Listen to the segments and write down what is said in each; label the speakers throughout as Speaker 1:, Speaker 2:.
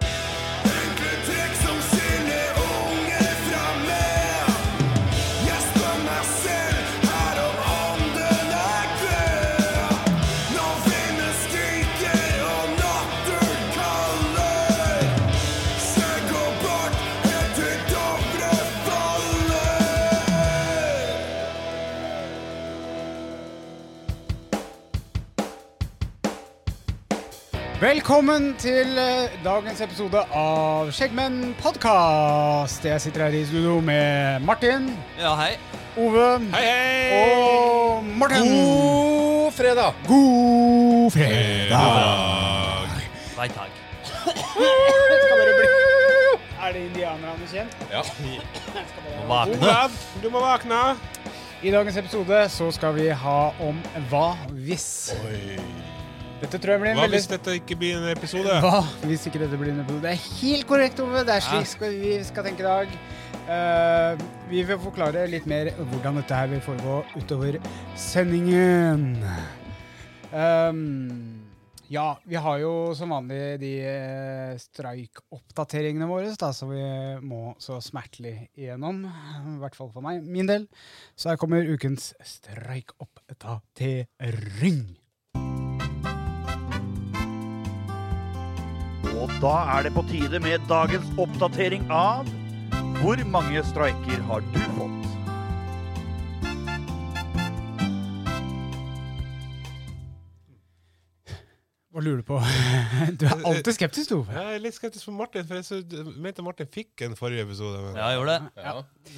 Speaker 1: Enkle trekk som skiller unge fra meg. Jeg spør meg selv her om ånden er død. Når vinden skriker og natten kaller. Skjegg og bart helt til Dovre faller.
Speaker 2: Velkommen til eh, dagens episode av Skjeggmenn podkast. Jeg sitter her i studio med Martin,
Speaker 3: Ja, hei.
Speaker 2: Ove og Morten. God fredag. God fredag.
Speaker 3: Nei takk.
Speaker 2: Er det indianerne kjent?
Speaker 3: Våkne.
Speaker 4: Du må våkne.
Speaker 2: I dagens episode så skal vi ha om hva hvis. Dette tror jeg blir en
Speaker 4: Hva
Speaker 2: veldig
Speaker 4: hvis dette ikke blir en episode?
Speaker 2: Hva hvis ikke dette blir en episode? Det er helt korrekt, Ove. Det er slik skal vi skal tenke i dag. Eh, vi vil forklare litt mer hvordan dette her vil foregå utover sendingen. Ehm, ja, vi har jo som vanlig de eh, streikoppdateringene våre, da, så vi må så smertelig igjennom. I hvert fall for meg. Min del. Så her kommer ukens streikoppdatering.
Speaker 5: Og da er det på tide med dagens oppdatering av Hvor mange streiker har du fått?
Speaker 2: Hva lurer du på? Du er alltid skeptisk, du. Ove.
Speaker 4: Jeg er litt skeptisk på Martin, for jeg så- mente Martin fikk en forrige episode. Men.
Speaker 3: Ja, jeg gjorde det.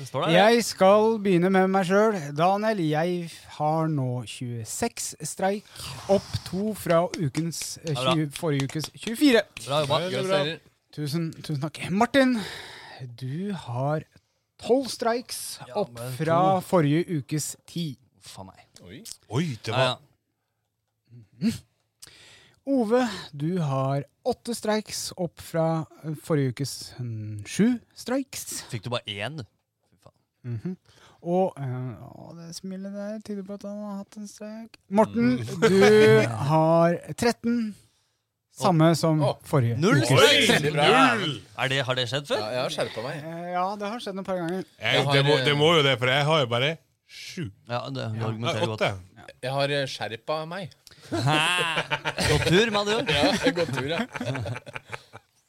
Speaker 3: Det står der.
Speaker 2: Jeg skal begynne med meg sjøl. Daniel, jeg har nå 26 streik. Opp to fra ukens, eh,
Speaker 3: Ja, bra.
Speaker 2: 20, forrige ukes 24.
Speaker 3: Bra jobba.
Speaker 4: Ja, det er bra.
Speaker 3: Gratulerer.
Speaker 2: Tusen, tusen takk. Martin, du har 12 streiks.
Speaker 3: Ja,
Speaker 2: Opp
Speaker 3: men
Speaker 2: fra forrige ukes 10.
Speaker 3: Faen meg.
Speaker 4: Oi, det
Speaker 3: Ja, ja.
Speaker 4: var
Speaker 2: Ove, du har 8 streiks. Opp fra eh, forrige ukes mm, 7 streiks.
Speaker 3: Fikk du bare én? du? Fy faen.
Speaker 2: Mhm. Og eh, å, det smilet der tyder på at han har hatt en streik. Morten, du har 13. Samme som forrige.
Speaker 3: Null
Speaker 2: uke.
Speaker 3: streik!
Speaker 6: veldig bra.
Speaker 3: Null! Er det, har det skjedd før?
Speaker 6: Ja, jeg har skjerpa meg.
Speaker 2: Eh, Ja, det har skjedd et par ganger.
Speaker 4: jeg,
Speaker 6: har,
Speaker 4: det, må,
Speaker 6: eh,
Speaker 4: det må jo det, for jeg har jo bare sju.
Speaker 3: Ja, det, du
Speaker 4: Nei,
Speaker 3: argumenterer godt.
Speaker 4: åtte.
Speaker 6: Jeg har eh, skjerpa meg.
Speaker 3: God tur, med andre ord.
Speaker 6: Ja, jeg har gått tur, ja.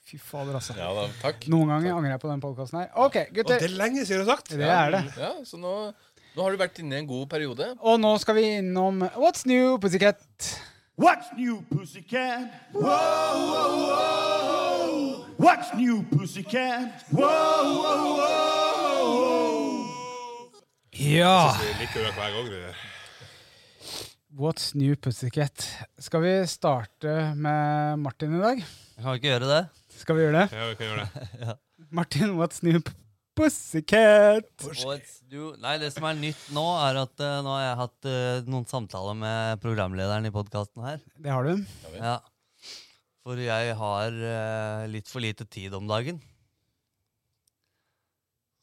Speaker 2: Fy fader, altså.
Speaker 6: ja da, takk.
Speaker 2: Noen ganger angrer jeg på den podkasten her. OK,
Speaker 4: Og det
Speaker 2: gutter.
Speaker 4: er lenge siden du har sagt!
Speaker 2: Det er det.
Speaker 6: Ja, så nå, nå har du vært inne i en god periode.
Speaker 2: Og nå skal vi innom What's New Pussycat.
Speaker 5: What's new, pussycat? Whoa, whoa, whoa. What's new, pussycat? Whoa, whoa, whoa.
Speaker 2: Ja.
Speaker 4: Du liker jo det hver gang. Det.
Speaker 2: What's New Pussycat. Skal vi starte med Martin i dag?
Speaker 3: Kan vi ikke gjøre det?
Speaker 2: Skal vi gjøre det?
Speaker 4: Ja, vi kan gjøre det.
Speaker 2: Martin, what's new p- pussycat?
Speaker 3: What's new? Nei, det som er nytt nå, er at eh, nå har jeg hatt eh, noen samtaler med programlederen i podkasten her.
Speaker 2: Det har du.
Speaker 3: Ja. For jeg har eh, litt for lite tid om dagen.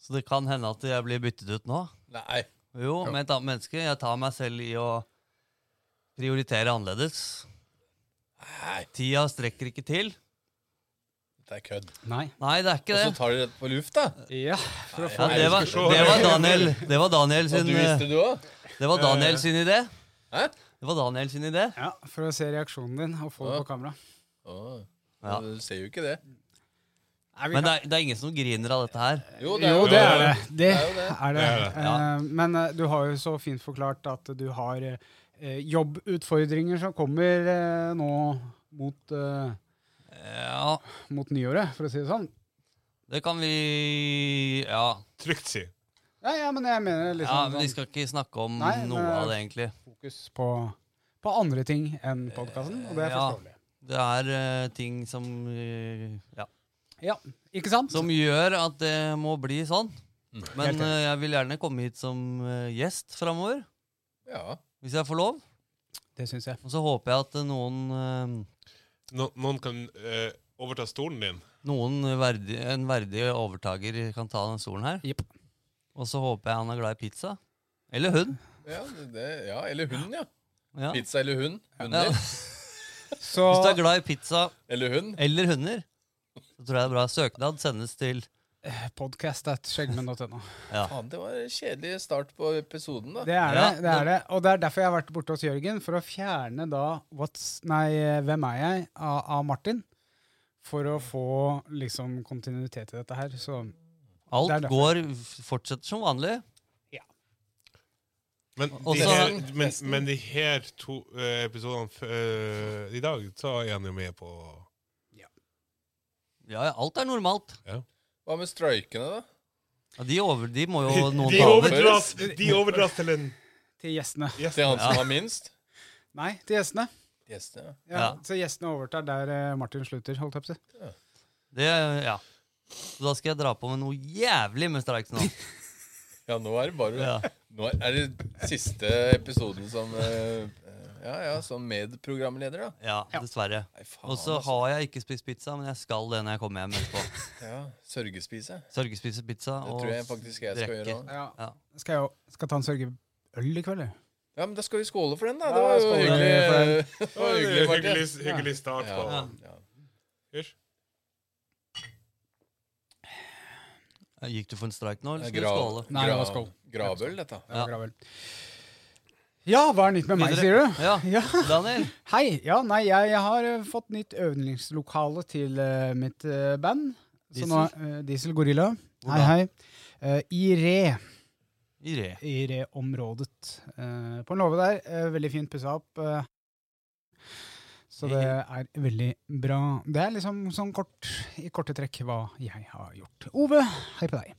Speaker 3: Så det kan hende at jeg blir byttet ut nå.
Speaker 6: Nei.
Speaker 3: Jo, med et annet menneske. Jeg tar meg selv i å prioritere annerledes.
Speaker 6: Nei,
Speaker 3: Tida strekker ikke til.
Speaker 6: det er kødd.
Speaker 2: Nei.
Speaker 3: Nei, det er
Speaker 6: Og
Speaker 3: ikke
Speaker 6: så
Speaker 3: det.
Speaker 6: tar de det på lufta.
Speaker 2: Ja.
Speaker 3: Ja,
Speaker 6: Nei,
Speaker 3: det, var,
Speaker 6: skal se.
Speaker 3: det var Daniel, det var Daniel
Speaker 6: Og
Speaker 3: sin,
Speaker 6: du visste du òg?
Speaker 3: det var Daniel sin idé.
Speaker 6: Hæ?
Speaker 3: Det var Daniel sin idé.
Speaker 2: Ja, For å se reaksjonen din og få det
Speaker 6: Ja.
Speaker 2: på kamera.
Speaker 6: Å,
Speaker 3: Ja.
Speaker 6: Du ser jo ikke det.
Speaker 3: Men det er, det er ingen som griner av dette her.
Speaker 6: Jo, det er
Speaker 2: jo,
Speaker 6: jo
Speaker 2: det er det. Det
Speaker 6: er jo det.
Speaker 2: er det.
Speaker 4: Det er det,
Speaker 3: ja.
Speaker 2: Eh, Men eh, du har jo så fint forklart at du har eh, eh, jobbutfordringer som kommer eh, nå mot, eh,
Speaker 3: Ja,
Speaker 2: mot nyåret, for å si det sånn.
Speaker 3: det kan vi Ja.
Speaker 4: Trygt si.
Speaker 2: Ja, ja, men jeg mener
Speaker 3: ja
Speaker 2: liksom
Speaker 3: vi
Speaker 2: sånn
Speaker 3: skal ikke snakke om
Speaker 2: Nei,
Speaker 3: noe
Speaker 2: men-
Speaker 3: av det, egentlig.
Speaker 2: fokus på, på andre ting enn podkasten, og det er
Speaker 3: Ja.
Speaker 2: forståelig.
Speaker 3: Det er eh, ting som eh, Ja.
Speaker 2: Ja, ikke sant?
Speaker 3: Som gjør at det må bli sånn. Men
Speaker 2: Helt enig.
Speaker 3: eh, jeg vil gjerne komme hit som eh, gjest framover,
Speaker 6: Ja.
Speaker 3: hvis jeg får lov.
Speaker 2: Det syns jeg.
Speaker 3: Og så håper jeg at eh, noen eh,
Speaker 4: No, noen kan eh, overta stolen din.
Speaker 3: Noen verdi, en verdig overtaker kan ta den stolen her.
Speaker 2: Jepp.
Speaker 3: Og så håper jeg han er glad i pizza. Eller hun.
Speaker 6: Ja, det- det, ja eller hund, ja.
Speaker 3: Ja.
Speaker 6: Pizza eller hund.
Speaker 3: Ja.
Speaker 6: Hunder
Speaker 3: Hvis
Speaker 2: Så
Speaker 3: du er glad i pizza
Speaker 6: eller hund.
Speaker 3: eller hunder, så tror jeg det er bra. Søknad sendes til
Speaker 2: podcast at skjeggmenn.no.
Speaker 3: ja.
Speaker 6: Faen, det var en kjedelig start på episoden, da.
Speaker 2: Det er det.
Speaker 3: Ja,
Speaker 2: det er det. Og det er derfor jeg har vært borte hos Jørgen, for å fjerne da what's, nei, Hvem er jeg? av, av Martin. For å få liksom kontinuitet i dette her. Så Det er
Speaker 3: Alt
Speaker 2: derfor.
Speaker 3: går fortsetter som vanlig.
Speaker 4: Men
Speaker 3: Og
Speaker 4: de,
Speaker 3: så-
Speaker 4: her, men, men de her to eh, episodene f- eh, i dag, så er han jo med på
Speaker 3: Ja, ja, alt er normalt.
Speaker 6: Hva med strøykene, da?
Speaker 3: Ja, de, over, de må jo noen
Speaker 4: de,
Speaker 3: ta over.
Speaker 4: overdras, de overdras til en
Speaker 2: til gjestene.
Speaker 4: gjest.
Speaker 6: Til han som har minst?
Speaker 2: Nei, til gjestene.
Speaker 6: Gjestene, ja.
Speaker 2: Ja,
Speaker 3: Ja.
Speaker 2: Så gjestene overtar der eh, Martin slutter, holdt jeg på å si.
Speaker 3: Det, ja. Så da skal jeg dra på med noe jævlig med Strikes nå.
Speaker 6: Ja, nå er det bare
Speaker 3: Ja.
Speaker 6: Nå er- er det siste episoden som eh, Ja, ja, som medprogramleder, da.
Speaker 3: Ja, dessverre.
Speaker 6: Nei, faen.
Speaker 3: Og så
Speaker 6: altså.
Speaker 3: har jeg ikke spist pizza, men jeg skal det når jeg kommer hjem etterpå.
Speaker 6: Ja, Sørgespise.
Speaker 3: Sørgespise pizza
Speaker 6: Det
Speaker 3: og
Speaker 6: tror jeg faktisk jeg skal
Speaker 3: drikke.
Speaker 6: gjøre òg.
Speaker 2: Ja.
Speaker 3: Ja.
Speaker 2: Skal jeg jo- skal ta en sørgeøl i kveld, jeg.
Speaker 6: Ja, men da skal vi skåle for den, da.
Speaker 2: Ja,
Speaker 6: Det var jo
Speaker 2: skåle for
Speaker 6: hyggelig. eh,
Speaker 2: den.
Speaker 4: Å, det
Speaker 6: Det var
Speaker 4: er
Speaker 6: hyggelig,
Speaker 4: en
Speaker 6: Martin.
Speaker 4: hyggelig, hyggelig start på
Speaker 6: Ja, ja.
Speaker 4: Hysj.
Speaker 3: Gikk du for en strike nå, eller
Speaker 6: Det er
Speaker 3: skal du
Speaker 6: grav-
Speaker 3: skåle?
Speaker 2: Nei, det var
Speaker 6: grav-
Speaker 2: skål.
Speaker 6: Gravøl, dette.
Speaker 3: Ja.
Speaker 2: Ja. gravel. ja, hva er nytt med meg, sier du?
Speaker 3: Ja.
Speaker 2: Ja.
Speaker 3: Daniel,
Speaker 2: Hei. Ja, nei, jeg, jeg har eh, fått nytt øvingslokale til eh, mitt eh, band. Så nå, eh, Diesel Gorilla.
Speaker 3: Hvor
Speaker 2: Hei,
Speaker 3: da?
Speaker 2: hei. Eh, I Re.
Speaker 3: i re.
Speaker 2: I Re-området. eh, på en låve der. eh, veldig fint pussa opp. eh. så det er veldig bra. Det er liksom sånn kort, i korte trekk hva jeg har gjort. Ove, hei på deg.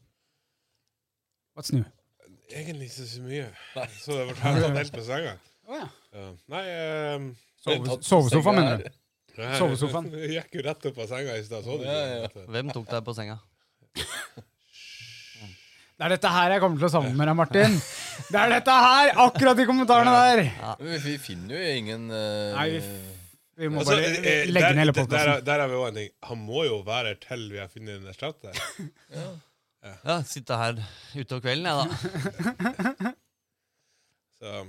Speaker 2: What's new?
Speaker 4: Egentlig ikke så mye. Så det ble tatt helt på senga.
Speaker 2: Å ja.
Speaker 4: Ja. Nei eh,
Speaker 2: Sove- Sovesofa, mener du?
Speaker 4: Nei,
Speaker 2: Sovesofaen.
Speaker 4: Jeg gikk jo rett opp av senga i stad, så du
Speaker 6: Ja, ja.
Speaker 4: ikke?
Speaker 3: Hvem tok deg på senga?
Speaker 2: Det er dette her jeg kommer til å savne med deg, Martin. Det er dette her! Akkurat de kommentarene der!
Speaker 6: Men Vi finner jo ingen eh,
Speaker 2: Nei, vi f- Vi må
Speaker 4: Altså,
Speaker 2: bare
Speaker 4: eh,
Speaker 2: legge
Speaker 4: der-
Speaker 2: ned hele
Speaker 4: der- Der,
Speaker 2: podkasten.
Speaker 4: er- der er vi også en ting. Han må jo være her til vi har funnet en erstatter.
Speaker 3: Ja, Sitte her utover kvelden, jeg, da.
Speaker 4: Så.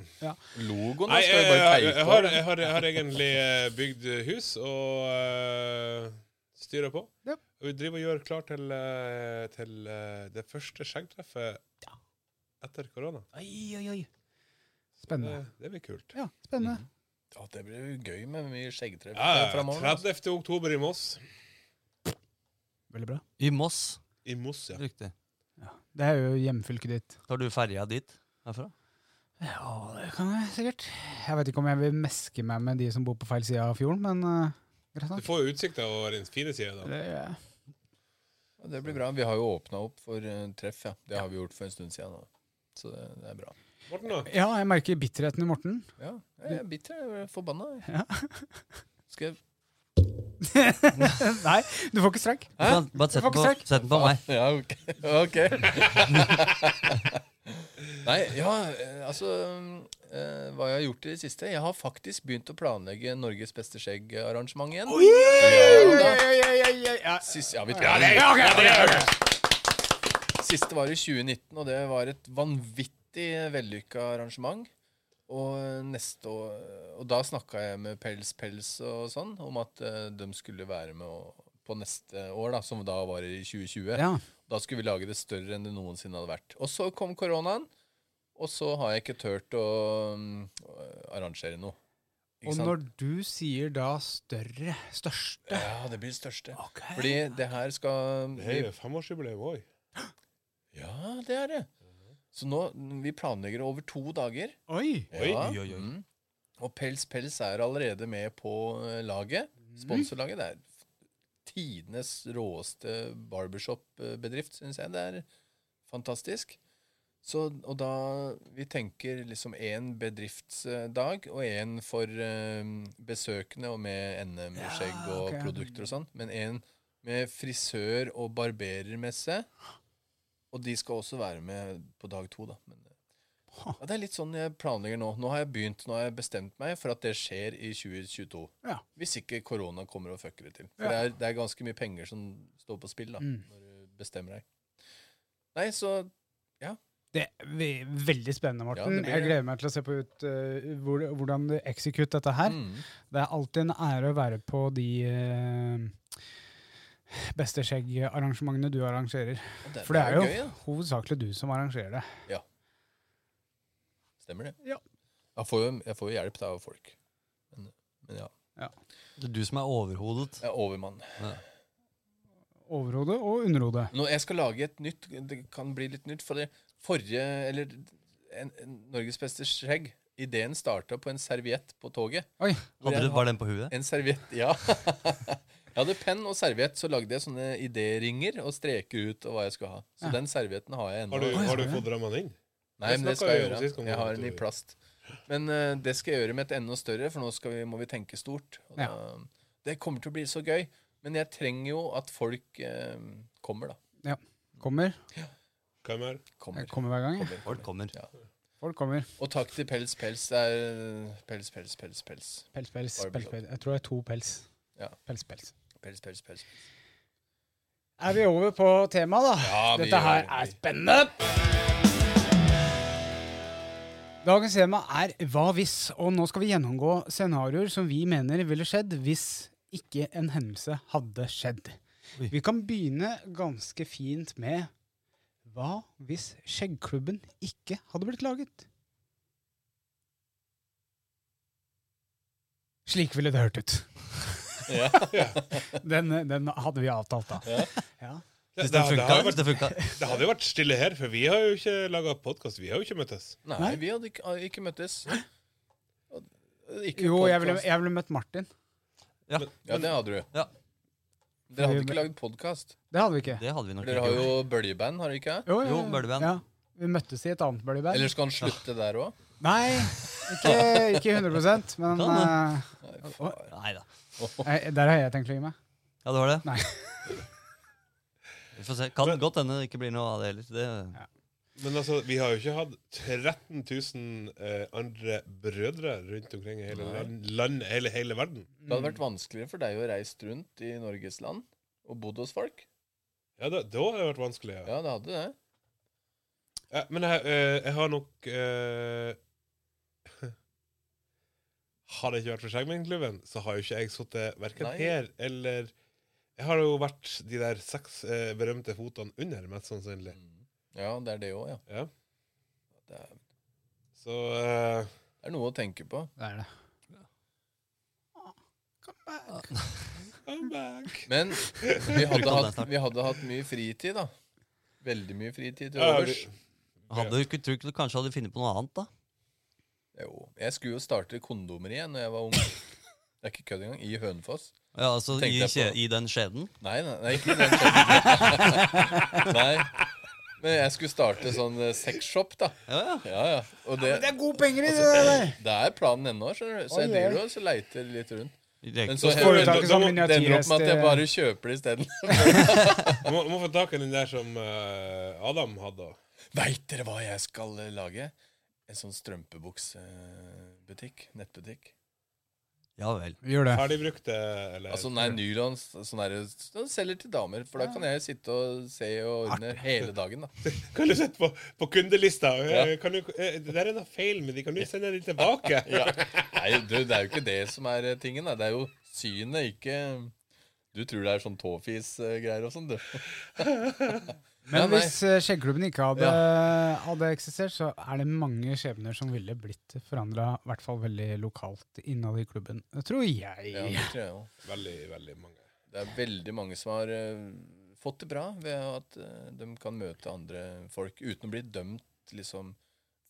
Speaker 6: Logoen da
Speaker 4: Nei,
Speaker 6: skal
Speaker 4: jeg,
Speaker 6: vi
Speaker 4: jeg,
Speaker 6: bare
Speaker 4: jeg,
Speaker 6: teipe
Speaker 4: har,
Speaker 6: over.
Speaker 4: jeg, har, jeg har egentlig eh, bygd hus og uh, styrer på.
Speaker 2: Ja.
Speaker 4: Og vi driver og gjør klar til, eh, til eh, det første skjeggtreffet etter korona.
Speaker 3: Oi, oi, oi.
Speaker 4: Det,
Speaker 2: Spennende.
Speaker 4: det blir kult.
Speaker 2: Ja, spennende.
Speaker 6: Ja, det blir jo gøy med mye skjeggtreff
Speaker 4: Ja,
Speaker 6: ja,
Speaker 4: ja,
Speaker 6: framover.
Speaker 4: 30. oktober i Moss.
Speaker 2: Veldig bra.
Speaker 3: I Moss.
Speaker 4: I Moss, ja.
Speaker 3: Riktig.
Speaker 2: Det er jo hjemfylket ditt.
Speaker 3: Tar du ferja dit herfra?
Speaker 2: Ja, det kan jeg sikkert. Jeg vet ikke om jeg vil meske meg med de som bor på feil side av fjorden, men eh, greit
Speaker 4: Du
Speaker 2: nok.
Speaker 4: får jo utsikt av å være en fine side da.
Speaker 2: Det gjør jeg.
Speaker 6: Ja, det blir bra. Vi har jo åpna opp for eh, treff, ja. Det har vi gjort for en stund siden. nå. Så det, det er bra.
Speaker 4: Morten, da?
Speaker 2: Ja, jeg merker bitterheten i Morten.
Speaker 6: Ja, jeg er bitter. Jeg er forbanna. jeg. Skal jeg
Speaker 2: Nei, du får ikke streik.
Speaker 3: Du kan Bare sett
Speaker 2: Du får
Speaker 3: den på,
Speaker 2: ikke
Speaker 3: sett den på meg.
Speaker 6: Ja, ok. ok. Nei, ja, eh, altså eh, Hva jeg har gjort i det siste? Jeg har faktisk begynt å planlegge Norges beste skjegg-arrangement igjen. Ja, da. Sist, ja, vi tar den. Siste var i 2019, og det var et vanvittig vellykka arrangement. Og neste år, og da snakka jeg med Pels Pels og sånn om at eh, de skulle være med å- på neste år, da, som da var i 2020.
Speaker 2: Ja.
Speaker 6: Da skulle vi lage det større enn det noensinne hadde vært. Og så kom koronaen, og så har jeg ikke turt å mm, arrangere noe. Ikke
Speaker 2: Og
Speaker 6: sant?
Speaker 2: når du sier da større, største
Speaker 6: Ja, det blir det største.
Speaker 2: okay.
Speaker 6: Fordi det her skal
Speaker 4: Det er jo femårsjubileum òg.
Speaker 6: Ja, det er det. Så nå, vi planlegger det over to dager.
Speaker 2: Oi!
Speaker 4: Oi,
Speaker 6: Ja,
Speaker 4: oi, oi.
Speaker 6: mm. Og Pels Pels er allerede med på eh, laget.
Speaker 4: Mm.
Speaker 6: Sponsorlaget. Det er tidenes råeste barbershop-bedrift, syns jeg. Det er fantastisk. Så, og da Vi tenker liksom én bedriftsdag og én for eh, besøkende og med NM-skjegg og
Speaker 2: ok.
Speaker 6: produkter og sånn. Men én med frisør- og barberermesse. Og de skal også være med på dag to, da. Men, eh, Ja, det er litt sånn jeg planlegger nå. Nå har jeg begynt, nå har jeg bestemt meg for at det skjer i 2022.
Speaker 2: Ja.
Speaker 6: Hvis ikke korona kommer og fucker det til. For
Speaker 2: Ja.
Speaker 6: det, er, det er ganske mye penger som står på spill da,
Speaker 2: Mm.
Speaker 6: når du bestemmer deg. Nei, så
Speaker 2: Det er veldig spennende,
Speaker 6: Ja,
Speaker 2: Morten.
Speaker 6: det blir
Speaker 2: jeg
Speaker 6: det.
Speaker 2: gleder meg til å se på ut, eh, hvor, hvordan du execute dette her.
Speaker 6: mm,
Speaker 2: Det er alltid en ære å være på de uh, beste skjeggarrangementene du arrangerer.
Speaker 6: og
Speaker 2: For det er jo
Speaker 6: gøy, da.
Speaker 2: hovedsakelig du som arrangerer det.
Speaker 6: Stemmer det.
Speaker 2: Ja.
Speaker 6: Jeg får jo, jeg får jo hjelp da, av folk. Men, men ja.
Speaker 3: Det er du som er overhodet.
Speaker 6: Jeg er overmann.
Speaker 2: Overhodet og underhodet.
Speaker 6: Nå, jeg skal lage et nytt Det kan bli litt nytt. For det forrige Eller en, en, Norges beste skjegg. Ideen starta på en serviett på toget.
Speaker 2: Oi.
Speaker 6: Hvor jeg
Speaker 3: Hadde du,
Speaker 6: har-
Speaker 3: var den på huet?
Speaker 6: En serviett, ja. jeg hadde penn og serviett, så lagde jeg sånne idéringer og streker ut og hva jeg skulle ha. Så
Speaker 2: Ja.
Speaker 6: den servietten har jeg ennå.
Speaker 4: Har du,
Speaker 2: Oi,
Speaker 4: har du
Speaker 2: sånn, ja.
Speaker 4: fått drømmene inn?
Speaker 6: Nei, men det
Speaker 4: snakket
Speaker 6: skal jeg
Speaker 4: vi om
Speaker 6: gjøre.
Speaker 4: sist gang,
Speaker 6: Jeg har
Speaker 4: at
Speaker 6: den i
Speaker 4: du-
Speaker 6: plast. Men eh, det skal jeg gjøre med et enda større, for nå skal vi, må vi tenke stort. Og
Speaker 2: Ja.
Speaker 6: da, det kommer til å bli så gøy. Men jeg trenger jo at folk eh, kommer, da.
Speaker 2: Kommer.
Speaker 4: Hvem er
Speaker 6: Kommer.
Speaker 2: Jeg kommer hver gang. jeg.
Speaker 6: kommer,
Speaker 3: Folk
Speaker 6: kommer.
Speaker 3: kommer.
Speaker 6: Ja.
Speaker 2: Folk kommer.
Speaker 6: Og takk til Pels Pels. Det er eh, Pels Pels Pels Pels.
Speaker 2: Pels, pels, pels.
Speaker 6: Barbie shop.
Speaker 2: pels. Jeg tror det er to pels.
Speaker 6: Ja.
Speaker 2: Pels, pels.
Speaker 6: Pels Pels Pels.
Speaker 2: Er vi over på temaet, da?
Speaker 6: Ja, vi
Speaker 2: Dette her
Speaker 6: gjør-
Speaker 2: er spennende! Dagens tema er Hva hvis? Og nå skal vi gjennomgå scenarioer som vi mener ville skjedd hvis ikke en hendelse hadde skjedd.
Speaker 3: Oi.
Speaker 2: Vi kan begynne ganske fint med Hva hvis Skjeggklubben ikke hadde blitt laget? Slik ville det hørt ut.
Speaker 6: Ja.
Speaker 2: Den, den hadde vi avtalt, da. Ja.
Speaker 4: det,
Speaker 3: Hvis den
Speaker 4: det, det, har jo
Speaker 3: funka,
Speaker 4: vært,
Speaker 3: det funka.
Speaker 4: det hadde jo vært stille her, for vi har jo ikke laga podkast. Vi har jo ikke møttes.
Speaker 6: Nei,
Speaker 2: Nei.
Speaker 6: vi hadde ikke, ah, ikke møttes. Og- eh, Ikke altså.
Speaker 2: Jo, jeg ville,
Speaker 6: podcast.
Speaker 2: jeg ville møtt Martin.
Speaker 6: Ja, det hadde du.
Speaker 3: Ja.
Speaker 6: Dere hadde
Speaker 2: Vi-
Speaker 6: ikke lagd podkast.
Speaker 2: Det hadde vi ikke.
Speaker 3: Det hadde vi nok
Speaker 6: Dere har
Speaker 3: ikke
Speaker 6: jo
Speaker 3: gjort.
Speaker 6: bøljeband, har dere ikke?
Speaker 2: Jo, ja,
Speaker 3: Jo,
Speaker 2: ja.
Speaker 3: bøljeband.
Speaker 2: Ja. Vi møttes i et annet bøljeband.
Speaker 6: Eller skal han slutte der òg?
Speaker 2: Nei, ikke, ikke 100 men
Speaker 6: Sånn,
Speaker 3: Kan Nei da.
Speaker 2: eh, nei, der har jeg tenkt å gi meg.
Speaker 3: Ja, det var det?
Speaker 2: Nei.
Speaker 3: Vi får se. Kan godt hende det ikke blir noe av det heller. Det,
Speaker 4: Men altså, vi har jo ikke hatt 13 000 eh, andre brødre rundt omkring i hele
Speaker 6: Nei.
Speaker 4: land, land, hele, hele verden.
Speaker 6: Det hadde vært vanskeligere for deg å reise rundt i Norges land og bodd hos folk.
Speaker 4: Ja, da, da har det vært vanskelig. Ja.
Speaker 6: Ja, det hadde det.
Speaker 4: Eh, men jeg, eh, jeg har nok eh, Hadde det ikke vært for Skjeggmennklubben, så har jo ikke jeg sittet verken
Speaker 6: Nei.
Speaker 4: her eller Jeg har jo vært de der seks eh, berømte fotene under, mest sannsynlig.
Speaker 6: Ja, det er det òg, ja.
Speaker 4: Ja.
Speaker 6: Det er,
Speaker 4: Så eh,
Speaker 6: det er noe å tenke på.
Speaker 2: Det er det.
Speaker 4: I'm back.
Speaker 6: Men vi
Speaker 3: Brukte
Speaker 6: hadde
Speaker 3: alle
Speaker 6: hatt,
Speaker 3: snart.
Speaker 6: vi hadde hatt mye fritid, da. Veldig mye fritid til
Speaker 4: Ja,
Speaker 6: overs.
Speaker 4: vi-
Speaker 3: hadde du ikke trodd du kanskje hadde funnet på noe annet, da?
Speaker 6: Jo. Jeg skulle jo starte kondomeriet når jeg var ung. Det er ikke kødd engang. I Hønefoss.
Speaker 3: Ja, altså
Speaker 6: Tenkte
Speaker 3: i,
Speaker 6: jeg
Speaker 3: kje,
Speaker 6: på.
Speaker 3: I den skjeden?
Speaker 6: Nei, nei, nei ikke den skjeden. Nei. Men jeg skulle starte sånn eh, sexshop, da.
Speaker 3: Ja, ja.
Speaker 6: Ja, ja. Og det,
Speaker 2: Det er gode penger i
Speaker 6: Altså,
Speaker 2: det der!
Speaker 6: det er planen ennå, skjønner du. Så
Speaker 2: Oi,
Speaker 6: jeg driver og så leiter litt rundt. Men så
Speaker 3: Direkte.
Speaker 2: Får du
Speaker 6: hender-
Speaker 2: tak i
Speaker 4: da
Speaker 2: sånn eh?
Speaker 4: må-
Speaker 6: det ender opp med at jeg
Speaker 2: miniatyrhest,
Speaker 6: bare kjøper det isteden.
Speaker 4: Du må, må få tak i den der som eh, Adam hadde.
Speaker 6: Veit dere hva jeg skal eh, lage? En sånn strømpebuksebutikk. Nettbutikk.
Speaker 3: Ja vel.
Speaker 2: eh, Gjør det.
Speaker 4: Ferdigbrukte, eller
Speaker 6: Altså nei, nylon sånn der, sånn selger til damer, for da kan jeg sitte og se og ordne hele dagen. da
Speaker 4: Kan du sette på, på kundelista? eh,
Speaker 6: Ja.
Speaker 4: Kan du, eh, det der er noe feil med de, kan du sende de tilbake?
Speaker 6: ja. Nei, du, det er jo ikke det som er eh, tingen. Da. Det er jo synet, ikke Du tror det er sånn tåfis-greier og sånn, du.
Speaker 2: Men
Speaker 6: Ja, nei.
Speaker 2: hvis eh, skjeggklubben ikke hadde, hadde eksistert, så er det mange skjebner som ville blitt forandra, i hvert fall veldig lokalt innad i klubben. Det tror jeg.
Speaker 6: Ja, det, tror jeg, jo.
Speaker 4: Veldig, veldig mange.
Speaker 6: det er veldig mange som har eh, fått det bra ved at eh, de kan møte andre folk uten å bli dømt, liksom.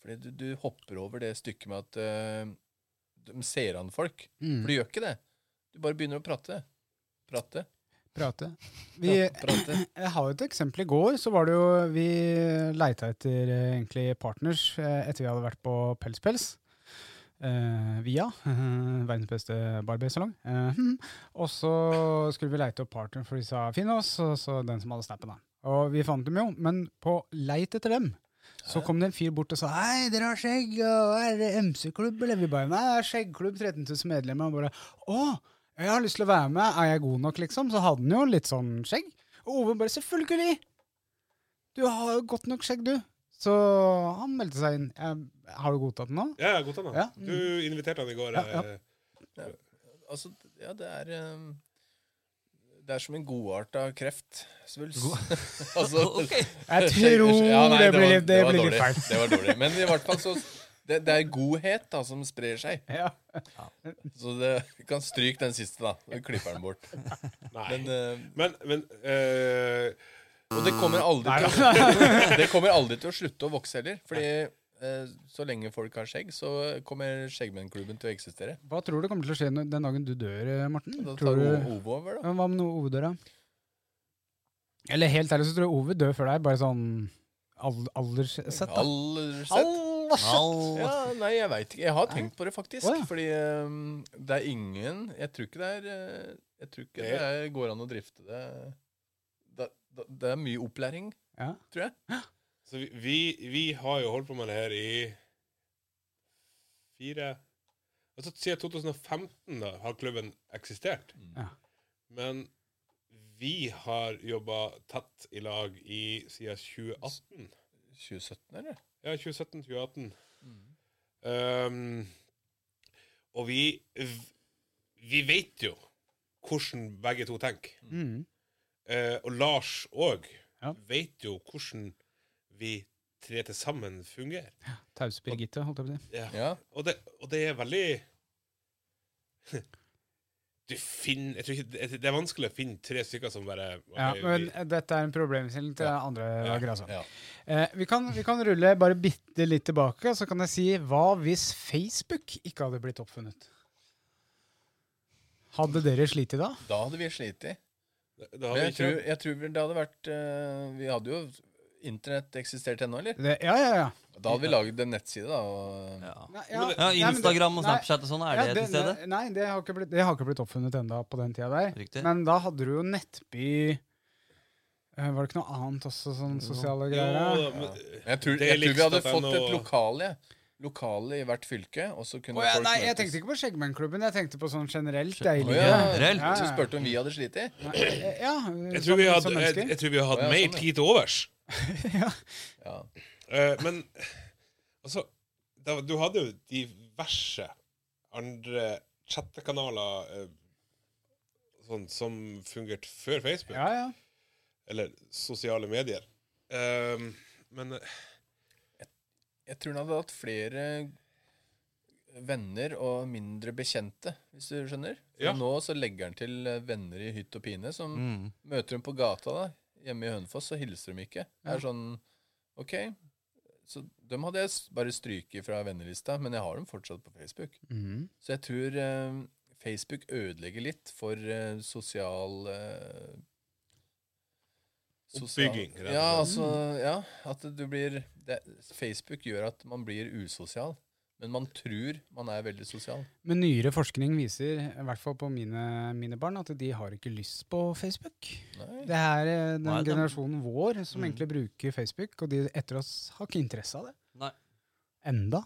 Speaker 6: Fordi du, du hopper over det stykket med at eh, de ser an folk. For
Speaker 2: Mm.
Speaker 6: du gjør ikke det. Du bare begynner å prate. Prate.
Speaker 2: Prate. Vi,
Speaker 6: prate.
Speaker 2: Jeg har jo et eksempel. I går så var det jo Vi leita etter eh, egentlig partners eh, etter vi hadde vært på Pels Pels. Eh, via eh, verdens beste barbersalong. Eh, hm. og så skulle vi leite opp partneren, for de sa 'finn oss', og så den som hadde snappen. da. Og vi fant dem jo, men på leit etter dem Så kom det en fyr bort og sa Hei, dere har skjegg, og er det MC-klubb? Eller vi bare Nei, det er skjeggklubb, 13 000 medlemmer. Og bare Å, jeg har lyst til å være med, er jeg god nok, liksom? Så hadde han jo litt sånn skjegg. Og Ove bare Selvfølgelig! Du har jo godt nok skjegg, du. Så han meldte seg inn. Jeg, har du godtatt den nå?
Speaker 4: Ja, ja, godt an, da.
Speaker 2: Ja.
Speaker 4: Du inviterte han i går.
Speaker 2: Ja, ja.
Speaker 4: eh,
Speaker 6: Altså, ja, det er ehm, Det er som en godarta kreft, svulst. altså,
Speaker 3: Ok.
Speaker 2: Jeg tror
Speaker 6: Ja, nei,
Speaker 2: det blir
Speaker 6: var-
Speaker 2: litt- det
Speaker 6: var
Speaker 2: blir litt
Speaker 6: dårlig.
Speaker 2: feil.
Speaker 6: Det var dårlig. Men i hvert fall så det, det er godhet da, som sprer seg.
Speaker 2: Ja.
Speaker 6: Så det, vi kan stryke den siste, da. Vi klipper den bort.
Speaker 4: Nei.
Speaker 6: Men,
Speaker 4: Men,
Speaker 6: eh,
Speaker 4: men, eh,
Speaker 6: og det kommer, aldri til, det kommer aldri til å slutte å vokse heller. Fordi eh, så lenge folk har skjegg, så kommer Skjeggmennklubben til å eksistere.
Speaker 2: Hva tror du kommer til å skje når- den dagen du dør, Morten?
Speaker 6: Da
Speaker 2: Tror
Speaker 6: tar
Speaker 2: du...
Speaker 6: Ove over, da.
Speaker 2: Men hva med noe Ove dør, da? Eller helt ærlig så tror jeg Ove dør før deg, bare sånn al- alderssett. da.
Speaker 6: Aller sett.
Speaker 2: Alderssett!
Speaker 3: All...
Speaker 6: Ja, nei, jeg veit ikke. Jeg har tenkt på det, faktisk.
Speaker 2: Å, ja.
Speaker 6: Fordi ehm, det er ingen Jeg tror ikke det er eh, Jeg tror ikke det, er, går an å drifte det det, det det er mye opplæring,
Speaker 2: Ja.
Speaker 6: tror jeg.
Speaker 4: så vi, vi, vi har jo holdt på med det her i fire altså, Siden 2015 da, har klubben eksistert.
Speaker 2: Ja.
Speaker 4: Men vi har jobba tett i lag i siden 2018.
Speaker 6: 2017, eller?
Speaker 4: Ja, 2017-2018. Um, og vi Vi vet jo hvordan begge to tenker.
Speaker 2: Mm.
Speaker 4: Eh, og Lars òg
Speaker 2: Ja.
Speaker 4: vet jo hvordan vi tre til sammen fungerer.
Speaker 2: Tause Birgitte, holdt jeg på å si.
Speaker 6: Ja.
Speaker 4: Og, det, og det er veldig Du finner jeg tror ikke, det- Det er vanskelig å finne tre stykker som bare ok,
Speaker 2: Ja, men
Speaker 4: vi,
Speaker 2: dette er en problemstilling til andre dager, altså.
Speaker 6: ja.
Speaker 2: Eh, vi, kan, vi kan rulle bare bitte litt tilbake, så kan jeg si hva hvis Facebook ikke hadde blitt oppfunnet? Hadde dere slitt i da?
Speaker 6: Da hadde vi slitt.
Speaker 4: Da har
Speaker 6: Men
Speaker 4: vi
Speaker 6: jeg tror,
Speaker 4: ikke
Speaker 6: jeg tror vel det hadde vært eh, Vi hadde jo Internett eksistert ennå, eller?
Speaker 2: Det, ja, ja, ja.
Speaker 6: Da hadde vi lagd en nettside, da. Og,
Speaker 3: Ja.
Speaker 2: Nei,
Speaker 4: Men det-
Speaker 3: ja,
Speaker 2: nei, men det-
Speaker 3: Instagram og
Speaker 2: nei.
Speaker 3: Snapchat og sånn, er
Speaker 2: Ja,
Speaker 3: det til stede?
Speaker 2: Nei, nei, det har ikke blitt, det har ikke blitt oppfunnet enda på den tida der.
Speaker 3: Riktig.
Speaker 2: Men da hadde du jo Nettby eh, Var det ikke noe annet også, sånn sosiale
Speaker 4: Jo,
Speaker 2: greier? da?
Speaker 4: da, men,
Speaker 6: Men jeg tror,
Speaker 4: Det er
Speaker 6: jeg tror vi hadde
Speaker 4: likst at
Speaker 6: fått
Speaker 4: det er
Speaker 6: et
Speaker 4: noe-
Speaker 6: lokale Lokale i hvert fylke, og så kunne
Speaker 2: Å ja,
Speaker 6: folk
Speaker 2: nei, jeg
Speaker 6: møtes.
Speaker 2: tenkte ikke på Skjeggmennklubben, jeg tenkte på sånn generelt
Speaker 6: Å
Speaker 2: deilige
Speaker 6: ja.
Speaker 3: Generelt.
Speaker 2: Ja,
Speaker 6: Så
Speaker 2: ja.
Speaker 6: spurte om vi hadde slitt i.
Speaker 2: Nei, eh, ja,
Speaker 4: jeg,
Speaker 2: som-
Speaker 4: tror vi
Speaker 2: som
Speaker 4: hadde, jeg,
Speaker 2: mennesker.
Speaker 4: jeg tror vi hadde
Speaker 6: Å, ja,
Speaker 4: mer
Speaker 6: sånn, ja.
Speaker 4: tid til overs.
Speaker 6: Ja.
Speaker 4: Eh, men altså da, Du hadde jo diverse andre chattekanaler eh, sånn, som fungerte før Facebook.
Speaker 2: Ja, ja.
Speaker 4: Eller sosiale medier. Ehm, men eh,
Speaker 6: Jeg tror han hadde hatt flere venner og mindre bekjente, hvis du skjønner. For
Speaker 4: Ja.
Speaker 6: Nå så legger han til eh, venner i hytt og pine, som
Speaker 3: Mm.
Speaker 6: møter dem på gata da, hjemme i Hønefoss, så hilser de ikke. Det
Speaker 2: Ja.
Speaker 6: er sånn, ok, så dem hadde jeg s- bare stryket fra vennelista, men jeg har dem fortsatt på Facebook.
Speaker 2: Mhm.
Speaker 6: Så jeg tror eh, Facebook ødelegger litt for eh, sosial eh,
Speaker 4: Oppbygging, rett og slett.
Speaker 6: Ja, altså, ja, at du blir det, Facebook gjør at man blir usosial, men man tror man er veldig sosial.
Speaker 2: Men nyere forskning viser, i hvert fall på mine, mine barn, at de har ikke lyst på Facebook.
Speaker 6: Nei.
Speaker 2: Det er eh, den
Speaker 3: Nei, det-
Speaker 2: generasjonen vår som
Speaker 3: Mm.
Speaker 2: egentlig bruker Facebook, og de etter oss har ikke interesse av det.
Speaker 3: Nei.
Speaker 2: Enda.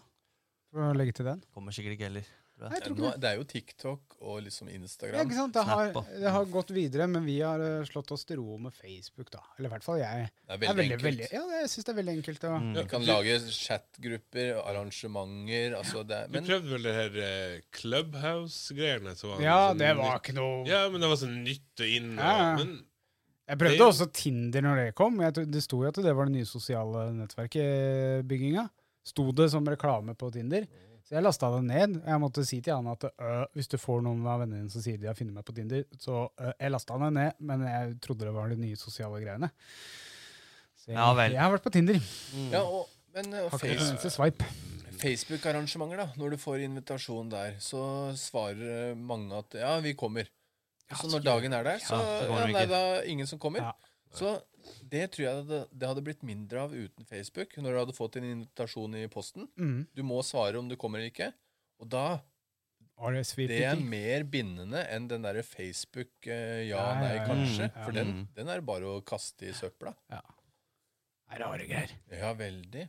Speaker 2: For å legge til den.
Speaker 3: Kommer sikkert ikke heller.
Speaker 2: Nei, jeg tror
Speaker 6: Nå,
Speaker 2: ikke det.
Speaker 6: det er jo TikTok og liksom
Speaker 2: Ja,
Speaker 6: Instagram.
Speaker 2: ikke sant? Det, har,
Speaker 3: Snap, da.
Speaker 2: det har gått videre, men vi har eh, slått oss til ro med Facebook, da. Eller i hvert fall jeg.
Speaker 6: Det er
Speaker 2: Det er
Speaker 6: veldig
Speaker 2: veldig,
Speaker 6: enkelt.
Speaker 2: veldig, ja, det- jeg syns det er veldig enkelt. å-
Speaker 3: Mm.
Speaker 6: Du kan lage chatgrupper, arrangementer altså det,
Speaker 4: du
Speaker 6: Men
Speaker 4: prøvde vel det her eh, Clubhouse-greiene? som var
Speaker 2: Ja,
Speaker 4: sånn
Speaker 2: det var
Speaker 4: nytt-
Speaker 2: ikke noe
Speaker 4: Ja, men det var sånn nytt og inn. Og,
Speaker 2: Ja, ja.
Speaker 4: Men
Speaker 2: Jeg
Speaker 4: det-
Speaker 2: prøvde også Tinder når det kom. Jeg, tro- det sto jo at det var det nye sosiale nettverket-bygginga. Sto det som reklame på Tinder. Så jeg lasta det ned. og Jeg måtte si til han at øh, hvis du får noen av vennene dine som sier de har funnet meg på Tinder, så øh, Jeg lasta den ned, men jeg trodde det var de nye sosiale greiene. Så jeg,
Speaker 3: Ja vel.
Speaker 2: jeg har vært på Tinder.
Speaker 6: ja, og, men eh,
Speaker 2: Har ikke
Speaker 6: Facebook
Speaker 2: en eneste swipe.
Speaker 6: Facebook-arrangementer, da. Når du får invitasjon der, så svarer eh, mange at ja, vi kommer. Så når dagen er der, så
Speaker 3: Ja, så
Speaker 6: ja,
Speaker 3: kommer de
Speaker 6: nei,
Speaker 3: ikke.
Speaker 6: det er ingen som kommer.
Speaker 2: Ja.
Speaker 6: Så det tror jeg det, det hadde blitt mindre av uten Facebook, når du hadde fått en invitasjon i posten.
Speaker 2: Mm.
Speaker 6: Du må svare om du kommer eller ikke. Og da
Speaker 2: RSVPT.
Speaker 6: Det er mer bindende enn den derre Facebook eh, ja,
Speaker 2: Ja, ja,
Speaker 6: nei,
Speaker 2: ja.
Speaker 6: kanskje.
Speaker 2: Mm, ja.
Speaker 6: For den,
Speaker 3: Mm.
Speaker 6: den er det bare å kaste i søpla.
Speaker 2: Det er rare greier.
Speaker 6: Ja, veldig.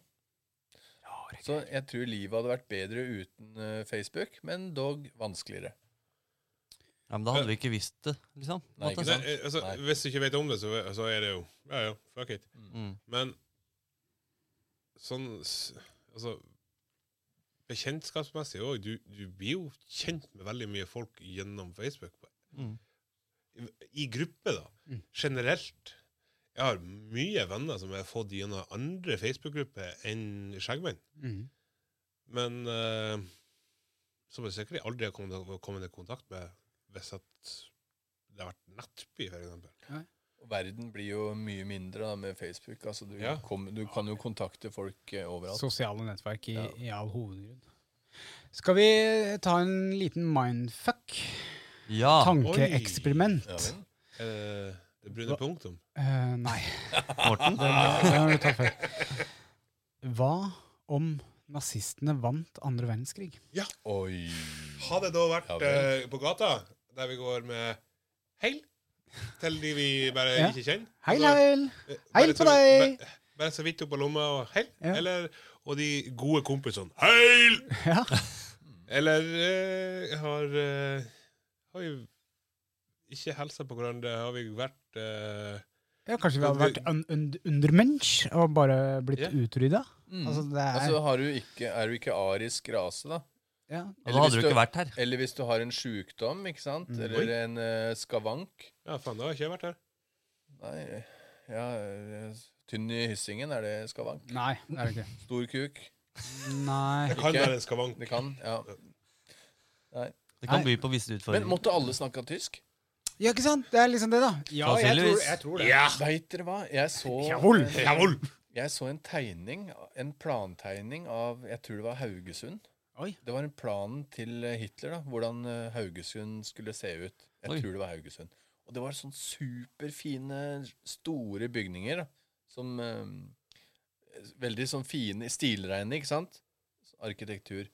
Speaker 2: Bare
Speaker 6: Så jeg tror livet hadde vært bedre uten eh, Facebook, men dog vanskeligere.
Speaker 3: Ja, men da hadde vi ikke visst det, liksom. på en
Speaker 6: Nei,
Speaker 3: måte.
Speaker 6: ikke
Speaker 4: Nei,
Speaker 6: sant?
Speaker 4: eh, altså,
Speaker 6: Nei.
Speaker 4: hvis du ikke vet om det, så, så er det jo Ja, ja, fuck it.
Speaker 3: Mm.
Speaker 4: Men sånn s- Altså Bekjentskapsmessig òg. Du, du blir jo kjent med veldig mye folk gjennom Facebook.
Speaker 3: Mm.
Speaker 4: I, I gruppe, da.
Speaker 2: Mm.
Speaker 4: Generelt. Jeg har mye venner som jeg har fått gjennom andre Facebook-grupper enn skjeggmenn.
Speaker 2: Mhm.
Speaker 4: Men eh, som jeg sikkert aldri har kommet, kommet i kontakt med hvis at det har vært nettby, for eksempel.
Speaker 6: Og verden blir jo mye mindre da, med Facebook. Altså, du,
Speaker 4: Ja.
Speaker 6: kom, du kan jo kontakte folk eh, overalt.
Speaker 2: Sosiale nettverk i,
Speaker 6: Ja.
Speaker 2: i all hovedgrunn. Skal vi ta en liten mindfuck?
Speaker 3: Ja.
Speaker 2: Tankeeksperiment?
Speaker 6: Ah. Ja, vel.
Speaker 4: Er det Eh, det brune punktum?
Speaker 2: Eh, nei.
Speaker 3: Morten.
Speaker 2: Det har du tatt før. Hva om nazistene vant andre verdenskrig?
Speaker 6: Oi.
Speaker 4: Hadde det da vært
Speaker 6: Ja
Speaker 4: eh,
Speaker 6: vel.
Speaker 4: på gata, der vi går med heil til de vi bare
Speaker 2: Ja.
Speaker 4: ikke kjenner
Speaker 2: Hei,
Speaker 4: Altså,
Speaker 2: heil!
Speaker 4: eh,
Speaker 2: Heil
Speaker 4: bare
Speaker 2: på
Speaker 4: så-
Speaker 2: deg!
Speaker 4: ba- Bare så vidt opp på lomma og heil.
Speaker 2: Ja.
Speaker 4: Eller, og de gode kompisene heil!
Speaker 2: Ja.
Speaker 4: Eller eh, har eh, Har jo ikke helsa på hverandre. Har vi vært eh,
Speaker 2: ja, kanskje vi hadde vært un und undermensch og bare blitt
Speaker 4: Ja.
Speaker 2: utrydda?
Speaker 6: Mm.
Speaker 2: Altså,
Speaker 6: Altså,
Speaker 2: det er,
Speaker 6: har du ikke, er du ikke arisk rase, da?
Speaker 2: ja.
Speaker 3: Da hadde du
Speaker 6: hvis
Speaker 3: ikke vært her.
Speaker 6: Eller hvis du har en sjukdom, ikke sant?
Speaker 2: Mm.
Speaker 6: Eller en eh, skavank.
Speaker 4: Ja, faen, da har ikke jeg vært her.
Speaker 6: Nei, ja, eh, tynn i hyssingen, er det skavank?
Speaker 2: Nei, det er det ikke.
Speaker 6: Stor kuk?
Speaker 2: Nei.
Speaker 4: Det kan
Speaker 6: Ikke.
Speaker 4: være en skavank.
Speaker 6: Det kan, ja.
Speaker 3: Det kan
Speaker 2: Nei.
Speaker 3: by på visse
Speaker 6: Men
Speaker 3: utfordringer.
Speaker 6: måtte alle snakke tysk?
Speaker 2: Ja, ikke sant? Det er liksom det, da. Ja, jeg tror,
Speaker 3: Sannsynligvis.
Speaker 2: jeg tror det.
Speaker 4: Ja!
Speaker 6: Veit dere hva? Jeg så
Speaker 2: Jawohl.
Speaker 4: Jawohl!
Speaker 6: Jeg så en tegning, en plantegning av Jeg tror det var Haugesund.
Speaker 2: Oi.
Speaker 6: Det var en planen til eh, Hitler, da. Hvordan eh, Haugesund skulle se ut. Jeg
Speaker 3: Oi.
Speaker 6: tror det var Haugesund. Og det var sånn superfine, store bygninger. Da, som eh, Veldig sånn fine, stilreine, ikke sant? Arkitektur.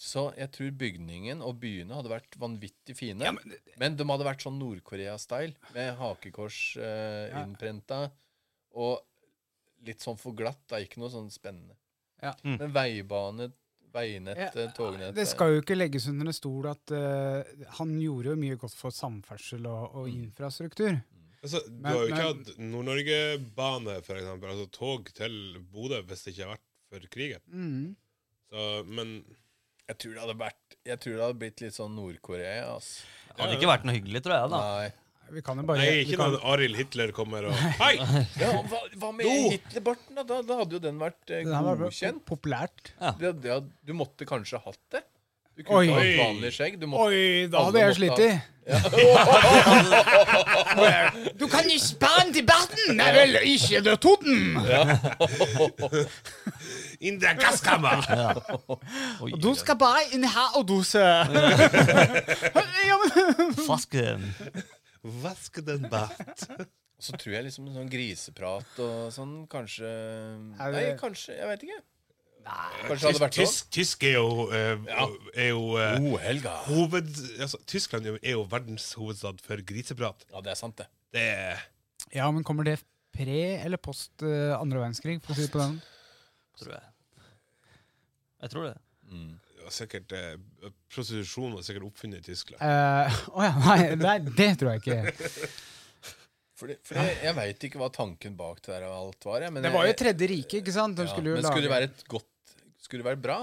Speaker 6: Så jeg tror bygningen og byene hadde vært vanvittig fine.
Speaker 2: Ja,
Speaker 6: men,
Speaker 2: men,
Speaker 6: de hadde vært sånn Nord-Korea-style, med hakekors eh,
Speaker 2: Ja.
Speaker 6: innprenta. Og litt sånn for glatt. Det er ikke noe sånn spennende.
Speaker 2: Ja.
Speaker 3: Mm.
Speaker 6: Men veibane, veinettet,
Speaker 2: Ja,
Speaker 6: tognettet
Speaker 2: Det skal jo ikke legges under en stol at eh, han gjorde jo mye godt for samferdsel og, og infrastruktur.
Speaker 4: Altså, du
Speaker 2: Men-
Speaker 4: har jo ikke
Speaker 2: men-
Speaker 4: hatt Nord-Norge-bane, for eksempel. Altså tog til Bodø, hvis det ikke har vært for krigen.
Speaker 2: Mm.
Speaker 4: Så, men
Speaker 6: jeg, tror det hadde vært, jeg tror det hadde blitt litt sånn Nord-Korea, altså.
Speaker 3: Det hadde ikke vært noe hyggelig, tror jeg. da.
Speaker 6: Nei.
Speaker 2: Vi kan jo bare
Speaker 4: Nei,
Speaker 2: vi
Speaker 4: ikke
Speaker 2: kan,
Speaker 4: når Arild Hitler kommer og Hei!
Speaker 6: Ja, hva, hva med
Speaker 4: Jo!
Speaker 6: Hitlerbarten, da? da? Da hadde jo den vært eh,
Speaker 2: Det her var bare
Speaker 6: godkjent.
Speaker 2: populært.
Speaker 6: Det, det, hadde- du måtte kanskje hatt det. Du
Speaker 2: Oi.
Speaker 6: kunne ikke hatt
Speaker 4: Oi.
Speaker 6: vanlig skjegg. Du måtte,
Speaker 2: Oi, da
Speaker 6: Alle
Speaker 2: hadde jeg
Speaker 6: måtte
Speaker 2: slitt i. Du kan ikke spanne til barten! Nei vel, ikke til Toten!
Speaker 4: In the gaskammer!
Speaker 3: Oi,
Speaker 2: Du skal bare inn her og dose. ja, men,
Speaker 3: Fask den.
Speaker 4: Vask den bæt.
Speaker 6: Så tror jeg liksom sånn griseprat og sånn kanskje
Speaker 2: Er
Speaker 6: Nei,
Speaker 2: det-
Speaker 6: kanskje. Jeg veit ikke. Kanskje det hadde vært sånn?
Speaker 4: Tysk, tysk er jo, eh, er jo eh,
Speaker 6: Oh, Helga.
Speaker 4: hoved... Altså, Tyskland er jo- er jo verdens hovedstad for griseprat.
Speaker 6: Ja, det er sant, det.
Speaker 4: Det er
Speaker 2: ja, men kommer det pre eller post eh, andre verdenskrig? For å si det på den.
Speaker 3: tror jeg. Jeg tror det.
Speaker 4: ja, sikkert eh, Prostitusjon var sikkert oppfunnet i Tyskland.
Speaker 2: Eh, Å ja, nei, nei, det tror jeg ikke.
Speaker 6: Fordi, fordi Jeg veit ikke hva tanken bak det der og alt var. Jeg, men
Speaker 2: Det var jo
Speaker 6: jeg-
Speaker 2: Tredje riket, ikke sant? De
Speaker 6: ja,
Speaker 2: skulle jo
Speaker 6: men skulle det
Speaker 2: lage-
Speaker 6: være et godt Skulle det være bra?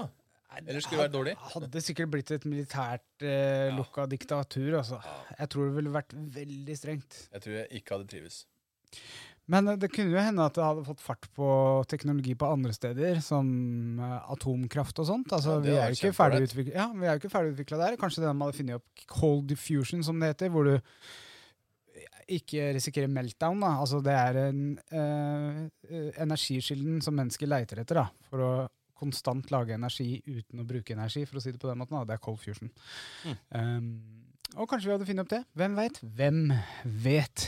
Speaker 6: Eller skulle det være dårlig?
Speaker 2: Hadde sikkert blitt et militært eh, lukka diktatur, altså. Jeg tror det ville vært veldig strengt.
Speaker 6: Jeg tror jeg ikke hadde trives.
Speaker 2: Men eh, det kunne jo hende at det hadde fått fart på teknologi på andre steder, som eh, atomkraft og sånt. Altså,
Speaker 6: Ja, det
Speaker 2: vi
Speaker 6: hadde
Speaker 2: er jo
Speaker 6: vært
Speaker 2: ikke
Speaker 6: kjempeålreit.
Speaker 2: ferdigutvikla ja, vi er jo ikke ferdigutvikla der. Kanskje de hadde funnet opp cold diffusion, som det heter, hvor du ikke risikerer meltdown. Da. Altså, det er en eh, eh, energikilden som mennesker leiter etter da, for å konstant lage energi uten å bruke energi, for å si det på den måten. Da. Det er cold fusion.
Speaker 6: Mm.
Speaker 2: Um, og kanskje vi hadde funnet opp det. Hvem veit? Hvem vet?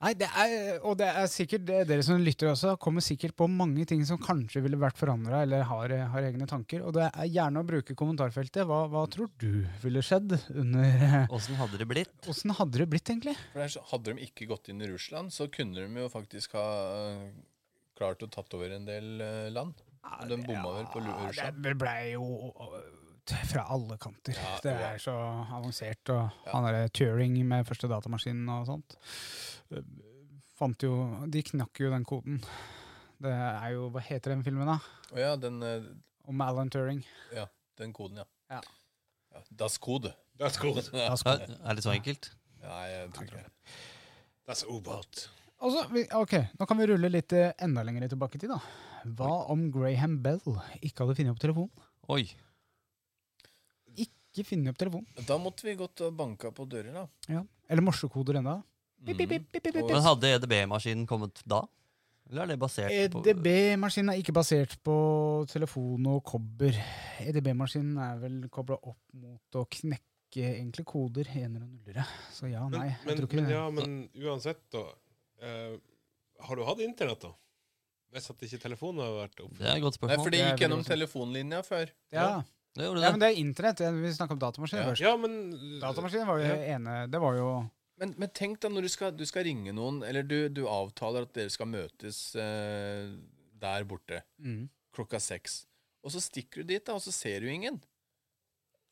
Speaker 2: Nei, det er, og det er sikkert det, dere som lytter også, kommer sikkert på mange ting som kanskje ville vært forandra eller har, har egne tanker. Og det er gjerne å bruke kommentarfeltet. Hva, hva tror du ville skjedd under eh,
Speaker 3: Åssen hadde det blitt?
Speaker 2: Åssen hadde det blitt, egentlig?
Speaker 6: For det er så- Hadde de ikke gått eh, inn i Russland, så kunne de jo faktisk ha øh, klart å tatt over en del øh, land. Og de bomma vel på
Speaker 2: Ja,
Speaker 6: Lursa.
Speaker 2: Det blei jo øh, fra alle kanter.
Speaker 6: Ja,
Speaker 2: det
Speaker 6: ja.
Speaker 2: er så avansert. Og han derre Turing med første datamaskin og sånt øh, fant jo De knakk jo den koden. Det er jo Hva heter den filmen, da?
Speaker 6: Å ja, den, eh,
Speaker 2: Om Alan Turing.
Speaker 6: den koden, ja.
Speaker 2: Ja.
Speaker 6: ja das Code.
Speaker 4: That's good.
Speaker 2: Das
Speaker 3: Ja,
Speaker 2: Code.
Speaker 3: Er det så enkelt?
Speaker 6: Nei, jeg tror ikke det.
Speaker 4: That's Obot.
Speaker 2: Og så, vi- ok, Nå kan vi rulle litt eh, enda lenger tilbake i tid. da. Hva om Graham Bell ikke hadde funnet opp telefon?
Speaker 3: Oi.
Speaker 2: Ikke funnet opp telefon.
Speaker 6: Da måtte vi gått og banka på dører, da.
Speaker 2: Ja. Eller morsekoder enda.
Speaker 4: Mm.
Speaker 2: Pip, pip, pip, pip, pip, pip.
Speaker 3: Men hadde EDB-maskinen kommet da? Eller er det basert på
Speaker 2: EDB-maskinen E er ikke basert på telefon og kobber. EDB-maskinen er vel kobla opp mot å knekke egentlig koder, enere og nullere. Så ja,
Speaker 4: Men,
Speaker 2: nei. jeg
Speaker 4: men,
Speaker 2: tror ikke
Speaker 4: men,
Speaker 2: det.
Speaker 4: ja, men uansett, da. eh, har du hatt internett, da? Hvis at ikke telefonen har vært
Speaker 3: Det er
Speaker 4: oppe?
Speaker 3: et godt
Speaker 6: Nei,
Speaker 3: spørsmål.
Speaker 6: for det
Speaker 2: Det er
Speaker 6: gikk gjennom
Speaker 2: veldig
Speaker 6: telefonlinja før.
Speaker 2: ja.
Speaker 3: Det gjorde
Speaker 2: ja,
Speaker 3: det.
Speaker 2: men det er internett. Ja, Vi snakker om datamaskinen først.
Speaker 4: Ja, men
Speaker 2: Datamaskinen var jo
Speaker 4: Ja.
Speaker 2: ene Det var jo
Speaker 6: Men, men tenk da når du skal, du skal ringe noen, eller du, du avtaler at dere skal møtes eh, der borte
Speaker 2: mm.
Speaker 6: klokka seks. Og så stikker du dit, da, og så ser du ingen.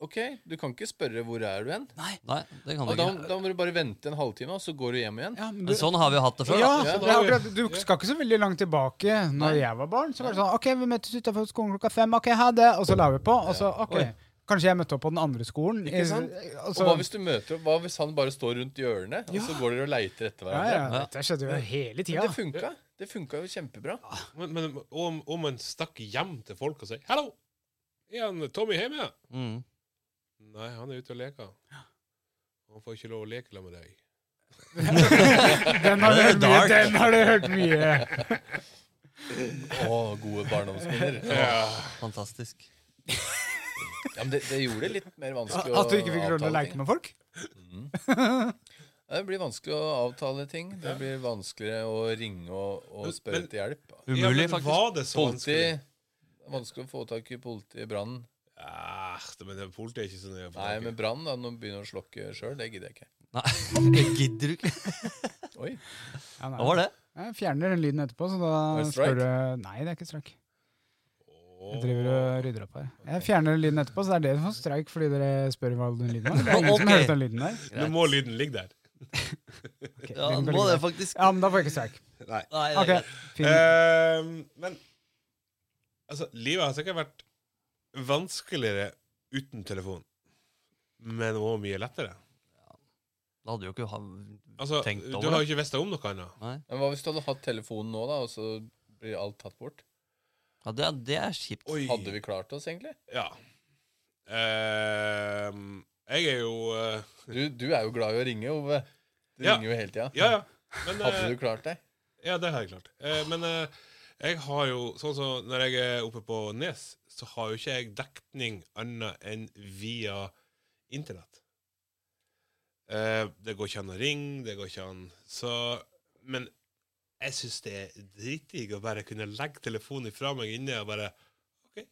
Speaker 6: OK, du kan ikke spørre hvor er du hen.
Speaker 3: Nei, Nei, det kan
Speaker 6: Og
Speaker 3: du
Speaker 6: da,
Speaker 3: ikke.
Speaker 6: da må du bare vente en halvtime, og så går du hjem igjen.
Speaker 2: ja, men du,
Speaker 3: Men sånn har vi jo hatt det før.
Speaker 2: ja,
Speaker 3: da.
Speaker 6: Ja,
Speaker 2: det
Speaker 6: da-
Speaker 2: er akkurat, du skal ikke så veldig langt tilbake. Når
Speaker 6: Nei.
Speaker 2: jeg var barn, så var det sånn OK, vi møtes utafor skolen klokka fem. OK, ha det. Og så la vi på. Og så OK.
Speaker 6: Oi.
Speaker 2: Kanskje jeg møtte opp på den andre skolen.
Speaker 6: Ikke sant?
Speaker 2: Og
Speaker 6: Og hva hvis du møter opp? Hva hvis han bare står rundt hjørnet, og så går dere og leiter etter
Speaker 2: Ja, ja,
Speaker 6: hverandre?
Speaker 2: dette skjedde jo hele
Speaker 6: Men
Speaker 2: tida.
Speaker 6: det funka. Det funka jo kjempebra.
Speaker 4: Men, men om, om man stakk hjem til folk og sier 'Hallo, er han Tommy hjemme?'
Speaker 3: Mm.
Speaker 4: Nei, han er ute og leker. Han får ikke lov å leke sammen med deg.
Speaker 2: Den har du hørt mye.
Speaker 3: Det er dark.
Speaker 2: Den har du hørt mye.
Speaker 6: Å, gode barndomsminner.
Speaker 3: Fantastisk.
Speaker 6: Ja, men det, det gjorde det litt mer vanskelig
Speaker 2: At du ikke fikk lov til å
Speaker 6: avtale
Speaker 2: leke
Speaker 6: ting.
Speaker 2: med folk?
Speaker 6: Ja, Det blir vanskelig å avtale ting. Det blir vanskeligere å ringe og, og spørre
Speaker 4: men-
Speaker 6: etter hjelp. altså.
Speaker 4: ja,
Speaker 3: Umulig,
Speaker 4: men
Speaker 3: faktisk.
Speaker 4: Var det så
Speaker 6: Politi
Speaker 4: vanskelig?
Speaker 6: det er Vanskelig å få tak i politi i brannen.
Speaker 4: Ah, det- men det- politi er ikke så nøye. å få
Speaker 6: Nei,
Speaker 4: tak i.
Speaker 6: men brann, da. Når man begynner å slokke sjøl, det gidder jeg ikke.
Speaker 3: Nei, det gidder du ikke.
Speaker 6: Oi.
Speaker 2: Ja, nei.
Speaker 3: Hva var det?
Speaker 2: Jeg fjerner den lyden etterpå, så da
Speaker 6: Var det strike?
Speaker 2: spør du Nei, det er ikke streik. Jeg
Speaker 4: Åh.
Speaker 2: driver og rydder opp her. Jeg fjerner den lyden etterpå, så det er dere som får streik fordi dere spør hva den lyden var. Det er ingen som
Speaker 3: Ok.
Speaker 2: hører den lyden der.
Speaker 4: Nå må lyden ligge der.
Speaker 2: Ok,
Speaker 3: Ja,
Speaker 2: den
Speaker 3: nå
Speaker 2: går
Speaker 3: må det
Speaker 2: videre.
Speaker 3: faktisk Eh,
Speaker 2: ja, men da får jeg ikke streik.
Speaker 4: Nei.
Speaker 3: Nei, det er
Speaker 2: Ok,
Speaker 3: greit.
Speaker 2: fin.
Speaker 4: Ehm, men altså, livet har sikkert vært vanskeligere uten telefon. Men også mye lettere.
Speaker 3: Da hadde du jo ikke ha...
Speaker 4: Altså,
Speaker 3: Tenkt over
Speaker 4: du har jo
Speaker 3: det.
Speaker 4: ikke visst om noe annet.
Speaker 3: Nei.
Speaker 6: Men hva hvis du hadde hatt telefonen nå, da, og så blir alt tatt bort?
Speaker 3: Ja, det, er- det er kjipt.
Speaker 4: Oi.
Speaker 6: Hadde vi klart oss, egentlig?
Speaker 4: Ja. Ehm, jeg er jo eh,
Speaker 6: Du, du er jo glad i å ringe, Ove. Du
Speaker 4: Ja.
Speaker 6: ringer jo hele tida.
Speaker 4: Ja, ja. Men, eh,
Speaker 6: Hadde du klart deg?
Speaker 4: Ja, det har jeg klart. Eh, men eh, jeg har jo, sånn som når jeg er oppe på Nes, så har jo ikke jeg dekning annet enn via internett. Eh, det går ikke an å ringe, det går ikke an Så Men jeg syns det er dritdigg å bare kunne legge telefonen ifra meg inne og bare OK,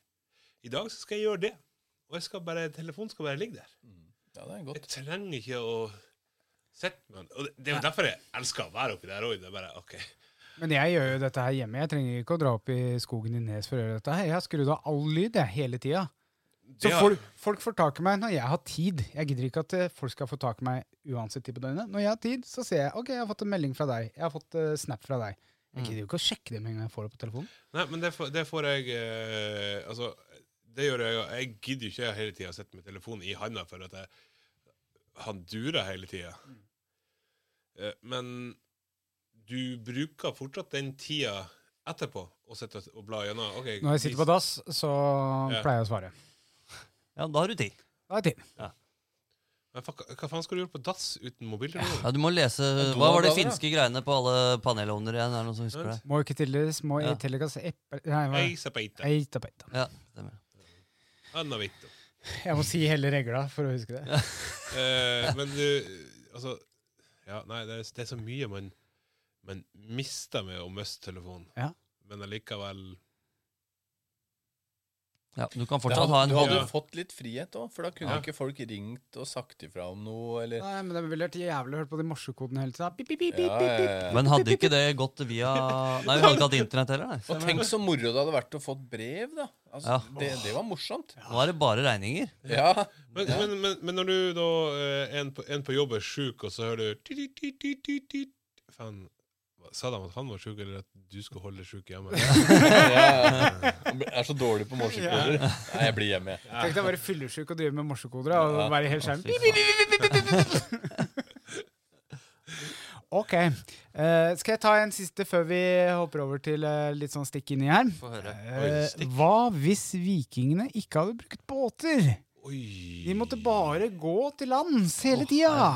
Speaker 4: i dag så skal jeg gjøre det. Og jeg skal bare, telefonen skal bare ligge der.
Speaker 6: Ja, det er godt.
Speaker 4: Jeg trenger ikke å sitte med den. Og det, det er jo derfor jeg elsker å være oppi der òg. Det er bare OK.
Speaker 2: Men jeg gjør jo dette her hjemme. Jeg trenger ikke å dra opp i skogen i Nes for å gjøre dette her. Jeg har skrudd av all lyd jeg, hele tida. Så
Speaker 4: Det har-
Speaker 2: folk, folk får tak i meg når jeg har tid. Jeg gidder ikke at eh, folk skal få tak i meg uansett tid på døgnet. Når jeg har tid, så ser jeg ok, jeg har fått en melding fra deg. Jeg har fått eh, snap fra deg.
Speaker 3: Mm.
Speaker 2: Jeg gidder jo ikke å sjekke det med en gang jeg får det på telefonen.
Speaker 4: Nei, men det får, det får jeg eh, Altså, det gjør jeg jo. Jeg gidder jo ikke hele tida å sitte med telefonen i handa for at jeg, han durer hele tida. Eh, men du bruker fortsatt den tida etterpå å sitte og bla gjennom. Ok,
Speaker 2: Når jeg sitter på dass, så
Speaker 4: Ja.
Speaker 2: pleier jeg å svare.
Speaker 3: Ja, da har du tid.
Speaker 2: Da er tid.
Speaker 4: Men fuck, hva faen skal du gjøre på dass uten mobiltelefon?
Speaker 3: Ja, du må lese
Speaker 6: to
Speaker 3: Hva var de
Speaker 6: dager, da.
Speaker 3: finske greiene på alle panelovner igjen? Er det noen som husker det?
Speaker 2: Må ikke tildeles, må
Speaker 3: Ja.
Speaker 2: ja. tillegges eple... Nei, hva?
Speaker 4: Hei, se på eita.
Speaker 2: Eita beita.
Speaker 3: Ja, stemmer.
Speaker 4: Anna vitto.
Speaker 2: Jeg må si hele regla for å huske det.
Speaker 4: Eh, men du Altså Ja, nei, det er, det er så mye man, man mister med å miste telefonen.
Speaker 2: Ja.
Speaker 4: Men allikevel
Speaker 3: Ja, du kan
Speaker 6: Det
Speaker 3: fortsatt ha
Speaker 6: hadde,
Speaker 3: en
Speaker 6: du hadde
Speaker 3: hobby.
Speaker 4: Ja.
Speaker 6: fått litt frihet òg, for da kunne
Speaker 4: Ja.
Speaker 6: ikke folk ringt og sagt ifra om noe, eller
Speaker 2: Nei, men det ville vært jævlig å høre på de morsekodene hele tida. Pip, pip, pip,
Speaker 6: ja,
Speaker 2: pip,
Speaker 6: ja,
Speaker 2: pip,
Speaker 6: ja.
Speaker 3: Men hadde ikke det gått via Nei, vi hadde ikke hatt internett heller. Nei.
Speaker 6: Og tenk så moro det hadde vært å få brev, da. Altså,
Speaker 3: Ja.
Speaker 6: det, det var morsomt.
Speaker 3: Nå er det bare regninger.
Speaker 6: Ja.
Speaker 4: Men, men, men, men når du da eh, en på, en på jobb er sjuk, og så hører du ti, ti, ti, ti, ti, ti. Faen, hva- Sa de at han var sjuk, eller at du skulle holde deg sjuk hjemme?
Speaker 6: Ja. Jeg er så dårlig på morsekoder. Nei, jeg blir hjemme, jeg.
Speaker 2: Tenk deg å være fyllesyk og drive med morsekoder da, og være i hele skjermen. Pip, pip, pip. Ok. Eh, skal jeg ta en siste før vi hopper over til eh, litt sånn stikk inni her?
Speaker 3: Få høre.
Speaker 2: Eh, hva hvis vikingene ikke hadde brukt båter?
Speaker 4: Oi.
Speaker 2: De måtte bare gå til lands hele tida.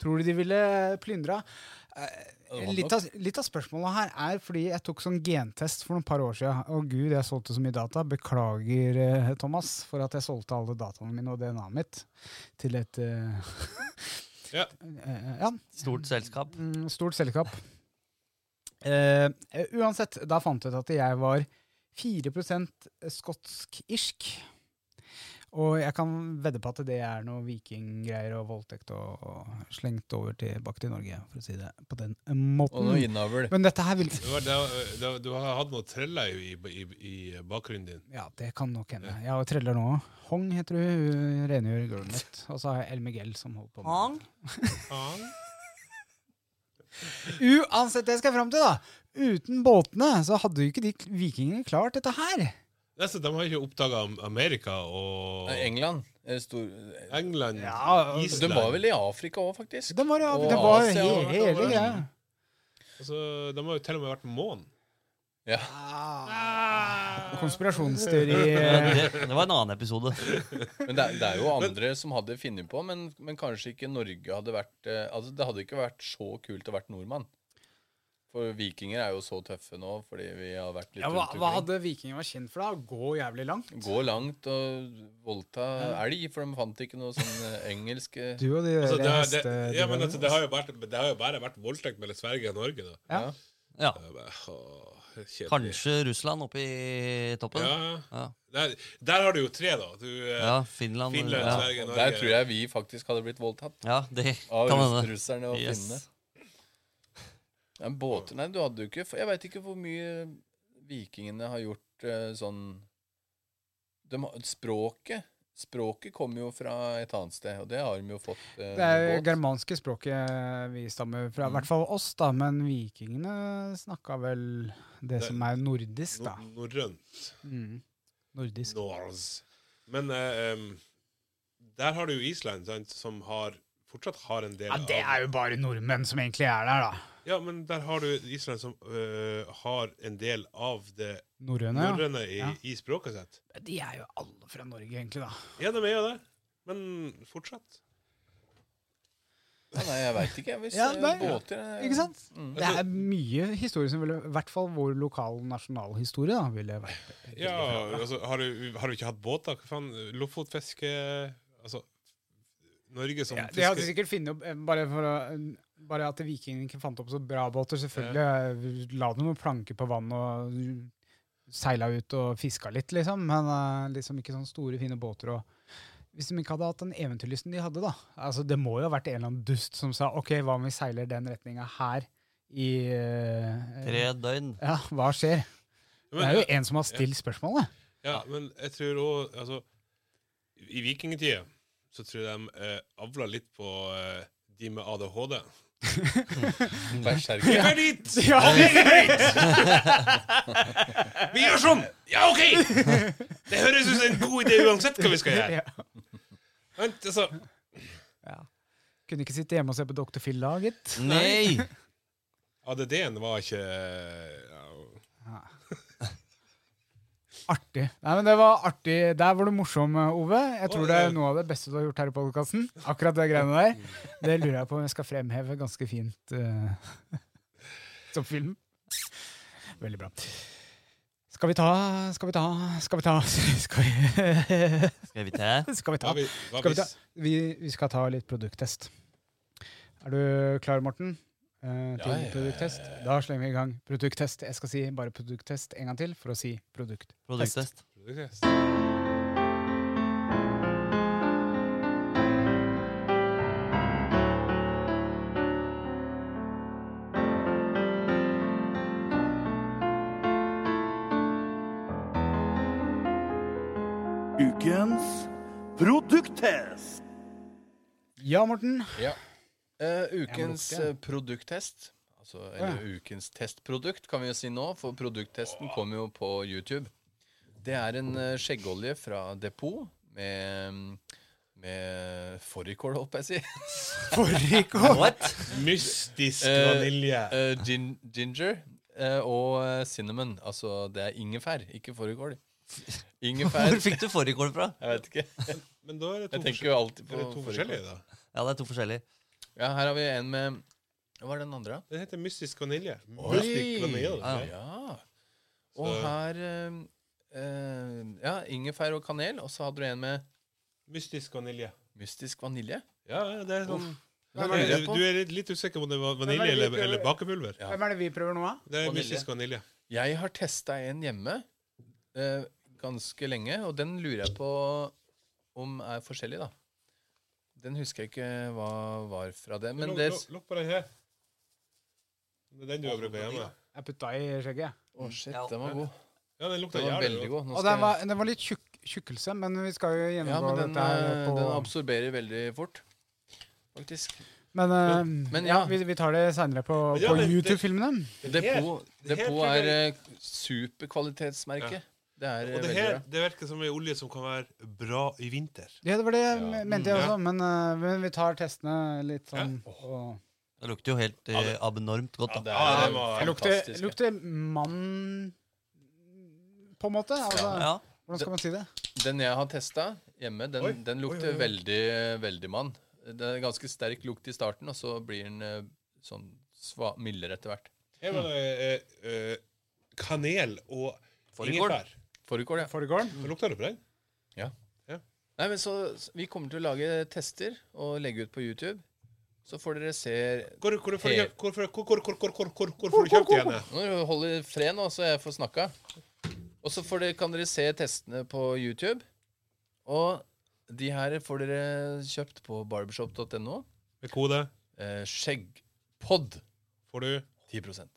Speaker 2: Tror du de ville plyndra? Eh, Litt av, litt av spørsmålet her er fordi jeg tok sånn gentest for noen par år siden. Å gud, jeg solgte så mye data. Beklager, eh, Thomas, for at jeg solgte alle dataene mine og DNA-et mitt til et eh,
Speaker 4: Ja.
Speaker 2: eh, ja,
Speaker 3: Stort selskap.
Speaker 2: mm, stort selskap. Eh, eh, uansett, da fant jeg ut at jeg var 4 skotsk-irsk. Og jeg kan vedde på at det er noe vikinggreier og voldtekt og, og slengt over tilbake til Norge, for å si det på den
Speaker 6: Og noe
Speaker 2: måten.
Speaker 6: innavl.
Speaker 2: Men dette her vil
Speaker 4: Det var, det var, det var, du har hatt noe treller i, i, i bakgrunnen din.
Speaker 2: Ja, det kan nok hende. Jeg har treller nå. Hong heter hun, hun rengjør gulvet mitt. Og så har jeg El Miguel som holder på med det.
Speaker 4: Faen.
Speaker 2: Uansett, det skal jeg fram til, da. Uten båtene så hadde jo ikke de vikingene klart dette her.
Speaker 4: Altså, de har ikke oppdaga Amerika og
Speaker 6: England. eh, Stor...
Speaker 4: England,
Speaker 2: Ja, og-
Speaker 4: Island
Speaker 6: De var vel i Afrika òg, faktisk.
Speaker 2: Den var,
Speaker 6: Og
Speaker 2: det var
Speaker 6: Asia
Speaker 2: he
Speaker 6: og-
Speaker 2: hele
Speaker 4: og-
Speaker 2: greia.
Speaker 4: altså, De har jo til og med vært på månen.
Speaker 6: Ja.
Speaker 2: Ah. Konspirasjonsteori
Speaker 3: Men
Speaker 2: eh,
Speaker 3: Det, det var en annen episode.
Speaker 6: Men det, er- det er jo andre som hadde funnet på, men, men kanskje ikke Norge hadde vært eh, Altså, det hadde ikke vært så kult å vært nordmann. For vikinger er jo så tøffe nå fordi vi har vært litt
Speaker 2: ja, hva,
Speaker 6: rundt
Speaker 2: hva
Speaker 6: omkring.
Speaker 2: hadde vikingene vært kjent for, da? Å Gå jævlig langt?
Speaker 6: Gå langt og voldta elg, for de fant ikke noe sånn eh, engelsk eh,
Speaker 2: Du og de
Speaker 4: Altså, det, har-
Speaker 2: heste...
Speaker 4: det, ja, men altså, det, har jo vært, det har jo bare vært voldtekt mellom Sverige og Norge. Da.
Speaker 2: ja.
Speaker 6: ja.
Speaker 3: Ja,
Speaker 4: Det er bare, åh, kjedelig.
Speaker 3: Kanskje Russland oppe i toppen.
Speaker 4: Ja.
Speaker 3: Ja,
Speaker 4: Der, der har du jo tre, da. Du, eh,
Speaker 3: ja Finland.
Speaker 4: Finland,
Speaker 3: Ja,
Speaker 4: Sverige, Norge.
Speaker 6: Der tror jeg vi faktisk hadde blitt voldtatt.
Speaker 3: ja det
Speaker 6: Av
Speaker 3: kan
Speaker 6: russ-
Speaker 3: hende.
Speaker 6: russerne og
Speaker 3: Yes.
Speaker 6: finnene. Ja, men båter Nei, du hadde jo ikke for Jeg veit ikke hvor mye vikingene har gjort eh, sånn de, har- Språket Språket kommer jo fra et annet sted, og det har de jo fått eh,
Speaker 2: Det er
Speaker 6: med
Speaker 2: jo
Speaker 6: båt.
Speaker 2: germanske språket eh, vi stammer fra. I hvert fall oss, da. Men vikingene snakka vel det
Speaker 4: Det-
Speaker 2: som er nordisk, da.
Speaker 4: Nor- Norrønt.
Speaker 2: Mm. Nordisk.
Speaker 4: Norse. Men eh, em, der har du jo Island, sant, som har, fortsatt har en del
Speaker 2: Ja, det er jo bare nordmenn som egentlig er der, da.
Speaker 4: av Ja, men der har du Island som eh, har en del av det
Speaker 2: Norrøne, ja.
Speaker 4: norrøne i,
Speaker 2: Ja.
Speaker 4: i språket sitt.
Speaker 2: De er jo alle fra Norge, egentlig, da.
Speaker 4: Ja, de er jo det. Men fortsatt.
Speaker 6: Ja, nei, jeg veit ikke. Hvis
Speaker 2: Ja,
Speaker 6: eh,
Speaker 2: nei,
Speaker 6: båter eh,
Speaker 2: Ikke sant?
Speaker 6: Mm.
Speaker 2: Det er mye historie som ville I hvert fall vår lokal nasjonalhistorie da, ville vært
Speaker 4: Ja, altså, har du, har du ikke hatt båter? Hva faen? Lofotfiske Altså, Norge som
Speaker 2: ja, De hadde
Speaker 4: fisker
Speaker 2: sikkert funnet opp eh, Bare, for, å- bare at vikingene ikke fant opp så bra båter, selvfølgelig. eh, La dem noen planker på vann og seila ut og fiska litt, liksom. Men eh, liksom ikke sånne store, fine båter og hvis de ikke hadde hatt den eventyrlysten de hadde, da. Altså, det må jo ha vært en eller annen dust som sa OK, hva om vi seiler den retninga her i eh,
Speaker 3: Tre døgn.
Speaker 2: Ja, hva skjer? Det er jo en som har stilt spørsmålet.
Speaker 4: Ja, men jeg tror òg altså, I vikingtida så tror jeg de eh, avla litt på eh, de med ADHD.
Speaker 6: Berserker.
Speaker 4: Hør dit!
Speaker 2: Ja,
Speaker 4: Vi gjør sånn! Ja, OK! Det høres ut som en god idé uansett hva vi skal gjøre. Vent, altså,
Speaker 2: Kunne ikke sitte hjemme og se på Dr. Phil da, gitt.
Speaker 3: Nei!
Speaker 4: ADD-en var ikke ja,
Speaker 2: Artig. Nei, men det var artig. Der var du morsom, Ove. Jeg tror
Speaker 4: Å,
Speaker 2: det
Speaker 4: ja.
Speaker 2: er noe av det beste du har gjort her i podkasten. Akkurat det greiene der. Det lurer jeg på om jeg skal fremheve ganske fint eh, som film. Veldig bra. Skal vi ta Skal vi ta Skal vi ta Skal vi,
Speaker 3: Skal vi ta?
Speaker 2: skal vi
Speaker 4: hva,
Speaker 2: ta
Speaker 4: vi- hva
Speaker 2: Skal vi, ta,
Speaker 4: hvis
Speaker 2: vi, vi skal ta litt produkttest. Er du klar, Morten? eh, til
Speaker 6: Ja, ja, ja,
Speaker 2: produkttest? Da slenger vi i gang. Produkttest. Jeg skal si bare produkttest en gang til for å si produkt.
Speaker 3: Produkttest.
Speaker 4: Skal
Speaker 5: ukens produkttest.
Speaker 2: Ja, Morten.
Speaker 6: Ja. Eh, ukens
Speaker 2: lukte, ja.
Speaker 6: eh, produkttest, altså, eller ukens testprodukt, kan vi jo si nå, for produkttesten kommer jo på YouTube. Det er en eh, skjeggolje fra Depot med, med fårikål, holdt jeg på å si.
Speaker 2: Forrige
Speaker 3: What?
Speaker 4: Mystisk
Speaker 6: Eh,
Speaker 4: vanilje.
Speaker 6: Eh, gin ginger eh, og eh, cinnamon. Altså, det er ingefær, ikke fårikål. Ingefær
Speaker 3: Hvor fikk du fårikål fra?
Speaker 6: Jeg vet ikke.
Speaker 4: Men da er det to,
Speaker 6: Jeg tenker
Speaker 4: forskjell-
Speaker 6: jo alltid
Speaker 4: er
Speaker 6: på
Speaker 4: det to forskjellige, da.
Speaker 3: Ja, det er to forskjellige.
Speaker 6: Ja, her har vi en med Hva er den andre, da?
Speaker 4: Den heter mystisk vanilje.
Speaker 6: Oi! Ah.
Speaker 4: Mystisk vanilje.
Speaker 3: Ja.
Speaker 4: det er.
Speaker 6: Ja. Og
Speaker 4: altså. Så-
Speaker 6: her eh, eh, Ja, ingefær og kanel. Og så hadde du en med
Speaker 4: Mystisk vanilje.
Speaker 6: mystisk vanilje.
Speaker 4: Ja, det er sånn
Speaker 6: Hva
Speaker 4: Du
Speaker 6: lurer
Speaker 4: er,
Speaker 6: jeg på?
Speaker 4: du er litt usikker på om det var vanilje
Speaker 2: Nei, men vi
Speaker 4: eller,
Speaker 2: prøver-
Speaker 4: eller bakepulver.
Speaker 6: Ja.
Speaker 2: Hvem er det vi prøver nå, da?
Speaker 4: Det er
Speaker 6: Vanilje.
Speaker 4: mystisk vanilje.
Speaker 6: Jeg har testa en hjemme eh, ganske lenge, og den lurer jeg på om er forskjellig, da. Den husker jeg ikke hva var fra det. Men
Speaker 4: Lukk-
Speaker 6: det
Speaker 4: lukk- Lukk på den her. Det er den du har brukt hjemme.
Speaker 2: Jeg putta i skjegget.
Speaker 6: Å, shit,
Speaker 3: Ja.
Speaker 6: den var god.
Speaker 4: Ja, den lukter
Speaker 6: Den var
Speaker 4: jævlig
Speaker 6: veldig
Speaker 4: godt.
Speaker 6: god. Nå
Speaker 2: Og
Speaker 6: skal
Speaker 2: den
Speaker 6: jeg-
Speaker 2: var, den var litt tjukk, tjukkelse, men vi skal jo
Speaker 6: ja,
Speaker 2: gjennomgå
Speaker 6: men den,
Speaker 2: dette her
Speaker 6: eh,
Speaker 2: på
Speaker 6: den absorberer veldig fort, faktisk.
Speaker 2: Men, eh,
Speaker 6: men
Speaker 2: ja,
Speaker 6: ja.
Speaker 2: vi, vi tar det seinere på,
Speaker 4: Men ja,
Speaker 2: på
Speaker 4: men det-
Speaker 2: YouTube-filmene.
Speaker 4: Det her-
Speaker 6: Depot,
Speaker 4: det her
Speaker 6: depot
Speaker 4: tror jeg-
Speaker 6: er eh, superkvalitetsmerke.
Speaker 4: Ja.
Speaker 6: Det er eh,
Speaker 4: Og det
Speaker 6: veldig
Speaker 4: her
Speaker 6: bra.
Speaker 4: det virker som en olje som kan være bra i vinter.
Speaker 2: Ja, det var det jeg
Speaker 6: Ja.
Speaker 2: mente jeg
Speaker 4: Mm, ja.
Speaker 2: også, men, eh, men vi tar testene litt sånn og
Speaker 3: Det lukter jo helt eh,
Speaker 4: Ja, det-
Speaker 3: abnormt godt. da.
Speaker 6: det
Speaker 4: Ja, den var-
Speaker 6: eh,
Speaker 4: Det
Speaker 2: Lukter,
Speaker 6: fantastisk, ja.
Speaker 2: lukter mann på en måte? Altså,
Speaker 3: Ja.
Speaker 2: Hvordan skal man si det?
Speaker 6: Den jeg har testa hjemme, den,
Speaker 4: Oi,
Speaker 6: den lukter
Speaker 4: oi, oi.
Speaker 6: veldig, veldig mann. Det er ganske sterk lukt i starten, og så blir den eh, sånn sva, mildere etter hvert.
Speaker 4: Her var det eh, eh, kanel og ingefær.
Speaker 6: Fårikål, ja.
Speaker 2: Foregården?
Speaker 4: Det Lukter det på den?
Speaker 6: Nei, men så, så vi kommer til å lage tester og legge ut på YouTube. Så får dere se
Speaker 4: Hvor, hvor, får du
Speaker 6: Her.
Speaker 4: kjøpt- hvor, får- hvor, hvor, hvor, hvor, hvor, hvor, hvor får du kjøpt igjen? det?
Speaker 6: Nå holder jeg fred nå, så jeg får snakka. Og så får dere, kan dere se testene på YouTube. Og de her får dere kjøpt på barbershop.no.
Speaker 4: Med kode
Speaker 6: Eh, skjeggpod.
Speaker 4: får du
Speaker 6: 10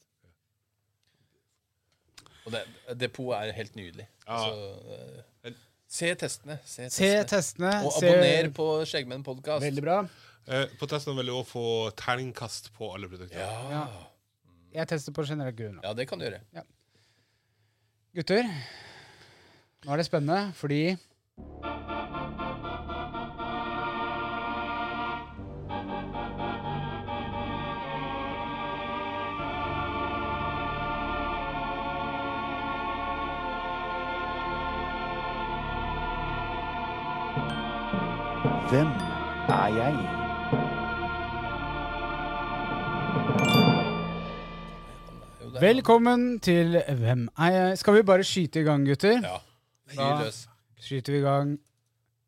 Speaker 6: Og det, depot er helt nydelig.
Speaker 4: Ja.
Speaker 6: Altså, eh, se testene. Se
Speaker 2: Se
Speaker 6: testene.
Speaker 2: testene.
Speaker 6: og
Speaker 2: se-
Speaker 6: abonner på Skjeggmenn podkast.
Speaker 2: Veldig bra.
Speaker 4: eh, På testen vil du også få terningkast på alle produkter.
Speaker 6: Ja.
Speaker 2: Ja. Jeg tester på generelt grunnlag.
Speaker 6: ja, det kan du gjøre.
Speaker 2: Gutter, nå er det spennende, fordi
Speaker 5: Hvem er jeg?
Speaker 6: Jo, det er-
Speaker 2: Velkommen til Hvem er jeg? Skal vi bare skyte i gang, gutter?
Speaker 6: Ja.
Speaker 2: Da-
Speaker 6: Fyr løs.
Speaker 2: Skyter vi i gang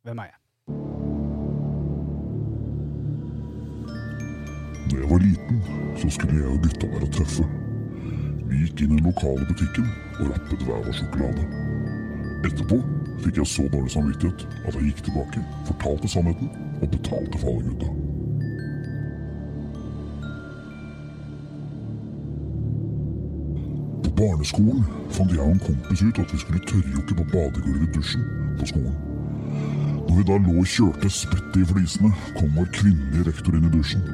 Speaker 2: Hvem er jeg?
Speaker 7: Da jeg var liten, så skulle jeg og gutta være tøffe. Vi gikk inn i den lokale butikken og rappet hver vår sjokolade. Etterpå fikk jeg så dårlig samvittighet at jeg gikk tilbake, fortalte sannheten og betalte for alle gutta. På barneskolen fant jeg og en kompis ut at vi skulle tørrjokke på badegulvet i dusjen på skolen. Når vi da lå og kjørte spyttet i flisene, kom vår kvinnelige rektor inn i dusjen.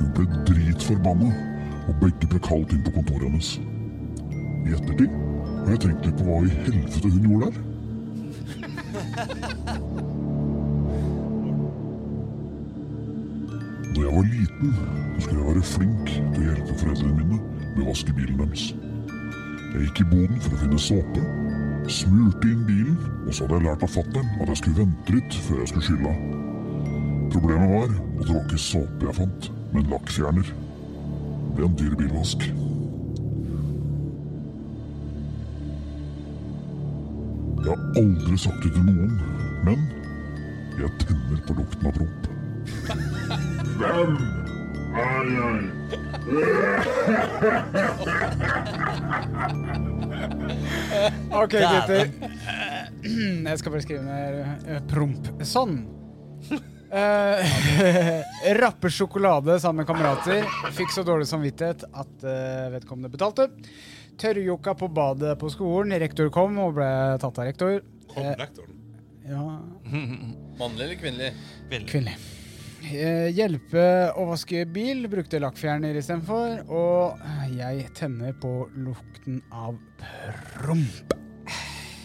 Speaker 7: Hun ble dritforbanna, og begge ble kalt inn på kontoret hennes. I ettertid har jeg tenkt litt på hva i helvete hun gjorde der. Da jeg var liten, så skulle jeg være flink til å hjelpe foreldrene mine med å vaske bilen deres. Jeg gikk i boden for å finne såpe, smurte inn bilen, og så hadde jeg lært av fattern at jeg skulle vente litt før jeg skulle skylle av. Problemet var at det var ikke såpe jeg fant, men lakkfjerner. Det er en dyr bilvask. Jeg har aldri sagt det til noen, men jeg tenner på lukten av promp. Hvem er jeg?
Speaker 2: Ok, gutter.
Speaker 3: Dæven.
Speaker 2: Jeg skal bare skrive ned eh, promp. Sånn. Uh, Rappe sjokolade sammen med kamerater. Fikk så dårlig samvittighet at eh, vedkommende betalte. Tørrjokka på badet på skolen. Rektor kom og ble tatt av rektor.
Speaker 4: Kom,
Speaker 2: Eh,
Speaker 4: lektoren.
Speaker 2: Ja,
Speaker 6: Mannlig eller kvinnelig?
Speaker 3: Veldig.
Speaker 2: kvinnelig. Eh, Hjelpe å vaske bil, brukte lakkfjerner istedenfor. Og jeg tenner på lukten av promp.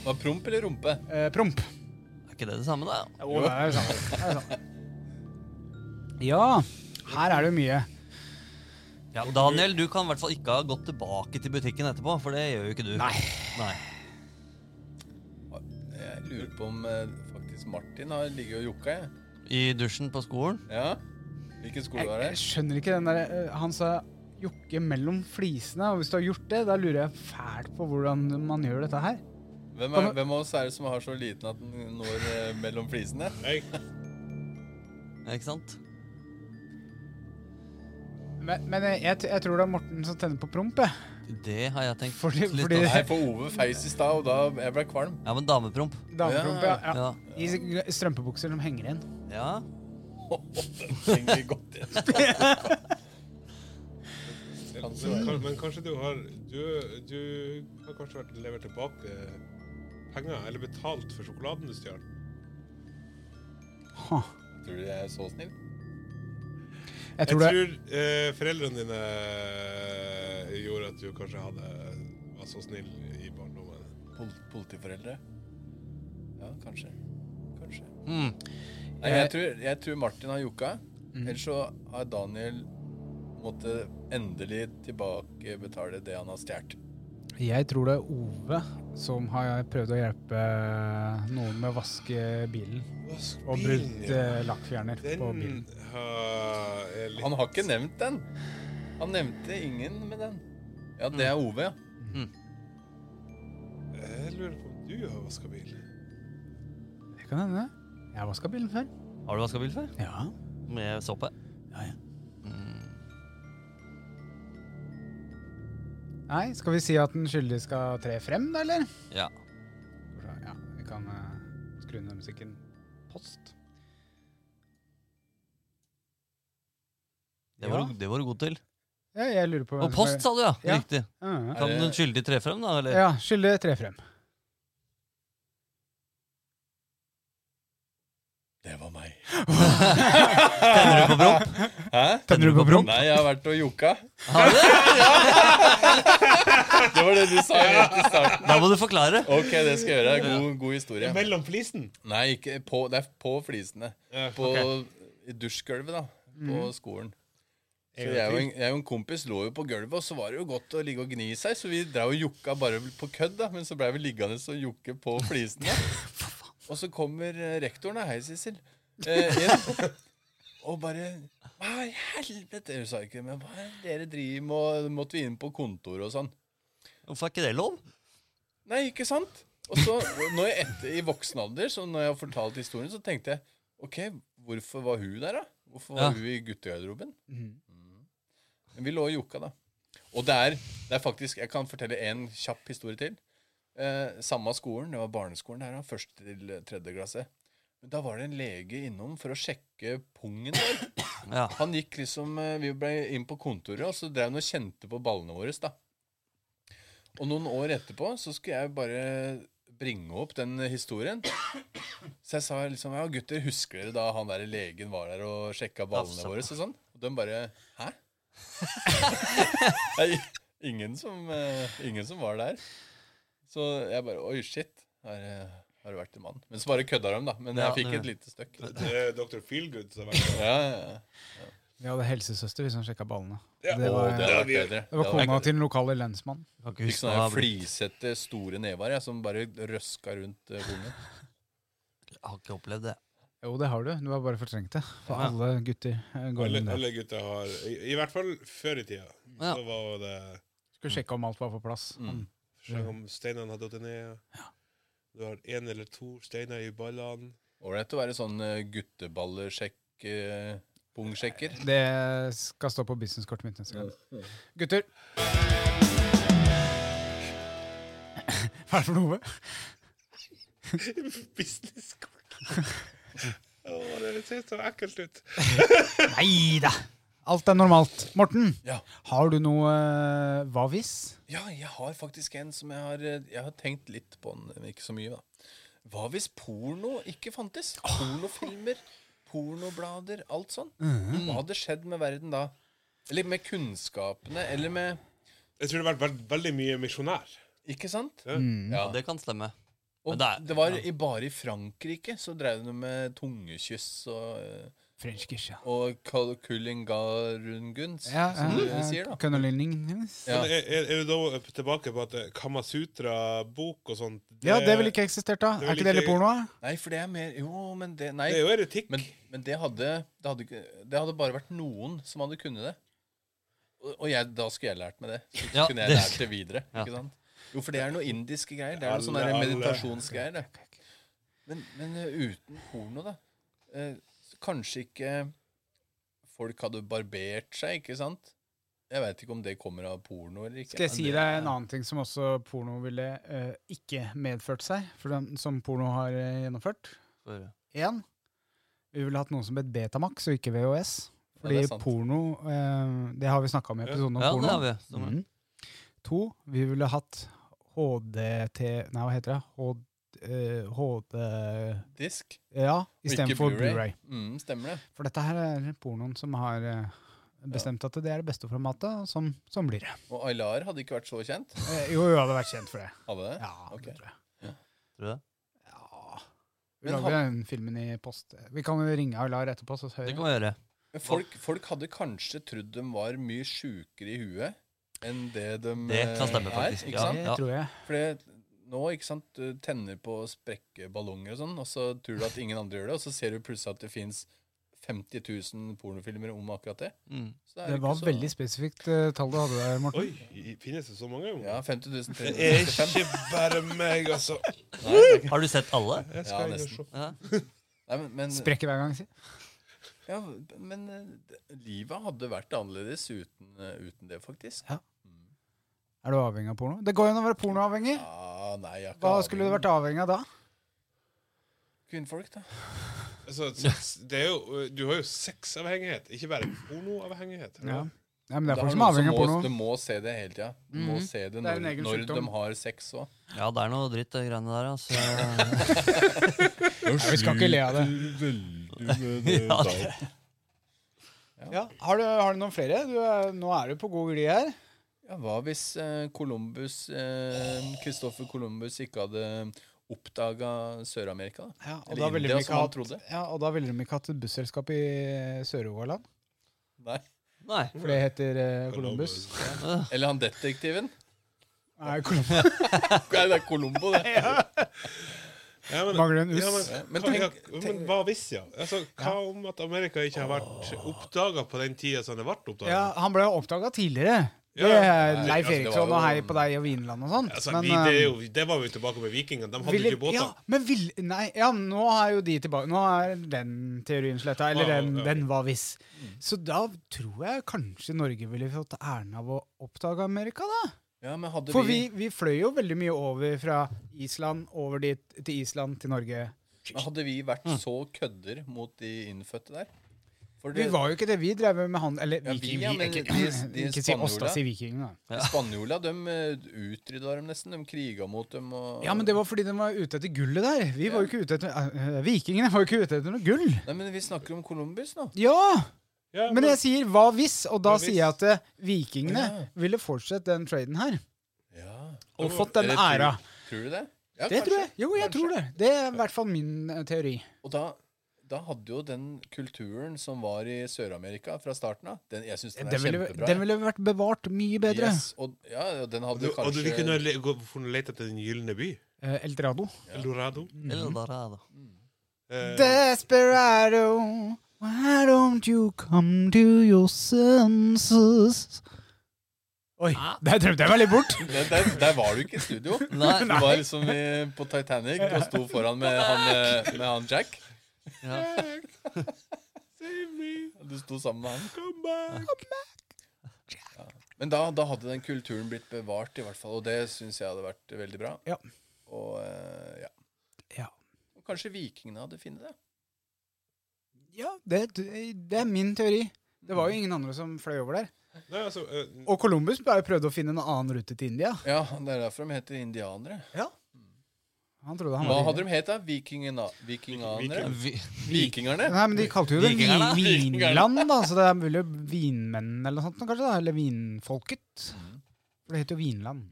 Speaker 6: Var promp eller rumpe?
Speaker 2: Eh, promp.
Speaker 3: Er ikke det det samme, da?
Speaker 2: Jo, det er det samme. Det er det samme. Ja, her er det mye.
Speaker 3: Ja, og Daniel, du kan i hvert fall ikke ha gått tilbake til butikken etterpå, for det gjør jo ikke du. Nei.
Speaker 6: Jeg lurer på om eh, faktisk Martin har ligget og jokka, jeg.
Speaker 3: I dusjen på skolen?
Speaker 6: Ja? Hvilken skole
Speaker 2: Jeg,
Speaker 6: var det?
Speaker 2: jeg skjønner ikke den der eh, Han sa jokke mellom flisene, og hvis du har gjort det, da lurer jeg fælt på hvordan man gjør dette her.
Speaker 6: Hvem, er, hvem av oss er det som har så liten at den når eh, mellom flisene?
Speaker 4: Jeg,
Speaker 3: Ikke sant?
Speaker 2: Men, men jeg, jeg, t- jeg tror det er Morten som tenner på promp, jeg.
Speaker 3: Det har jeg tenkt
Speaker 2: Fordi-
Speaker 3: litt
Speaker 2: fordi-
Speaker 3: over.
Speaker 6: Nei, for Ove feis i stad, og da jeg ble kvalm.
Speaker 3: Ja, men damepromp.
Speaker 2: Damepromp, ja. ja.
Speaker 3: Ja.
Speaker 2: I s- strømpebukser som henger igjen.
Speaker 3: ja.
Speaker 6: Henger godt igjen.
Speaker 4: men, kan- men kanskje du har du, du har kanskje vært levert tilbake penger, eller betalt for sjokoladen du stjal?
Speaker 2: Huh.
Speaker 6: Tror du jeg er så snill?
Speaker 2: Jeg
Speaker 4: Jeg
Speaker 2: tror det.
Speaker 4: tror eh, foreldrene dine eh, gjorde at du kanskje hadde var så snill i barndommen.
Speaker 6: Pol politiforeldre? Ja, kanskje. Kanskje.
Speaker 3: Mm.
Speaker 6: Nei, jeg, tror, jeg tror Martin har jokka. Ellers så har Daniel måtte endelig tilbakebetale det han har stjålet.
Speaker 2: Jeg tror det er Ove som har prøvd å hjelpe eh, noen med å vaske bilen. Og brukt eh, lakkfjerner
Speaker 4: Den
Speaker 2: på bilen.
Speaker 4: har jeg litt
Speaker 6: Han har ikke nevnt den. Han nevnte ingen med den. Ja, det er Ove, ja.
Speaker 4: Jeg lurer på om du har vaska bil.
Speaker 2: Det kan hende. Jeg vaska bilen før.
Speaker 3: Har du vaska bil før?
Speaker 2: Ja.
Speaker 3: Med såpe?
Speaker 2: Nei, skal vi si at den skyldige skal tre frem, da, eller?
Speaker 3: Ja.
Speaker 2: Ja, vi kan eh, skru ned musikken. Post.
Speaker 3: Det var,
Speaker 2: Ja.
Speaker 3: du- det var du god til.
Speaker 2: Ja, jeg lurer på hvem
Speaker 3: Og post,
Speaker 2: som
Speaker 3: sa du, ja.
Speaker 2: Ja.
Speaker 3: Riktig.
Speaker 2: er- Ja,
Speaker 3: Kan den skyldige tre frem, da?
Speaker 2: ja.
Speaker 3: Eller?
Speaker 2: ja skyldig tre frem.
Speaker 6: Det var meg.
Speaker 3: Tenner du på promp?
Speaker 6: Hæ?
Speaker 2: Tenner du på promp?
Speaker 6: Nei, jeg har vært og jokka.
Speaker 3: Har du det?
Speaker 6: Det var det du sa helt i starten.
Speaker 3: Da må du forklare.
Speaker 6: Ok, det skal jeg gjøre. God, god historie.
Speaker 4: Mellom flisen?
Speaker 6: Nei, ikke på, det er på flisene.
Speaker 4: Ja,
Speaker 6: På
Speaker 4: ok.
Speaker 6: i dusjgulvet, da. På skolen. Så
Speaker 4: En gang
Speaker 6: jeg, og
Speaker 4: til.
Speaker 6: en, jeg og en kompis lå jo på gulvet, og så var det jo godt å ligge og gni seg, så vi drev og jokka bare på kødd, da. Men så blei vi liggende og jokke på flisene. Og så kommer eh, rektoren, da. Hei, Sissel. Eh, inn. Og bare Hva i helvete? Hun sa ikke Men hva er det dere driver med? Og måtte vi inn på kontoret og sånn.
Speaker 3: Hvorfor er ikke det lov?
Speaker 6: Nei, ikke sant? Og så, når jeg etter, i voksen alder, så når jeg har fortalt historien, så tenkte jeg OK, hvorfor var hun der, da? Hvorfor var
Speaker 3: Ja.
Speaker 6: hun i guttegarderoben? Mhm. Men vi lå og jokka, da. Og det er, det er faktisk Jeg kan fortelle en kjapp historie til. Eh, samme skolen, det var barneskolen her, da, første til eh, tredje klasse. Men da var det en lege innom for å sjekke pungen vår.
Speaker 3: Ja.
Speaker 6: Han gikk liksom eh, Vi ble inn på kontoret, og så drev han og kjente på ballene våre, da. Og noen år etterpå så skulle jeg bare bringe opp den historien. Så jeg sa liksom Ja, gutter, husker dere da han der legen var der og sjekka ballene
Speaker 3: Tafsa på.
Speaker 6: våre? Og sånn? Og de bare Hæ? Nei, ingen som, eh, ingen som var der. Så jeg bare Oi, shit. Her eh, har det vært en mann. Men så bare kødda de, da. Men
Speaker 3: Ja,
Speaker 6: jeg fikk
Speaker 3: det-
Speaker 6: et lite støkk. Ja,
Speaker 4: Det er Dr. Feelgood som har vært der.
Speaker 6: ja, ja.
Speaker 2: Vi hadde helsesøster hvis han sjekka ballene.
Speaker 4: Ja,
Speaker 2: Det var,
Speaker 6: Å,
Speaker 2: det
Speaker 6: hadde
Speaker 4: Ja,
Speaker 6: vært
Speaker 4: vi-
Speaker 6: bedre. Det
Speaker 2: var
Speaker 6: hadde vært
Speaker 2: kona
Speaker 6: bedre.
Speaker 2: til den lokale lensmannen.
Speaker 3: Kan ikke
Speaker 6: Fikk
Speaker 3: huske hva
Speaker 6: sånne her
Speaker 3: jeg
Speaker 6: flisete, store never jeg, som bare røska rundt eh, hornet.
Speaker 3: har ikke opplevd det.
Speaker 2: Jo, det har du. Du har bare fortrengt det. For
Speaker 3: Ja.
Speaker 2: alle gutter eh, går
Speaker 4: Alle,
Speaker 2: gjennom det.
Speaker 4: alle gutter har i, I hvert fall før i tida.
Speaker 3: Ja.
Speaker 4: Så var det
Speaker 2: Skulle sjekke om alt var på plass.
Speaker 6: Mm.
Speaker 4: Sjekk om steinene har falt ned. Du har én eller to steiner i ballene.
Speaker 6: Ålreit å være sånn eh, gutteballesjekk, eh, pungsjekker.
Speaker 2: Det skal stå på businesskortet mitt neste gang. Gutter! Hva er det for noe?
Speaker 4: Businesskort! Å, det ser så ekkelt ut.
Speaker 2: Nei da! Alt er normalt. Morten,
Speaker 6: Ja.
Speaker 2: har du noe eh, hva hvis?
Speaker 6: ja, jeg har faktisk en som jeg har, eh, jeg har tenkt litt på, den, men ikke så mye, da. Hva hvis porno ikke fantes? Pornofilmer, pornoblader, alt sånn.
Speaker 3: Mhm.
Speaker 6: Hva hadde skjedd med verden da? Eller med kunnskapene, eller med
Speaker 4: Jeg tror det har vært veld, veldig mye misjonær.
Speaker 6: Ikke sant?
Speaker 3: Ja, det kan stemme. Men
Speaker 6: Og
Speaker 3: det er-
Speaker 6: det var i, bare i Frankrike så drev de med tungekyss og, eh,
Speaker 2: French kiss, ja.
Speaker 6: og kal- kulingarunguns,
Speaker 2: Ja,
Speaker 6: som du
Speaker 2: ja,
Speaker 6: sier, da.
Speaker 2: Kønnelinjen hennes.
Speaker 6: Ja.
Speaker 4: Men er, er, er du da tilbake på at eh, Kamasutra-bok og sånt
Speaker 2: Ja, det ville ikke eksistert da.
Speaker 4: det
Speaker 2: Er
Speaker 4: vil
Speaker 2: ikke det litt
Speaker 4: ikke-
Speaker 2: porno? da?
Speaker 6: Nei, for det er mer Jo, men det Nei.
Speaker 4: Det er jo erotikk.
Speaker 6: Men, men det, hadde, det, hadde, ikke- det hadde bare vært noen som hadde kunnet det. Og, og jeg, da skulle jeg lært meg det. Så
Speaker 3: Ja,
Speaker 6: kunne jeg
Speaker 3: det-
Speaker 6: lært det videre.
Speaker 3: Ja.
Speaker 6: Ikke sant? Jo, for det er noe indiske greier. Det er noe sånne
Speaker 4: Alle-
Speaker 6: der
Speaker 4: alle-
Speaker 6: meditasjonsgreier. Det. Men, men eh, uten porno, da eh, så Kanskje ikke folk hadde barbert seg, ikke sant? Jeg veit ikke om det kommer av porno eller ikke.
Speaker 2: Skal jeg si deg en annen ting som også porno ville eh, ikke medført seg, for den, som porno har eh, gjennomført?
Speaker 3: For,
Speaker 2: Én, vi ville hatt noe som het Betamax og ikke VHS.
Speaker 6: Ja, det
Speaker 2: Fordi
Speaker 6: er sant.
Speaker 2: porno eh, Det har vi snakka om i episoden om
Speaker 3: ja,
Speaker 2: porno.
Speaker 3: det har vi. Som,
Speaker 2: Mm. To, vi ville hatt HDT Nei, hva heter det? HD, eh, HD
Speaker 6: Disk.
Speaker 2: Ja,
Speaker 6: og ikke
Speaker 2: istedenfor Blu-ray.
Speaker 6: Mm, stemmer det.
Speaker 2: For dette her er pornoen som har eh, bestemt at det er det beste formatet, og sånn sånn blir det.
Speaker 6: Og Aylar hadde ikke vært så kjent.
Speaker 2: Eh, jo, hun hadde vært kjent for det.
Speaker 6: Hadde det?
Speaker 2: Ja,
Speaker 6: Ok.
Speaker 2: det tror jeg.
Speaker 3: Tror du det?
Speaker 2: Ja. Vi
Speaker 6: Men
Speaker 2: lager den filmen i post. Vi kan jo ringe Aylar etterpå. så hører
Speaker 3: Det
Speaker 2: vi.
Speaker 3: kan vi gjøre.
Speaker 6: Men folk, folk hadde kanskje trodd de var mye sjukere i huet enn det de
Speaker 3: Det kan stemme,
Speaker 6: eh,
Speaker 3: faktisk,
Speaker 6: Er, ikke
Speaker 3: ja.
Speaker 6: sant?
Speaker 2: Det tror jeg.
Speaker 6: For det, nå ikke sant, du tenner på å sprekke ballonger og sånn, og så tror du at ingen andre gjør det, og så ser du plutselig at det fins 50 000 pornofilmer om akkurat det.
Speaker 3: Mm.
Speaker 6: Så er
Speaker 2: Det
Speaker 6: ikke
Speaker 2: var
Speaker 6: så-
Speaker 2: veldig spesifikt eh, tall du hadde der, Morten.
Speaker 4: Oi, i- finnes det så mange?
Speaker 6: Ja, 50
Speaker 4: Det er
Speaker 6: 355.
Speaker 4: ikke bare meg, altså.
Speaker 3: Har du sett alle?
Speaker 4: Jeg
Speaker 6: Ja,
Speaker 4: skal inn og
Speaker 6: nesten.
Speaker 4: se.
Speaker 3: Ja.
Speaker 6: Nei, men, men,
Speaker 2: Sprekker hver gang, si.
Speaker 6: ja, men eh, det- livet hadde vært annerledes uten, eh, uten det, faktisk.
Speaker 2: Ja. Er du avhengig av porno? Det går jo an å være pornoavhengig!
Speaker 6: Ja, nei, jeg er ikke
Speaker 2: Hva skulle du
Speaker 6: avhengig
Speaker 2: vært avhengig av da?
Speaker 6: av Kvinnfolk, da.
Speaker 4: Altså, s- det er jo, du har jo sexavhengighet, ikke bare pornoavhengighet. eller?
Speaker 2: Ja. Ja, men det er
Speaker 6: Det
Speaker 2: folk
Speaker 6: har
Speaker 2: som
Speaker 6: noen
Speaker 2: er avhengig av
Speaker 6: må,
Speaker 2: porno. Mhm.
Speaker 6: Du må se det hele tida. Du må se det
Speaker 2: Det er en
Speaker 6: når,
Speaker 2: egen
Speaker 6: når de
Speaker 2: sykdom.
Speaker 6: har sex òg.
Speaker 3: ja, det er noe dritt, det greiene der. Altså.
Speaker 2: vi skal ikke le av det.
Speaker 3: Ja, det-
Speaker 2: Ja, har, du, har du noen flere? Du, er- nå er du på god glid her.
Speaker 6: Ja, hva hvis eh, Columbus Kristoffer Columbus ikke hadde oppdaga Sør-Amerika? da?
Speaker 2: Ja, og,
Speaker 6: Eller
Speaker 2: da ville
Speaker 6: India,
Speaker 2: de ikke
Speaker 6: som han
Speaker 2: hatt,
Speaker 6: trodde.
Speaker 2: ja, og da ville de ikke hatt et busselskap i eh, Sør-Rogaland,
Speaker 6: Nei.
Speaker 3: Nei.
Speaker 2: for det heter eh, Columbus.
Speaker 6: Eller han detektiven?
Speaker 2: Nei, Columbus.
Speaker 6: Nei, det er Colombo, det.
Speaker 4: Ja, men,
Speaker 2: Mangler en
Speaker 4: ja, men,
Speaker 2: us.
Speaker 6: Men
Speaker 4: hva-
Speaker 6: tenk-
Speaker 4: ja, men
Speaker 6: tenk-
Speaker 4: hva hvis, ja? Altså, hva om at Amerika ikke har vært oppdaga på den tida som det ble oppdaga?
Speaker 2: Ja, han ble jo oppdaga tidligere.
Speaker 4: Ja,
Speaker 2: Det
Speaker 4: ja.
Speaker 2: er
Speaker 6: Nei,
Speaker 2: Leif
Speaker 6: altså, det var
Speaker 2: Eriksson
Speaker 6: jo-
Speaker 2: og Hei på deg og Vinland og sånn.
Speaker 4: Altså,
Speaker 2: Men,
Speaker 4: vi, det, er
Speaker 2: eh,
Speaker 4: jo, det var vi tilbake med vikingene. De hadde jo
Speaker 2: ville-
Speaker 4: ikke båter.
Speaker 2: ja, men vil, nei, ja, nå er jo de tilbake Nå er den teorien sletta.
Speaker 6: Ah,
Speaker 2: Eller
Speaker 4: Ja,
Speaker 2: den,
Speaker 4: ja.
Speaker 2: den hva hvis.
Speaker 6: Mm.
Speaker 2: Så da tror jeg kanskje Norge ville fått æren av å oppdage Amerika, da.
Speaker 6: Ja, men hadde
Speaker 2: For vi, vi fløy jo veldig mye over fra Island over dit til Island til Norge.
Speaker 6: men hadde vi vært
Speaker 2: Mm.
Speaker 6: så kødder mot de innfødte der? For
Speaker 2: Vi
Speaker 6: det-
Speaker 2: var jo ikke det. Vi drev med handel Eller
Speaker 6: Ja, vi,
Speaker 2: viking.
Speaker 6: ja,
Speaker 2: vi,
Speaker 6: men
Speaker 2: ikke,
Speaker 6: de- de
Speaker 2: ikke si oss, da.
Speaker 6: spanjola.
Speaker 2: Si vikingene. da.
Speaker 6: Spanjola de eh, utrydda dem nesten. De kriga mot dem. Og,
Speaker 2: Ja, men det var fordi de var ute etter gullet der. Vi var jo ikke ute etter eh, Vikingene var jo ikke ute etter noe gull.
Speaker 6: Nei, men vi snakker om Columbus nå.
Speaker 2: Ja!
Speaker 4: Ja,
Speaker 2: Men jeg sier hva hvis, og da
Speaker 4: Hva hvis?
Speaker 2: sier jeg at eh, vikingene
Speaker 6: Ja.
Speaker 2: ville fortsett den traden her.
Speaker 6: Ja.
Speaker 2: Og fått den
Speaker 6: Eller
Speaker 2: æra.
Speaker 6: Tror, tror du det? Ja,
Speaker 2: Det tror jeg.
Speaker 6: kanskje.
Speaker 2: Jo, jeg
Speaker 6: Kanskje.
Speaker 2: tror det. Det er i hvert fall min eh, teori.
Speaker 6: Og da, da hadde jo den kulturen som var i Sør-Amerika fra starten av den, Jeg syns den er
Speaker 2: Den ville,
Speaker 6: kjempebra.
Speaker 2: den ville vært bevart mye bedre.
Speaker 6: Yes, og, ja, og den
Speaker 4: Og
Speaker 6: hadde
Speaker 4: du,
Speaker 6: kanskje
Speaker 4: og du, vi kunne le, gå, funnet lete etter Den gylne by.
Speaker 2: Eh, El Dorado.
Speaker 4: Eldorado.
Speaker 3: Eller der er det.
Speaker 4: Eh,
Speaker 2: Desperado, why don't you come to your senses? Oi,
Speaker 6: Ah.
Speaker 2: der drømte jeg meg litt bort.
Speaker 6: Men der, der var du ikke i studio.
Speaker 3: Nei,
Speaker 6: Du var liksom i, på Titanic og sto foran med han, eh, med han Jack.
Speaker 3: ja.
Speaker 4: Save me,
Speaker 6: Du sto sammen med han.
Speaker 4: come back.
Speaker 6: Men da, da hadde den kulturen blitt bevart, i hvert fall. Og det syns jeg hadde vært veldig bra.
Speaker 2: Ja.
Speaker 6: Og eh, ja.
Speaker 2: Ja.
Speaker 6: Og kanskje vikingene hadde funnet det.
Speaker 2: Ja, det, det er min teori. Det var jo ingen andre som fløy over der.
Speaker 4: Nei, altså, eh,
Speaker 2: Og Columbus bare prøvde å finne en annen rute til India.
Speaker 6: Ja, Det er derfor de heter indianere.
Speaker 2: Han trodde han
Speaker 6: Hva
Speaker 2: var
Speaker 6: hadde de het, da? Vikingene? Vikinganere?
Speaker 3: Vi,
Speaker 6: Vikingerne?
Speaker 2: Nei, men De kalte jo det
Speaker 3: Vikingerne.
Speaker 2: Vin- Vinland, da, så det er mulig vinmennene eller noe sånt kanskje, da, eller vinfolket. For det heter jo Vinland.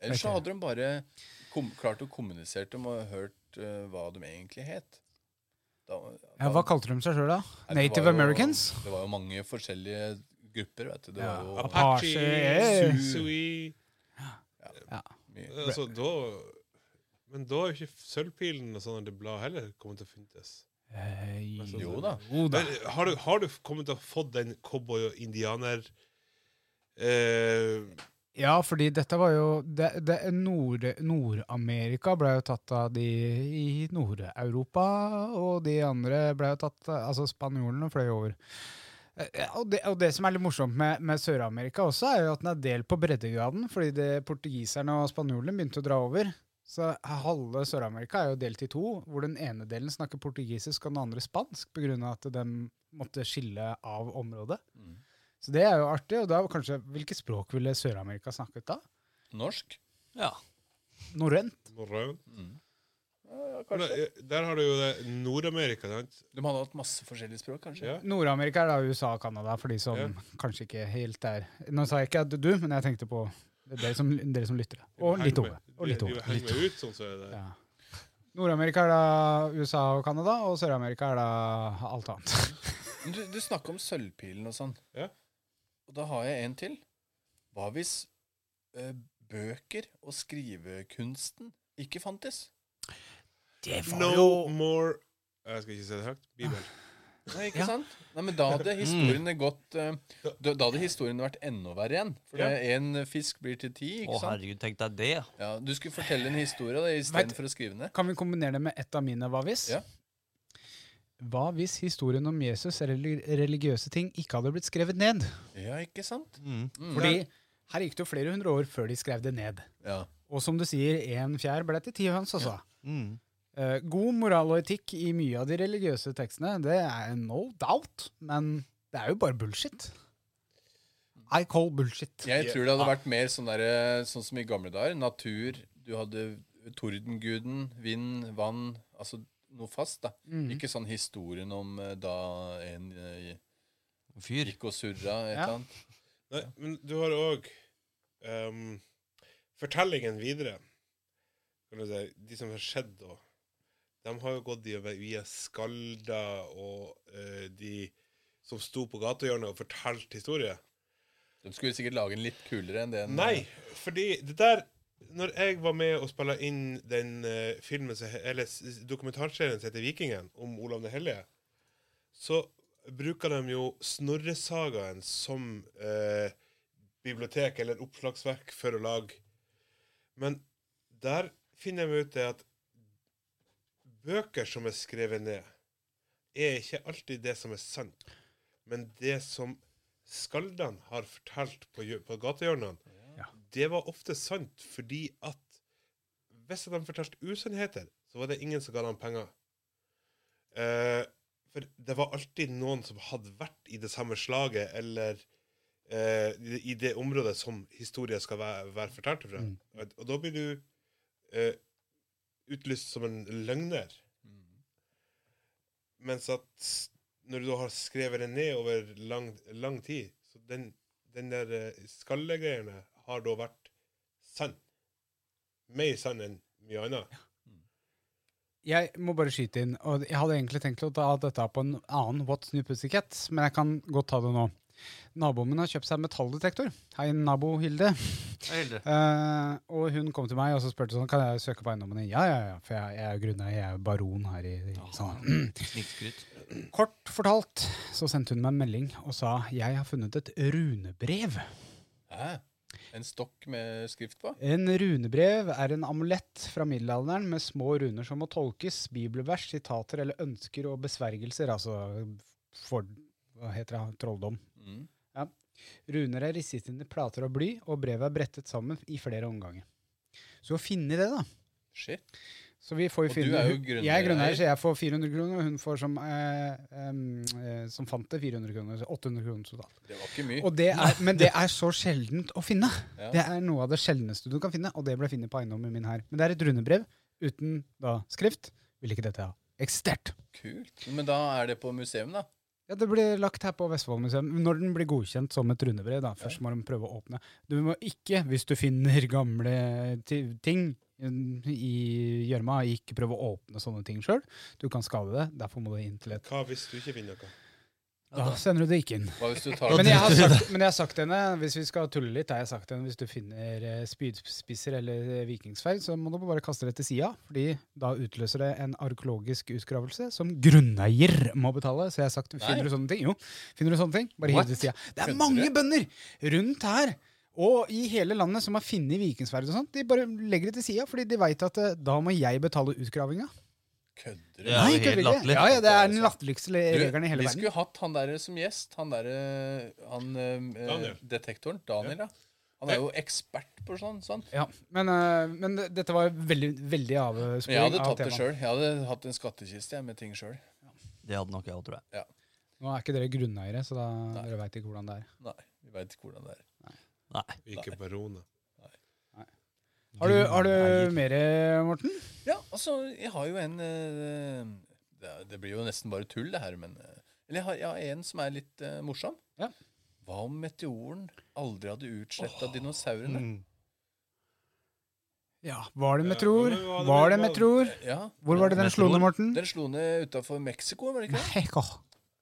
Speaker 6: Ellers så hadde de bare kom, klart å kommunisere dem og hørt eh, hva de egentlig het. Da,
Speaker 2: Ja, Hva kalte de seg sjøl, da?
Speaker 6: Nei, det
Speaker 2: Native
Speaker 6: var jo-
Speaker 2: Americans?
Speaker 6: Det var jo mange forskjellige grupper, vet du. Det
Speaker 2: Ja.
Speaker 6: var jo
Speaker 4: Apache,
Speaker 2: Apache, eh.
Speaker 4: Sui
Speaker 6: mye.
Speaker 4: altså, da, Men da er jo ikke Sølvpilen og sånn det bladet heller kommet til å finnes.
Speaker 2: Eh,
Speaker 4: Altså,
Speaker 6: Jo da.
Speaker 2: jo da.
Speaker 4: Men, har, du, har du kommet til å få den cowboy- og indianer... Eh,
Speaker 2: Ja, fordi dette var jo det, det, Nord, Nord-Amerika ble jo tatt av de i Nord-Europa, og de andre ble jo tatt Altså, spanjolene fløy over. Eh, Og det, og det som er litt morsomt med, med Sør-Amerika også, er jo at den er delt på breddegraden, fordi det, portugiserne og spanjolene begynte å dra over. Så halve Sør-Amerika er jo delt i to, hvor den ene delen snakker portugisisk og den andre spansk, på grunn av at de måtte skille av området.
Speaker 6: Mm.
Speaker 2: Så det er jo artig. Og da var kanskje, hvilke språk ville Sør-Amerika snakket da?
Speaker 6: Norsk?
Speaker 3: ja.
Speaker 2: Norrønt?
Speaker 4: norrønt?
Speaker 6: Mm.
Speaker 4: Men, eh, Der har du jo det Nord-Amerika, sant?
Speaker 6: De hadde hatt masse forskjellige språk, kanskje?
Speaker 4: Ja.
Speaker 2: Nord-Amerika er da USA og Canada, for de som
Speaker 4: Ja.
Speaker 2: kanskje ikke helt er Nå sa jeg ikke at du, men jeg tenkte på dere som, dere som lyttere. Og litt Ove. Og litt
Speaker 4: De,
Speaker 2: Ove.
Speaker 4: de henger meg ut, sånn så er det.
Speaker 2: Ja. Nord-Amerika er da USA og Canada, og Sør-Amerika er da alt annet.
Speaker 6: Men Du, du snakker om sølvpilen og sånn.
Speaker 4: Ja.
Speaker 6: Og da har jeg en til. Hva hvis eh, bøker og skrivekunsten ikke fantes?
Speaker 4: No more Jeg skal ikke si det høyt.
Speaker 2: Ah.
Speaker 4: Bibel.
Speaker 6: Nei, ikke sant? Nei, men da
Speaker 3: Mm.
Speaker 6: hadde historiene gått eh, Da da hadde historiene vært enda verre igjen. For
Speaker 4: Ja.
Speaker 6: én fisk blir til ti,
Speaker 3: Å,
Speaker 6: ikke sant?
Speaker 3: herregud, tenk deg det.
Speaker 6: Ja, du skulle fortelle en historie da, istedenfor å skrive ned.
Speaker 2: Kan vi kombinere det med ett av mine hva hvis?
Speaker 6: Ja.
Speaker 2: Hva hvis historien om Jesus eller religiøse ting ikke hadde blitt skrevet ned?
Speaker 6: Ja, ikke sant?
Speaker 3: Mm.
Speaker 6: Mm.
Speaker 2: Fordi her gikk det jo flere hundre år før de skrev det ned.
Speaker 6: Ja.
Speaker 2: Og som du sier, en fjær ble til ti høns, altså.
Speaker 3: Mm.
Speaker 2: Eh, god moral og etikk i mye av de religiøse tekstene, det er no doubt, men det er jo bare bullshit. I call bullshit.
Speaker 6: Jeg tror det hadde vært mer sånn, der, sånn som i gamle dager. Natur. Du hadde tordenguden, vind, vann. Altså noe fast, da.
Speaker 3: Mm.
Speaker 2: Mm.
Speaker 6: Ikke sånn historien om eh, da en eh,
Speaker 3: Fyr.
Speaker 6: gikk og surra et
Speaker 2: Ja.
Speaker 6: eller annet.
Speaker 4: Nei, men du har òg fortellingen videre. Kan du si, de som har skjedd da, de har jo gått de- via skalder og eh, de som sto på gatehjørnet og fortalte historier.
Speaker 6: De skulle sikkert lage den litt kulere enn det. den- eh,
Speaker 4: Nei, fordi det der Når jeg var med og spilla inn den eh, filmen som he- Eller s- s- dokumentarserien som heter Vikingen, om Olav den hellige, så bruker de jo Snorresagaen som eh, bibliotek eller oppslagsverk for å lage Men der finner de ut det at bøker som er skrevet ned, er ikke alltid det som er sant, men det som skaldene har fortalt på, hjø- på gatehjørnene,
Speaker 2: Ja.
Speaker 4: det var ofte sant fordi at hvis de fortalte usannheter, så var det ingen som ga dem penger. Eh, for det var alltid noen som hadde vært i det samme slaget eller eh, i i det området som historien skal være, være fortalt fra.
Speaker 2: Mm.
Speaker 4: Og, og da blir du eh, utlyst som en løgner.
Speaker 6: Mm.
Speaker 4: Mens at når du da har skrevet det ned over lang, lang tid, så den, den der eh, skallegreiene har da vært sann. Mer sann enn mye annet.
Speaker 2: Jeg må bare skyte inn, og jeg hadde egentlig tenkt å ta dette på en annen What's New Pussycat, men jeg kan godt ta det nå. Naboen min har kjøpt seg metalldetektor. Hei, nabo Hilde. Eh, og hun kom til meg og så spurte sånn, kan jeg søke på eiendommen din. Ja, ja, ja, for jeg, jeg er grunneier, jeg er baron her i, sånn. i Sandhamn.
Speaker 3: Snikskryt.
Speaker 2: Kort fortalt så sendte hun meg en melding og sa jeg har funnet et runebrev.
Speaker 6: Hæ? En stokk med skrift på?
Speaker 2: En runebrev er en amulett fra middelalderen med små runer som må tolkes, bibelvers, sitater eller ønsker og besvergelser, altså for, hva heter det, trolldom.
Speaker 6: Mm.
Speaker 2: Runer er risset inn i plater av bly, og brevet er brettet sammen i flere omganger. Så å finne det, da.
Speaker 6: Shit.
Speaker 2: Så vi får jo
Speaker 6: Og
Speaker 2: finne
Speaker 6: du er jo
Speaker 2: hun-
Speaker 6: grunneier.
Speaker 2: Jeg er grunneier, så jeg får 400 kroner, og hun får som, eh, em, eh, som fant det 400 kroner, så 800 kroner totalt.
Speaker 6: Det var ikke mye.
Speaker 2: Og det er, men det er så sjeldent å finne.
Speaker 6: Ja.
Speaker 2: Det er noe av det sjeldneste du kan finne, og det ble funnet på eiendommen min her. Men det er et rundebrev uten da skrift, ville ikke dette ha eksistert.
Speaker 6: Kult. Men da er det på museum, da?
Speaker 2: Ja, Det blir lagt her på Vestfold museum når den blir godkjent som et rundebrev. da. Først må de prøve å åpne. Du må ikke, hvis du finner gamle ti- ting mm, i gjørma, ikke prøve å åpne sånne ting sjøl. Du kan skade det. Derfor må du inn til et
Speaker 4: Hva hvis du ikke finner noe?
Speaker 2: Da sender du det ikke inn.
Speaker 6: Hva hvis du tar
Speaker 2: Men jeg, har sagt, men jeg har sagt til henne, hvis vi skal tulle litt, har jeg sagt til henne hvis du finner eh, spydspisser eller eh, vikingsverd, så må du bare kaste det til sida. fordi da utløser det en arkeologisk utgravelse som grunneier må betale. Så jeg har sagt, finner du sånne ting? Jo, finner du sånne ting? Bare hiv det til sida. Det er
Speaker 6: Kødder
Speaker 2: mange
Speaker 6: du?
Speaker 2: bønder rundt her! Og i hele landet som har funnet vikingsverd og sånt, de bare legger det til sida, fordi de veit at eh, da må jeg betale utgravinga.
Speaker 6: Kødder du?
Speaker 3: Det er
Speaker 2: Nei,
Speaker 3: jo
Speaker 2: kødder
Speaker 3: helt
Speaker 2: ikke.
Speaker 3: latterlig.
Speaker 2: Ja, ja, det er den latterligste
Speaker 6: Du,
Speaker 2: regelen i hele
Speaker 6: vi
Speaker 2: verden.
Speaker 6: skulle hatt han der som gjest. Han der, eh, han, eh,
Speaker 4: Daniel.
Speaker 6: detektoren. Daniel, ja. Han er jo ekspert på sånn. sånn.
Speaker 2: Ja, men, eh, men det- dette var veldig, veldig
Speaker 6: Men jeg
Speaker 2: avsporing
Speaker 6: hadde
Speaker 2: av
Speaker 6: tatt det
Speaker 2: temaet.
Speaker 6: sjøl. Jeg hadde hatt en skattkiste jeg, med ting sjøl.
Speaker 3: Det hadde nok jeg òg, tror jeg.
Speaker 2: Nå er ikke dere grunneiere, så da dere veit ikke hvordan det er.
Speaker 6: Nei, vi veit ikke hvordan det er.
Speaker 3: Nei.
Speaker 4: Vi er ikke baroner.
Speaker 2: Har du, har du mer, Morten?
Speaker 6: Ja, altså, jeg har jo en eh, det, er- det blir jo nesten bare tull, det her, men eh, Eller jeg har, jeg har en som er litt eh, morsom.
Speaker 2: Ja.
Speaker 6: Hva om meteoren aldri hadde utsletta dinosaurene?
Speaker 2: Ja. Var det med
Speaker 4: Ja,
Speaker 2: tror?
Speaker 4: men Eh, hva hadde
Speaker 2: Var
Speaker 4: vi-
Speaker 2: det med tror?
Speaker 6: Ja,
Speaker 2: Hvor var det den slo ned, Morten?
Speaker 6: Den slo ned utafor Mexico, var det ikke det?
Speaker 2: Mexico.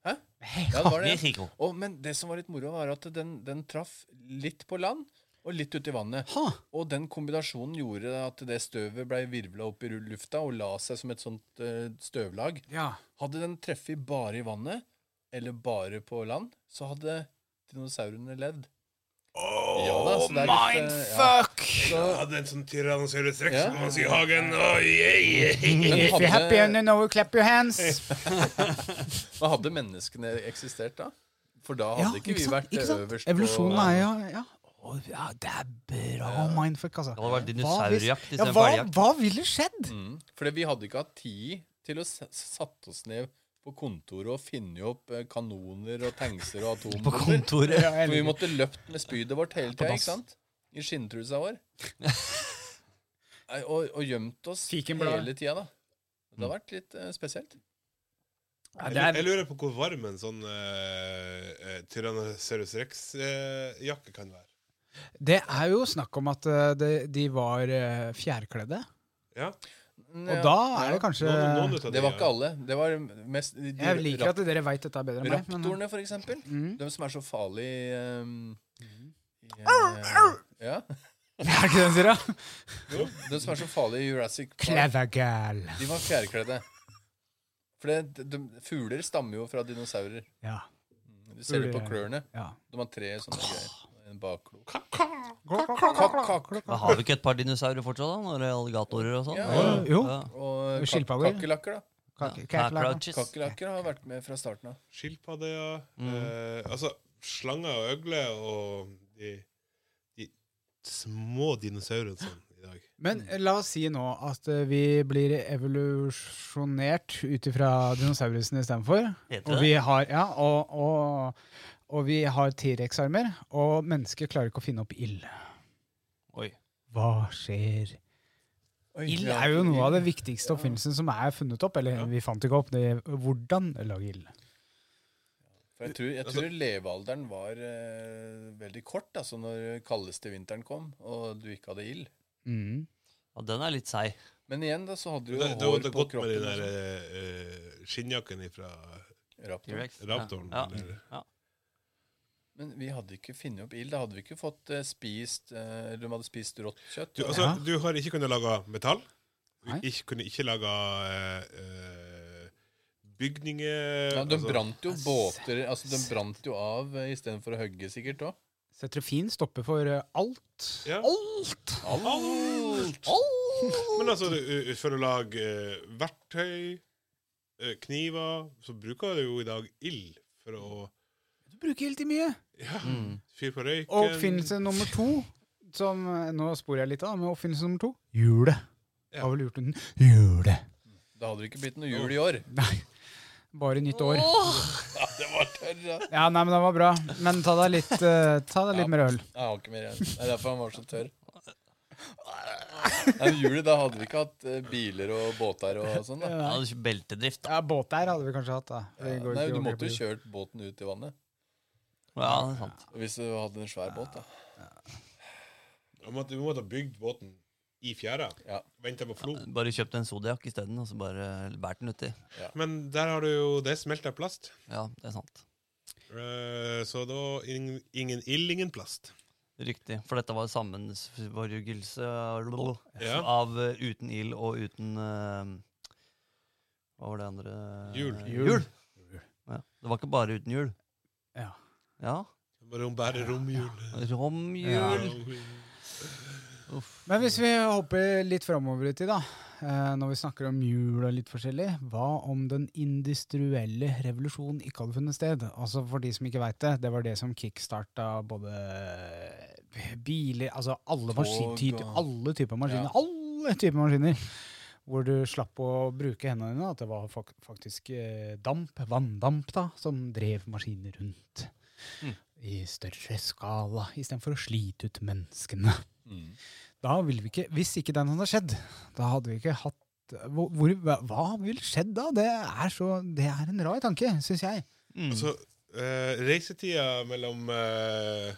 Speaker 6: Hæ?
Speaker 2: Mexico.
Speaker 6: Ja, det var det.
Speaker 3: Mexico.
Speaker 6: Og, men det som var litt moro, var at den, den traff litt på land og litt ute i vannet.
Speaker 2: Ha.
Speaker 6: Og den kombinasjonen gjorde at det støvet blei virvla opp i rull- lufta og la seg som et sånt eh, støvlag.
Speaker 2: Ja.
Speaker 6: Hadde den treffet bare i vannet, eller bare på land, så hadde dinosaurene levd. Oh, ja, da, så det er litt, eh, ja.
Speaker 4: Jeg hadde en sånn Tyrannosaurus rex
Speaker 6: Ja.
Speaker 4: som man sier i hagen. Oh, yeah, yeah.
Speaker 6: Men
Speaker 2: If you're happy and you
Speaker 6: hadde,
Speaker 2: know, it, clap your hands.
Speaker 6: men hadde menneskene eksistert da? For da
Speaker 2: Ja,
Speaker 6: hadde ikke vi vært eh,
Speaker 2: ikke sant?
Speaker 6: øverst
Speaker 2: Evolusjonen er jo ja. Å, ja, det er bra mindfuck, altså.
Speaker 3: Det hadde
Speaker 2: Hva
Speaker 3: vært
Speaker 2: hvis-
Speaker 3: dinosaurjakt
Speaker 2: Ja,
Speaker 3: istedenfor
Speaker 2: hva,
Speaker 3: elgjakt.
Speaker 2: hva ville skjedd?
Speaker 6: Mm. Fordi vi hadde ikke hatt tid til å s- satt oss ned på kontoret og finne opp eh, kanoner og tankser og
Speaker 3: På
Speaker 6: atombomber.
Speaker 3: kontoret.
Speaker 6: For vi måtte løpt med spydet vårt hele tida,
Speaker 3: dass.
Speaker 6: ikke sant? I skinntrusa vår. Nei, og, og gjemt oss
Speaker 2: Fikenblad.
Speaker 6: hele tida, da. Det
Speaker 3: Mm.
Speaker 6: har vært litt eh, spesielt.
Speaker 4: Jeg, lu- jeg lurer på hvor varm en sånn eh, eh, Tyrannosaurus rex-jakke kan være.
Speaker 2: Det er jo snakk om at eh, de, de var eh, fjærkledde.
Speaker 4: Ja,
Speaker 2: Og da er det kanskje
Speaker 4: noen, noen ut av de,
Speaker 6: eh, Det var ikke
Speaker 4: ja.
Speaker 6: alle. Det var mest de, de,
Speaker 2: Jeg liker at dere veit dette bedre enn meg. men- eh,
Speaker 6: Raptorene, for eksempel.
Speaker 2: Mm.
Speaker 6: De som er så farlige um, eh, ja.
Speaker 2: Det er ikke den sier, da?
Speaker 6: Jo, de som er så farlige i Jurassic Park,
Speaker 2: Clevergal.
Speaker 6: de var fjærkledde. For det, de, de, fugler stammer jo fra dinosaurer.
Speaker 2: Ja.
Speaker 6: Du ser det på
Speaker 2: Fugler, ja.
Speaker 6: klørne.
Speaker 2: ja.
Speaker 6: De har tre sånne greier. En bakklok.
Speaker 3: Men Har vi ikke et par dinosaurer fortsatt, da? Når det er alligatorer og sånn?
Speaker 6: Ja.
Speaker 2: Jo.
Speaker 3: Ja.
Speaker 6: Og kak
Speaker 2: Skilpadder.
Speaker 6: kakerlakker, da.
Speaker 2: Kake-
Speaker 3: Ja,
Speaker 2: kakerlakker.
Speaker 3: crouches.
Speaker 6: Kakerlakker har vært med fra starten av.
Speaker 4: Skilpadder, ja.
Speaker 6: Mm.
Speaker 4: Eh, altså, slanger og øgler og de, de små dinosaurene sånn i dag.
Speaker 2: Men eh, la oss si nå at eh, vi blir evolusjonert ut ifra dinosaurusen istedenfor.
Speaker 3: Heter
Speaker 2: Og
Speaker 3: det?
Speaker 2: vi har, ja, og, og, og vi har T-rex-armer, og mennesker klarer ikke å finne opp ild.
Speaker 3: Oi.
Speaker 2: Hva skjer?
Speaker 6: Oi,
Speaker 2: Ild
Speaker 6: ja,
Speaker 2: er jo noe av det
Speaker 6: ild.
Speaker 2: viktigste oppfinnelsen som er funnet opp. Eller vi fant ikke opp det. Hvordan lage ild?
Speaker 6: For jeg tror, jeg tror levealderen var eh, veldig kort, altså når kaldeste vinteren kom, og du ikke hadde ild.
Speaker 2: Mm.
Speaker 3: Ja, den er litt seig.
Speaker 6: Men igjen, da, så hadde du
Speaker 4: Det,
Speaker 6: jo
Speaker 4: det, det
Speaker 6: hår
Speaker 4: hadde
Speaker 6: på
Speaker 4: gått med
Speaker 6: kroppen.
Speaker 4: den
Speaker 6: og
Speaker 4: der
Speaker 6: sånn.
Speaker 4: eh, skinnjakken ifra
Speaker 6: Raptor.
Speaker 3: T-rex.
Speaker 4: Raptoren,
Speaker 3: Ja. Ja.
Speaker 4: eller?
Speaker 3: Ja.
Speaker 6: Men vi hadde ikke funnet opp ild. Da hadde vi ikke fått eh, spist eh, De hadde spist rått kjøtt.
Speaker 4: du,
Speaker 6: da.
Speaker 4: altså,
Speaker 2: Ja.
Speaker 4: du har ikke kunnet lage metall. Du
Speaker 2: Nei.
Speaker 4: ikke, kunne ikke lage eh, eh, bygninger
Speaker 6: ja, de
Speaker 4: altså-
Speaker 6: brant jo
Speaker 2: Jeg
Speaker 6: båter altså De brant jo av eh, istedenfor å hogge, sikkert òg.
Speaker 2: Setrofin stopper for eh, alt.
Speaker 4: Ja.
Speaker 2: Alt!
Speaker 4: Alt! Men altså, du- u- for å lage eh, verktøy, eh, kniver, så bruker du jo i dag ild for å
Speaker 2: Du bruker helt i mye.
Speaker 4: ja,
Speaker 3: Mm.
Speaker 4: fyre på røyken.
Speaker 2: Og oppfinnelse nummer to som, eh, Nå sporer jeg litt av, men oppfinnelse nummer to hjulet.
Speaker 4: Ja.
Speaker 2: Hva ville gjort uten hjulet?
Speaker 6: Da hadde det ikke blitt noe jul i år.
Speaker 2: Nei. Bare nytt år.
Speaker 6: Ja, det var tørr, ja.
Speaker 2: Ja, nei, men det var bra. Men ta deg litt, eh, ta deg litt
Speaker 6: Ja.
Speaker 2: mer øl.
Speaker 6: Jeg har ikke mer igjen. Det er derfor han var så tørr. Nei, men juli, da hadde vi ikke hatt eh, biler og båter og sånn. da.
Speaker 3: Jeg hadde ikke beltedrift, da.
Speaker 2: Ja, båt der hadde vi kanskje hatt, da. Det går
Speaker 6: Nei,
Speaker 2: ikke å
Speaker 6: Du måtte jo
Speaker 2: overleve.
Speaker 6: kjørt båten ut i vannet.
Speaker 3: Ja, det er sant.
Speaker 6: Hvis du hadde en svær båt, da.
Speaker 4: Vi måtte, vi måtte ha bygd båten i fjæra.
Speaker 6: Ja.
Speaker 4: Venta på flo.
Speaker 3: Bare kjøpt en Zodiac isteden, og så bare båret den uti.
Speaker 4: Men der har du jo Det smelta plast.
Speaker 3: Ja, det er sant.
Speaker 4: Eh, så da ingen, ingen ild, ingen plast.
Speaker 3: Riktig. For dette var sammensvorgelse
Speaker 4: Ja.
Speaker 3: av eh, uten ild og uten eh, Hva var det andre
Speaker 4: Hjul.
Speaker 3: Hjul. Ja. Det var ikke bare uten hjul.
Speaker 2: Ja.
Speaker 3: Ja.
Speaker 4: Bare om bare romhjulet.
Speaker 3: Romhjul.
Speaker 2: Men hvis vi hopper litt framover i tid, da. eh, Når vi snakker om jul og litt forskjellig, hva om den industrielle revolusjonen ikke hadde funnet sted? Altså For de som ikke veit det, det var det som kickstarta både biler Altså alle,
Speaker 6: Tog
Speaker 2: maskin, ty,
Speaker 6: og-
Speaker 2: alle typer maskiner.
Speaker 6: Ja.
Speaker 2: Alle typer maskiner! Hvor du slapp å bruke hendene dine. At det var fak- faktisk eh, damp, vanndamp, da, som drev maskiner rundt.
Speaker 6: Mm.
Speaker 2: I større skala, istedenfor å slite ut menneskene. Mm. Da ville vi ikke, Hvis ikke den hadde skjedd, da hadde vi ikke hatt hvor, hvor, hva- Hva ville skjedd da? Det er, så, det er en rar tanke, syns jeg.
Speaker 3: Mm.
Speaker 4: Så eh, reisetida mellom eh,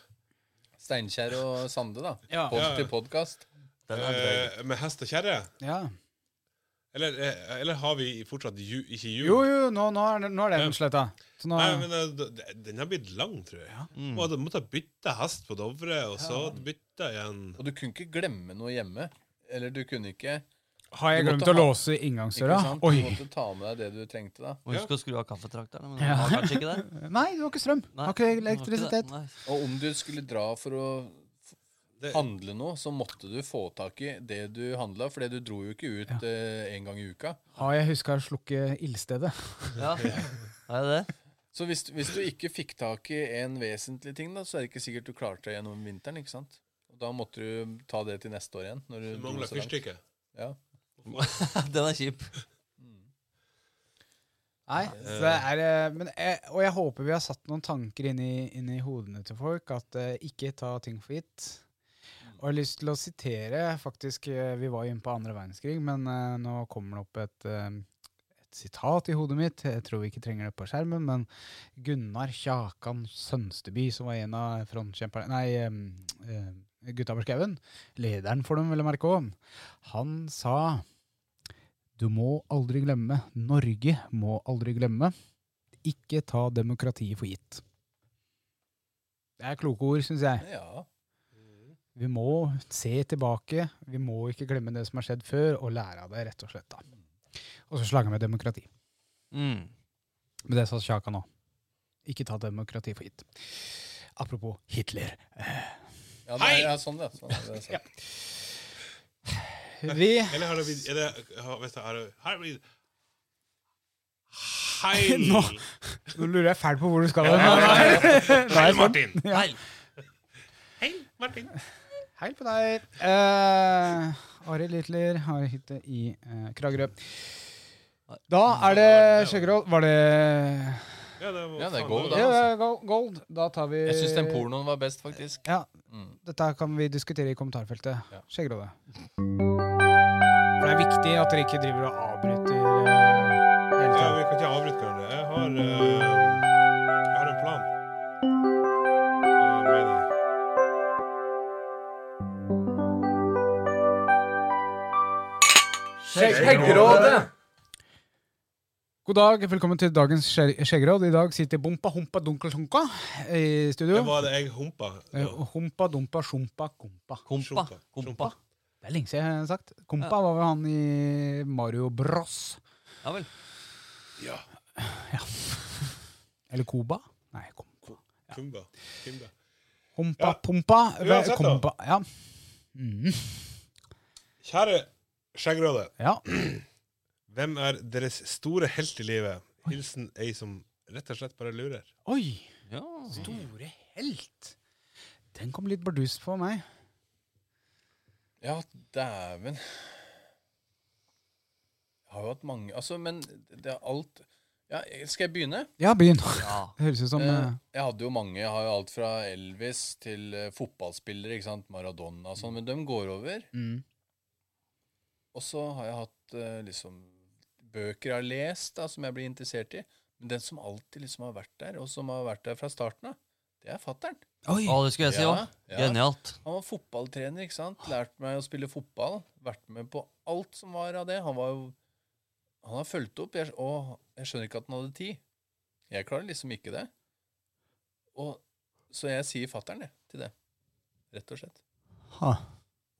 Speaker 6: Steinkjer og Sande, da.
Speaker 2: Ja.
Speaker 6: Pod
Speaker 4: Ja.
Speaker 6: til podkast.
Speaker 3: Den er drøy.
Speaker 4: eh, med hest og kjerre?
Speaker 2: Ja.
Speaker 4: Eller, eh, eller har vi fortsatt ju, ikke jul?
Speaker 2: Jo, jo, nå, nå, er, den- nå er
Speaker 4: Ja.
Speaker 2: den sletta. Så nå,
Speaker 4: Nei, men eh, d- d- Den har blitt lang, tror jeg.
Speaker 3: Mm.
Speaker 4: Og du måtte bytte hest på Dovre, og så bytte igjen.
Speaker 6: Og du kunne ikke glemme noe hjemme. Eller du kunne ikke.
Speaker 2: har jeg
Speaker 6: du
Speaker 2: glemt
Speaker 6: måtte
Speaker 2: å
Speaker 6: ha-
Speaker 2: låse
Speaker 6: ikke
Speaker 2: inngangsdøra?
Speaker 6: sant? Du
Speaker 2: Oi!
Speaker 6: måtte ta med deg det du trengte, da.
Speaker 3: Og husk å skru av kaffetrakteren. Men den var kanskje ikke det?
Speaker 2: Nei, det var ikke strøm.
Speaker 3: Nei,
Speaker 2: Har ikke
Speaker 3: den var ikke det.
Speaker 2: elektrisitet.
Speaker 3: Nei.
Speaker 6: Og om du skulle dra for å
Speaker 4: Det-
Speaker 6: handle noe, så måtte du få tak i det du handla, for du dro jo ikke ut eh, en gang i uka.
Speaker 2: Har jeg huska å slukke ildstedet?
Speaker 3: Ja. Er det det?
Speaker 6: Så hvis, hvis du ikke fikk tak i en vesentlig ting, da, så er det ikke sikkert du klarte deg gjennom vinteren. ikke sant? Og da måtte du ta det til neste år igjen. Når du
Speaker 4: Du
Speaker 6: dro
Speaker 4: mangler
Speaker 6: så langt.
Speaker 4: fyrstikker.
Speaker 6: Ja.
Speaker 3: Den er kjip.
Speaker 2: Nei, så det er, eh, men jeg, og jeg håper vi har satt noen tanker inn i, inn i hodene til folk, at eh, ikke ta ting for gitt. Og jeg har lyst til å sitere, faktisk, eh, vi var jo inne på andre verdenskrig, men eh, nå kommer det opp et, eh, et sitat i hodet mitt, jeg tror vi ikke trenger det på skjermen, men Gunnar Kjakan Sønsteby, som var en av frontkjemperne, nei, eh, eh, gutta på skauen, lederen for dem, vil jeg merke også, han sa... Du må aldri glemme. Norge må aldri glemme. Ikke ta demokratiet for gitt. Det er kloke ord, syns jeg.
Speaker 6: ja.
Speaker 2: Vi må se tilbake. Vi må ikke glemme det som har skjedd før, og lære av det, rett og slett. da. Og så slanger vi demokrati.
Speaker 3: Mm.
Speaker 2: Men det sa Sjaka nå. Ikke ta demokrati for gitt. Apropos Hitler.
Speaker 6: ja det er, ja, sånn, ja. Sånn, er det sagt.
Speaker 2: Vi
Speaker 4: Eller har det blitt er det- har- vet du, har det- Har det blitt
Speaker 2: Nå.
Speaker 4: Hei!
Speaker 2: Nå lurer jeg fælt på hvor du skal. Nei,
Speaker 4: Hei, Martin!
Speaker 3: Nei.
Speaker 2: sånn.
Speaker 4: Hei, Martin!
Speaker 2: Hei på deg. Uh, Arild Hitler har hytte i eh, Kragerø. Da er det Sjøgroll. Var det
Speaker 4: Ja, det, var,
Speaker 6: Ja, det er
Speaker 4: faen,
Speaker 6: god,
Speaker 4: var-
Speaker 6: da.
Speaker 2: Ja, det er go- gold. Da tar vi
Speaker 6: Jeg syns den pornoen var best, faktisk.
Speaker 2: Ja,
Speaker 6: Mm.
Speaker 2: Dette kan vi diskutere i kommentarfeltet.
Speaker 6: Ja.
Speaker 2: Skjeggerådet. For det er viktig at dere ikke driver og avbryter. eh, hele
Speaker 4: Ja,
Speaker 2: tiden.
Speaker 4: vi kan ikke avbryte hverandre. Jeg har, eh, jeg har en plan. Eh, med deg.
Speaker 2: God dag, velkommen til dagens skje- skjeggeråd. I dag sitter Bompa Humpa Dunkel Sjunka i studio.
Speaker 4: Det var det jeg humpa.
Speaker 2: Eh, Humpa Dumpa Sjumpa Kumpa.
Speaker 3: Kompa.
Speaker 4: Sjumpa.
Speaker 3: Kompa.
Speaker 2: Det er lenge siden jeg har sagt. Kompa var vel han i Mario Bros.
Speaker 3: Ja vel.
Speaker 2: Eller Koba? Nei, Kompa.
Speaker 4: Kumba. Kimba.
Speaker 2: Humpa
Speaker 4: Ja.
Speaker 2: Pumpa.
Speaker 4: Uansett da.
Speaker 2: Kompa. Ja. Mhm.
Speaker 4: Kjære Skjeggeråde,
Speaker 2: ja.
Speaker 4: hvem er deres store helt i livet? Hilsen ei som rett og slett bare lurer.
Speaker 2: Oi!
Speaker 3: Ja.
Speaker 2: Store helt. Den kom litt bardust på meg.
Speaker 6: Ja, dæven. Jeg har jo hatt mange Altså, men det er alt ja, Skal jeg begynne?
Speaker 2: Ja, begynn.
Speaker 3: ja.
Speaker 2: Det høres ut som
Speaker 6: Eh,
Speaker 2: eh,
Speaker 6: jeg hadde jo mange. Jeg har jo alt fra Elvis til eh, fotballspillere, ikke sant? Maradona og sånn. Men de går over.
Speaker 2: mm.
Speaker 6: Og så har jeg hatt eh, liksom bøker jeg har lest, da, som jeg blir interessert i. Men den som alltid liksom har vært der, og som har vært der fra starten av, det er fattern.
Speaker 2: Oi!
Speaker 3: Å, det skulle jeg si òg. Genialt.
Speaker 6: Han var fotballtrener, ikke sant? Lært meg å spille fotball. Vært med på alt som var av det. Han var jo Han har fulgt opp. Jeg, og jeg skjønner ikke at han hadde tid. Jeg klarer liksom ikke det. Og, så jeg sier fatter'n, jeg, til det. Rett og slett.
Speaker 2: Ha.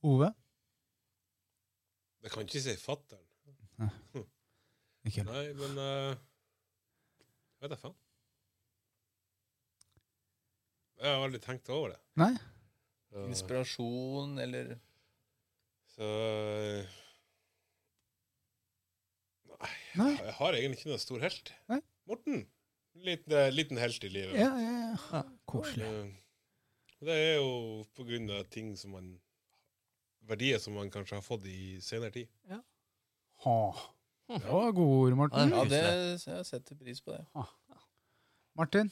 Speaker 2: Ove?
Speaker 4: Jeg kan ikke si fatter'n.
Speaker 2: Ikke heller.
Speaker 4: Nei, men eh, Vet jeg faen. Jeg har aldri tenkt over det. Eh,
Speaker 2: Nei?
Speaker 4: Så,
Speaker 6: Inspirasjon eller
Speaker 4: så eh,
Speaker 2: Nei?
Speaker 4: Jeg har egentlig ikke noen stor helt.
Speaker 2: Nei.
Speaker 4: Morten. Liten, eh, liten helt i livet.
Speaker 2: Ja, ja, ja. Koselig.
Speaker 4: Eh, og Det er jo på grunn av ting som man Verdier som man kanskje har fått i senere tid.
Speaker 2: Ha. Det var gode ord, Morten.
Speaker 6: Ja,
Speaker 3: Koselig.
Speaker 6: det, jeg setter pris på det.
Speaker 2: Martin?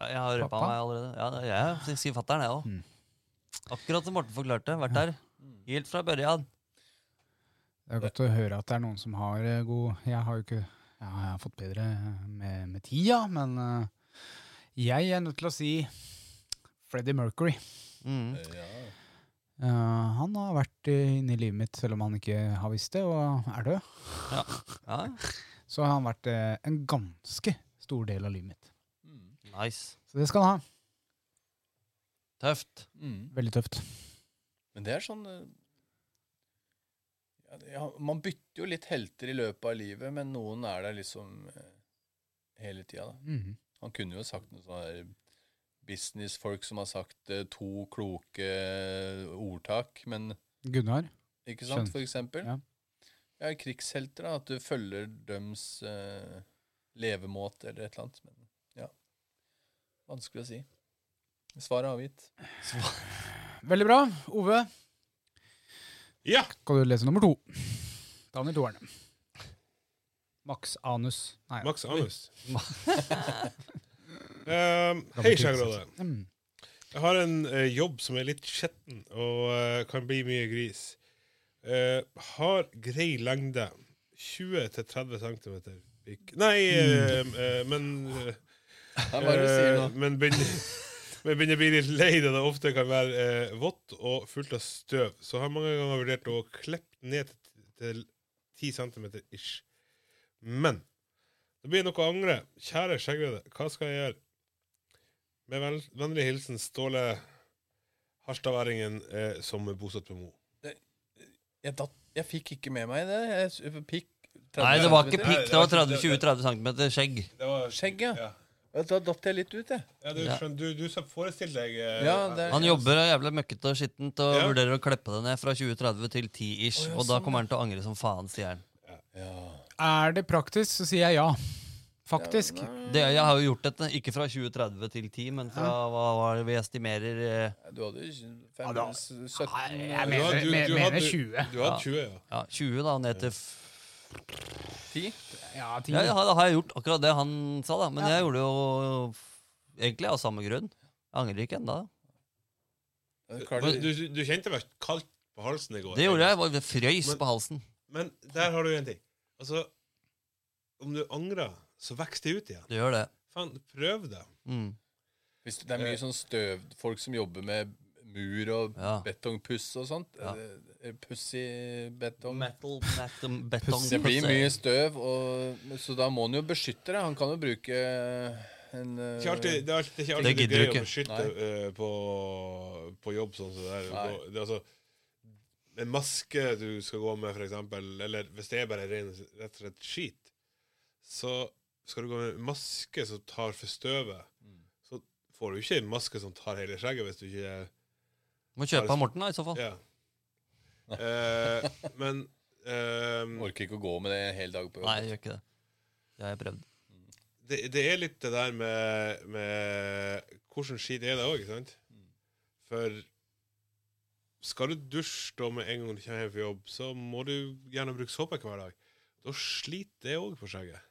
Speaker 3: Ja, jeg har røpa
Speaker 2: Pappa?
Speaker 3: meg allerede. Ja, det er jeg jeg sier fatter'n, jeg òg. Akkurat som Morten forklarte. Vært der helt fra børjan.
Speaker 2: Det er godt å høre at det er noen som har eh, god Jeg har jo ikke ja, jeg har fått bedre eh, med, med tida, men eh, jeg er nødt til å si Freddie Mercury.
Speaker 3: Mm.
Speaker 6: Ja.
Speaker 2: Eh, han har vært eh, inne i livet mitt selv om han ikke har visst det, og er død.
Speaker 3: Ja,
Speaker 2: Så har han vært eh, en ganske stor del av livet mitt.
Speaker 6: Mm.
Speaker 3: nice.
Speaker 2: Så det skal han ha.
Speaker 3: Tøft.
Speaker 6: Mm.
Speaker 2: Veldig tøft.
Speaker 6: Men det er sånn eh, ja, det- ja, Man bytter jo litt helter i løpet av livet, men noen er der liksom eh, hele tida, da.
Speaker 2: Mhm.
Speaker 6: Han kunne jo sagt noe sånn her businessfolk som har sagt eh, to kloke eh, ordtak, men
Speaker 2: Gunnar?
Speaker 6: ikke
Speaker 2: Skjønt.
Speaker 6: sant, for eksempel.
Speaker 2: Ja.
Speaker 6: Ja, krigshelter, da, at du følger døms eh, levemåte eller et eller annet. Men ja, vanskelig å si. Svaret er avgitt.
Speaker 2: Veldig bra. Ove,
Speaker 4: Ja!
Speaker 2: skal du lese nummer to? Daniel Toerne. Max Anus. Nei,
Speaker 4: Max Anus. um, hei, Skjægråde.
Speaker 2: Mm.
Speaker 4: Jeg har en eh, jobb som er litt skjetten og eh, kan bli mye gris. Eh, har grei lengde. 20-30 cm. Nei, eh, eh, men eh,
Speaker 6: Ja, hva er det du sier nå?
Speaker 4: Eh, Men begynner, men begynner å bli litt lei da det ofte kan være eh, vått og fullt av støv. Så har jeg mange ganger vurdert å klippe ned til 10 cm ish. Men det blir noe å angre. Kjære skjeggrøde, hva skal jeg gjøre? Med vel, vennlig hilsen Ståle Harstadværingen eh, som er bosatt på Mo.
Speaker 6: Jeg, datt, jeg fikk ikke med meg det. Jeg, s- pikk, 30
Speaker 3: Nei, det var
Speaker 6: centimeter.
Speaker 3: ikke pikk. Det var 30 20-30 cm skjegg.
Speaker 4: Det var
Speaker 6: Skjegg, ja.
Speaker 4: Ja.
Speaker 6: Ja, Da datt jeg litt ut, jeg.
Speaker 4: Ja, du,
Speaker 3: Ja.
Speaker 4: skjønner, du, du skal forestille deg eh,
Speaker 6: Ja, det-
Speaker 3: Han jobber og er jævlig møkkete og skittent og
Speaker 4: Ja.
Speaker 3: vurderer å kleppe det ned fra 20-30 til 10 ish.
Speaker 6: Å, ja,
Speaker 3: Og da
Speaker 6: sånn,
Speaker 3: kommer han til å angre som faen, sier han.
Speaker 2: Er det praktisk, så sier jeg ja. Faktisk.
Speaker 3: Det, jeg har jo gjort dette, ikke fra 20-30 til 10, men fra hva var det vi estimerer eh,
Speaker 6: Du hadde jo
Speaker 2: Ja, da-
Speaker 6: 5, 17
Speaker 2: jeg
Speaker 4: Du har-
Speaker 2: mener,
Speaker 4: du-
Speaker 2: me-
Speaker 4: du
Speaker 2: mener
Speaker 4: hadde-
Speaker 2: 20.
Speaker 4: Du hadde 20, ja.
Speaker 3: ja, 20 da, ned til f-
Speaker 6: 10.
Speaker 2: Ja, ting.
Speaker 3: Ja, ja, da har jeg gjort akkurat det han sa, da. Men jeg gjorde det jo egentlig av samme grunn. Jeg angrer ikke ennå.
Speaker 4: Men
Speaker 6: Klarer
Speaker 4: du,
Speaker 6: du
Speaker 4: du, du kjente det var kaldt på halsen i går.
Speaker 3: Det gjorde jeg. var- Det frøys
Speaker 4: Men-
Speaker 3: på halsen.
Speaker 4: Men der har du en ting. Altså, om du angrer, så vokser det ut igjen.
Speaker 3: Du gjør det.
Speaker 4: Faen, prøv det.
Speaker 3: Mm.
Speaker 6: Hvis det
Speaker 4: Eh.
Speaker 6: det er mye sånn støv Folk som jobber med mur og
Speaker 3: Ja.
Speaker 6: betongpuss og sånt.
Speaker 3: Ja.
Speaker 6: eh, Pussy-betong.
Speaker 3: Metal, metal, betong,
Speaker 6: Det blir mye støv, og, så da må han jo beskytte det. Han kan jo bruke en eh,
Speaker 4: Ikke alltid, det er alltid,
Speaker 3: Det
Speaker 4: ikke alltid
Speaker 3: gidder
Speaker 4: gøy
Speaker 3: du ikke.
Speaker 4: å beskytte eh, på, på jobb sånn som det der.
Speaker 6: Nei.
Speaker 4: Gå- Det, er altså, en maske du skal gå med, for eksempel, eller hvis det er bare ren, rett og slett skit, så skal du gå med en maske som tar for støvet, så får du ikke en maske som tar hele skjegget hvis du ikke er
Speaker 3: Må kjøpe av Morten, da, i så fall.
Speaker 4: Ja. Eh, men ehm,
Speaker 6: Orker ikke å gå med det en hel dag på
Speaker 3: Nei,
Speaker 6: jobb.
Speaker 3: jeg gjør ikke det. Det har jeg prøvd.
Speaker 4: det, det er litt det der med, med Hvordan skit er det òg, ikke sant? For skal du dusje da med en gang du kommer hjem fra jobb, så må du gjerne bruke såpe hver dag. Da sliter det òg på skjegget.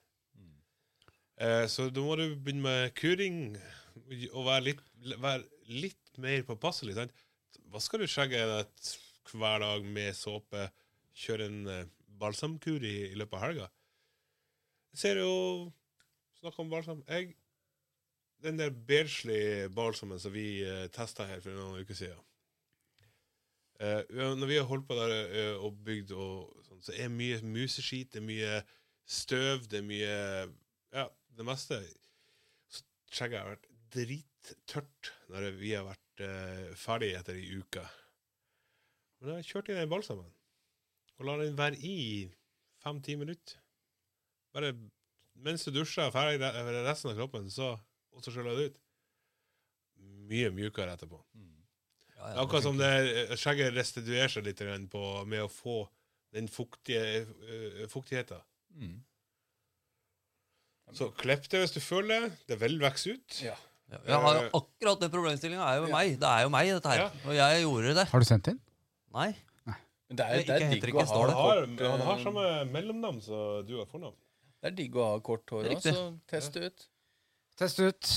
Speaker 4: Eh, så da må du begynne med kuring og være litt, være litt mer påpasselig. Sant? Vasker du skjegget ditt hver dag med såpe kjøre en eh, balsamkur i, i løpet av helga. Ser jo Snakk om balsam. Jeg, den der beige balsamen som vi uh, testa her for noen uker siden Eh, vi har- Når vi har holdt på der eh, og bygd, og sånn, så er mye museskit, det er mye støv, det er mye Ja, det meste. Så skjegget har vært drittørt når vi har vært eh, ferdig etter ei uke. Men jeg kjørte inn den balsamen og la den være i fem-ti minutter. Bare mens du dusjer ferdig re- eller resten av kroppen, så, og så skyller du ut. Mye mjukere etterpå.
Speaker 3: Ja, ja,
Speaker 4: Det er Akkurat som det er- skjegget restituerer seg litt grann på med å få den fuktige eh, fuktigheten.
Speaker 6: Mm.
Speaker 4: Så klipp det hvis du føler det. Det vil vokse ut.
Speaker 6: Ja.
Speaker 3: Ja, Jeg har jo akkurat den problemstillinga. er jo meg. Det er jo meg, dette her. Og jeg gjorde det.
Speaker 2: Har du sendt inn?
Speaker 3: Nei.
Speaker 6: Men det er,
Speaker 3: Ikke
Speaker 6: det er
Speaker 3: heter
Speaker 6: digg
Speaker 3: ikke
Speaker 6: å ha
Speaker 3: Ståle.
Speaker 4: Han har,
Speaker 6: kort,
Speaker 4: han har sånn-
Speaker 6: eh,
Speaker 4: samme mellomnavn som du har fornavn.
Speaker 6: Det er digg å ha kort hår òg,
Speaker 3: Riktig.
Speaker 6: så test det ut.
Speaker 2: Test ut.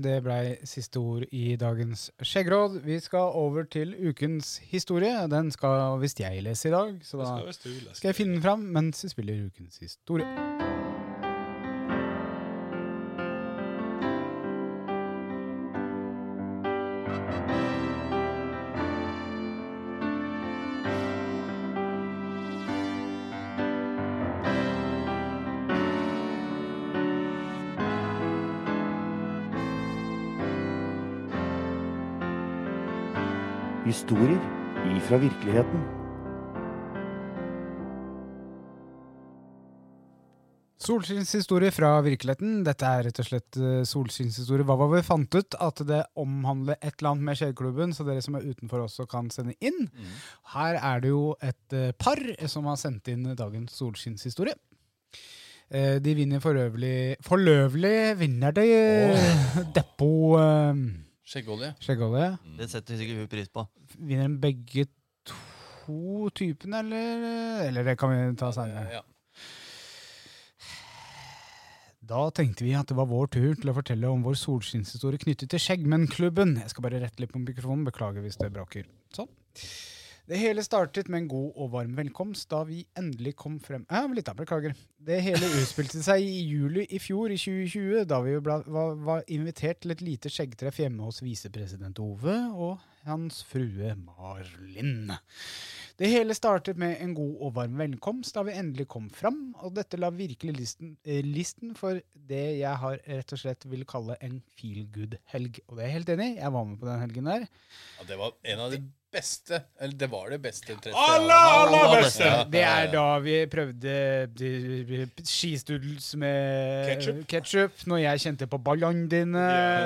Speaker 2: Det blei siste ord i dagens skjeggråd. Vi skal over til ukens historie. Den skal visst jeg lese i dag, så
Speaker 4: Det
Speaker 2: da
Speaker 4: skal være støvløst.
Speaker 2: skal jeg finne den fram mens vi spiller ukens historie.
Speaker 5: Historier ifra virkeligheten.
Speaker 2: Solskinnshistorie fra virkeligheten. Dette er rett og slett eh, solskinnshistorie. Hva var vi fant ut? At det omhandler et eller annet med Skjeggklubben, så dere som er utenfor også kan sende inn. Her er det jo et eh, par som har sendt inn dagens solskinnshistorie. Eh, De vinner forøvelig Forløvelig vinner de eh, Depot eh,
Speaker 6: Skjeggolje.
Speaker 2: skjeggolje.
Speaker 3: Det setter sikkert hun pris på.
Speaker 2: Vinner de begge to typene, eller? Eller det kan vi ta senere.
Speaker 6: Ja.
Speaker 2: Da tenkte vi at det var vår tur til å fortelle om vår solskinnshistorie knyttet til Skjeggmennklubben. Jeg skal bare rette litt på mikrofonen. Beklager hvis det braker. Sånn. Det hele startet med en god og varm velkomst da vi endelig kom frem Ja, litt av, beklager. Det hele utspilte seg i juli i fjor, i 2020, da vi jo bla, var, var invitert til et lite skjeggtreff hjemme hos visepresident Ove og hans frue Marlin. Det hele startet med en god og varm velkomst da vi endelig kom fram, og dette la virkelig listen, eh, listen for det jeg har rett og slett vil kalle en feel good-helg. Og det er jeg helt enig i. Jeg var med på den helgen der.
Speaker 6: ja, det var en av de beste Eller det var det beste treffet.
Speaker 4: Aller, aller beste!
Speaker 6: Ja.
Speaker 2: Det er da vi prøvde eh, skistudels med
Speaker 4: Ketchup.
Speaker 2: ketsjup, når jeg kjente på ballene dine.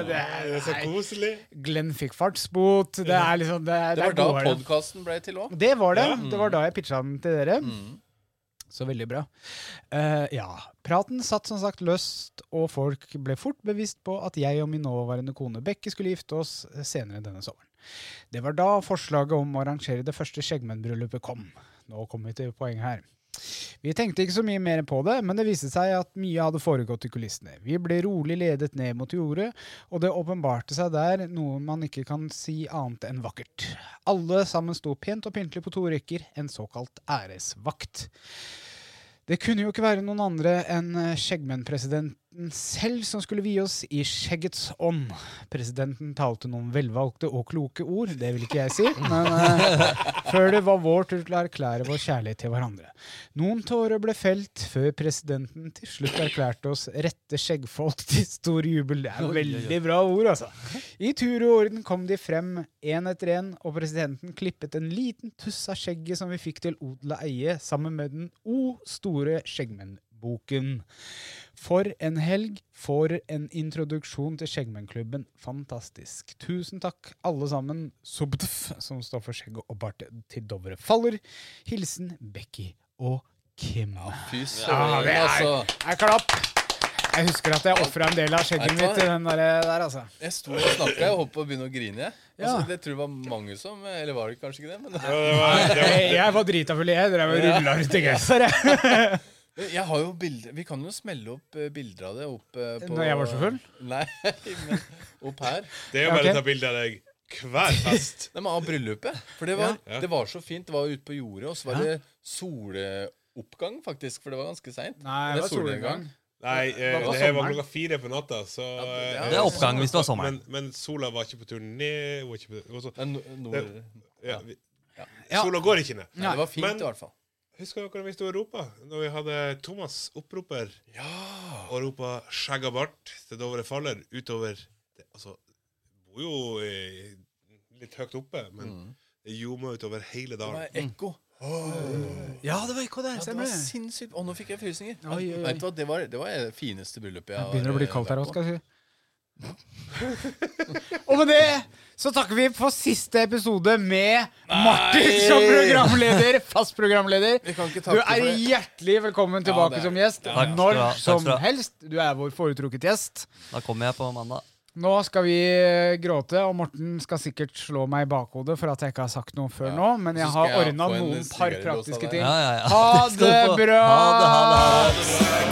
Speaker 2: Det er,
Speaker 4: det er så koselig.
Speaker 2: Glenn fikk fartsbot. Det er liksom Det, er-
Speaker 6: Det var
Speaker 2: er
Speaker 6: da
Speaker 2: gode helg.
Speaker 6: podkasten ble til òg.
Speaker 2: Det var det.
Speaker 4: Ja.
Speaker 2: Det var da jeg pitcha den til dere. Mm. Så veldig bra. Eh, ja. Praten satt som sagt løst, og folk ble fort bevisst på at jeg og min nåværende kone Bekke skulle gifte oss senere denne sommeren. Det var da forslaget om å arrangere det første Skjeggmennbryllupet kom. Nå kommer vi til poenget her. Vi tenkte ikke så mye mer på det, men det viste seg at mye hadde foregått i kulissene. Vi ble rolig ledet ned mot jordet, og det åpenbarte seg der noe man ikke kan si annet enn vakkert. Alle sammen sto pent og pyntelig på to rekker, en såkalt æresvakt. Det kunne jo ikke være noen andre enn eh, skjeggmennpresidenten selv som skulle vie oss i skjeggets ånd. Presidenten talte noen velvalgte og kloke ord, det vil ikke jeg si, men eh, før det var vår tur til å erklære vår kjærlighet til hverandre. Noen tårer ble felt før presidenten til slutt erklærte oss rette skjeggfolk til stor jubel. Det er veldig bra ord, altså. I tur og orden kom de frem én etter én, og presidenten klippet en liten tuss av skjegget som vi fikk til odel og eie, sammen med den O store skjeggmennboken. For en helg, for en introduksjon til Skjeggmennklubben. Fantastisk. Tusen takk, alle sammen. Subdf, som står for skjegg og bart til Dovre faller. Hilsen Becky og Kim.
Speaker 6: Fy
Speaker 2: Ja,
Speaker 6: søren,
Speaker 2: det er,
Speaker 6: altså.
Speaker 2: er klapp! Jeg husker at jeg ofra en del av skjegget mitt til den der, der altså.
Speaker 6: Jeg sto og snakka og holdt på å begynne å grine. jeg.
Speaker 2: Ja.
Speaker 6: Altså, det tror jeg var mange som Eller var det kanskje ikke det? Men
Speaker 4: Ja, det var, det var,
Speaker 2: Jeg, jeg var drita full, jeg. Drev og rulla rundt i gresset jeg.
Speaker 6: Jeg har jo bilder Vi kan jo smelle opp eh, bilder av det opp eh, på
Speaker 2: Når jeg var så full?
Speaker 6: Nei, men opp her.
Speaker 4: det er jo
Speaker 2: Ja,
Speaker 4: bare
Speaker 2: ok.
Speaker 4: å ta bilde av deg hver fest.
Speaker 6: Nei, men av bryllupet. For det var,
Speaker 4: Ja.
Speaker 6: det var så fint. Det var ute på jordet, og så var det soloppgang, faktisk, for det var ganske seint.
Speaker 2: Nei, det var solnedgang.
Speaker 4: Nei, eh,
Speaker 2: Det var
Speaker 4: det her var
Speaker 2: sommeren.
Speaker 4: klokka fire på natta, så
Speaker 6: Ja,
Speaker 4: eh,
Speaker 3: Det er oppgang hvis det var
Speaker 2: Oh
Speaker 3: sommeren.
Speaker 4: Men, men sola var ikke på tur ned. Hun var ikke på, hun var så-
Speaker 6: Men no- nord...
Speaker 4: ja, vi,
Speaker 2: Ja.
Speaker 4: Sola går ikke ned.
Speaker 6: Nei, det var fint,
Speaker 4: Men-
Speaker 6: i hvert fall.
Speaker 4: Husker dere hvis du ropa når vi hadde Thomas opproper og ropa 'skjegg og bart' til Dovre faller utover det, Altså, bor jo eh, litt høyt oppe, men
Speaker 2: Mm.
Speaker 4: det ljoma utover hele
Speaker 6: Det
Speaker 4: dalen.
Speaker 6: var ekko.
Speaker 2: Ja, det var ikke det.
Speaker 6: Ja, det
Speaker 2: Stemmer
Speaker 6: var
Speaker 2: det.
Speaker 6: sinnssykt. Å, nå fikk jeg frysninger.
Speaker 2: Oi, oi, oi.
Speaker 6: Vet du hva, det var det var det fineste bryllupet jeg
Speaker 2: Det
Speaker 6: har
Speaker 2: begynner å bli
Speaker 6: eh,
Speaker 2: kaldt her
Speaker 6: vært
Speaker 2: òg,
Speaker 6: på.
Speaker 2: skal jeg si. Og med det så takker vi for siste episode med Martin som programleder, fast programleder.
Speaker 6: Vi kan ikke
Speaker 2: Du er
Speaker 6: takke for det.
Speaker 2: hjertelig velkommen
Speaker 6: Ja,
Speaker 2: tilbake
Speaker 6: det er-
Speaker 2: som gjest
Speaker 6: ja,
Speaker 3: ja.
Speaker 2: når
Speaker 3: Takk skal du ha. Takk skal
Speaker 2: som
Speaker 3: du ha.
Speaker 2: helst. Du er vår foretrukket gjest.
Speaker 3: Da kommer jeg på mandag.
Speaker 2: Nå skal vi eh, gråte, og Morten skal sikkert slå meg i bakhodet for at jeg ikke har sagt noe før
Speaker 6: Ja.
Speaker 2: nå, men
Speaker 6: Så
Speaker 2: jeg
Speaker 6: skal
Speaker 2: har
Speaker 6: jeg
Speaker 2: ordna
Speaker 6: få en
Speaker 2: noen par
Speaker 6: sigarillos av
Speaker 2: praktiske
Speaker 6: deg.
Speaker 2: ting.
Speaker 3: Ja, ja, ja.
Speaker 2: Ha
Speaker 3: skal du
Speaker 2: det
Speaker 3: få.
Speaker 2: bra!
Speaker 3: Ha det, ha det.
Speaker 1: Seg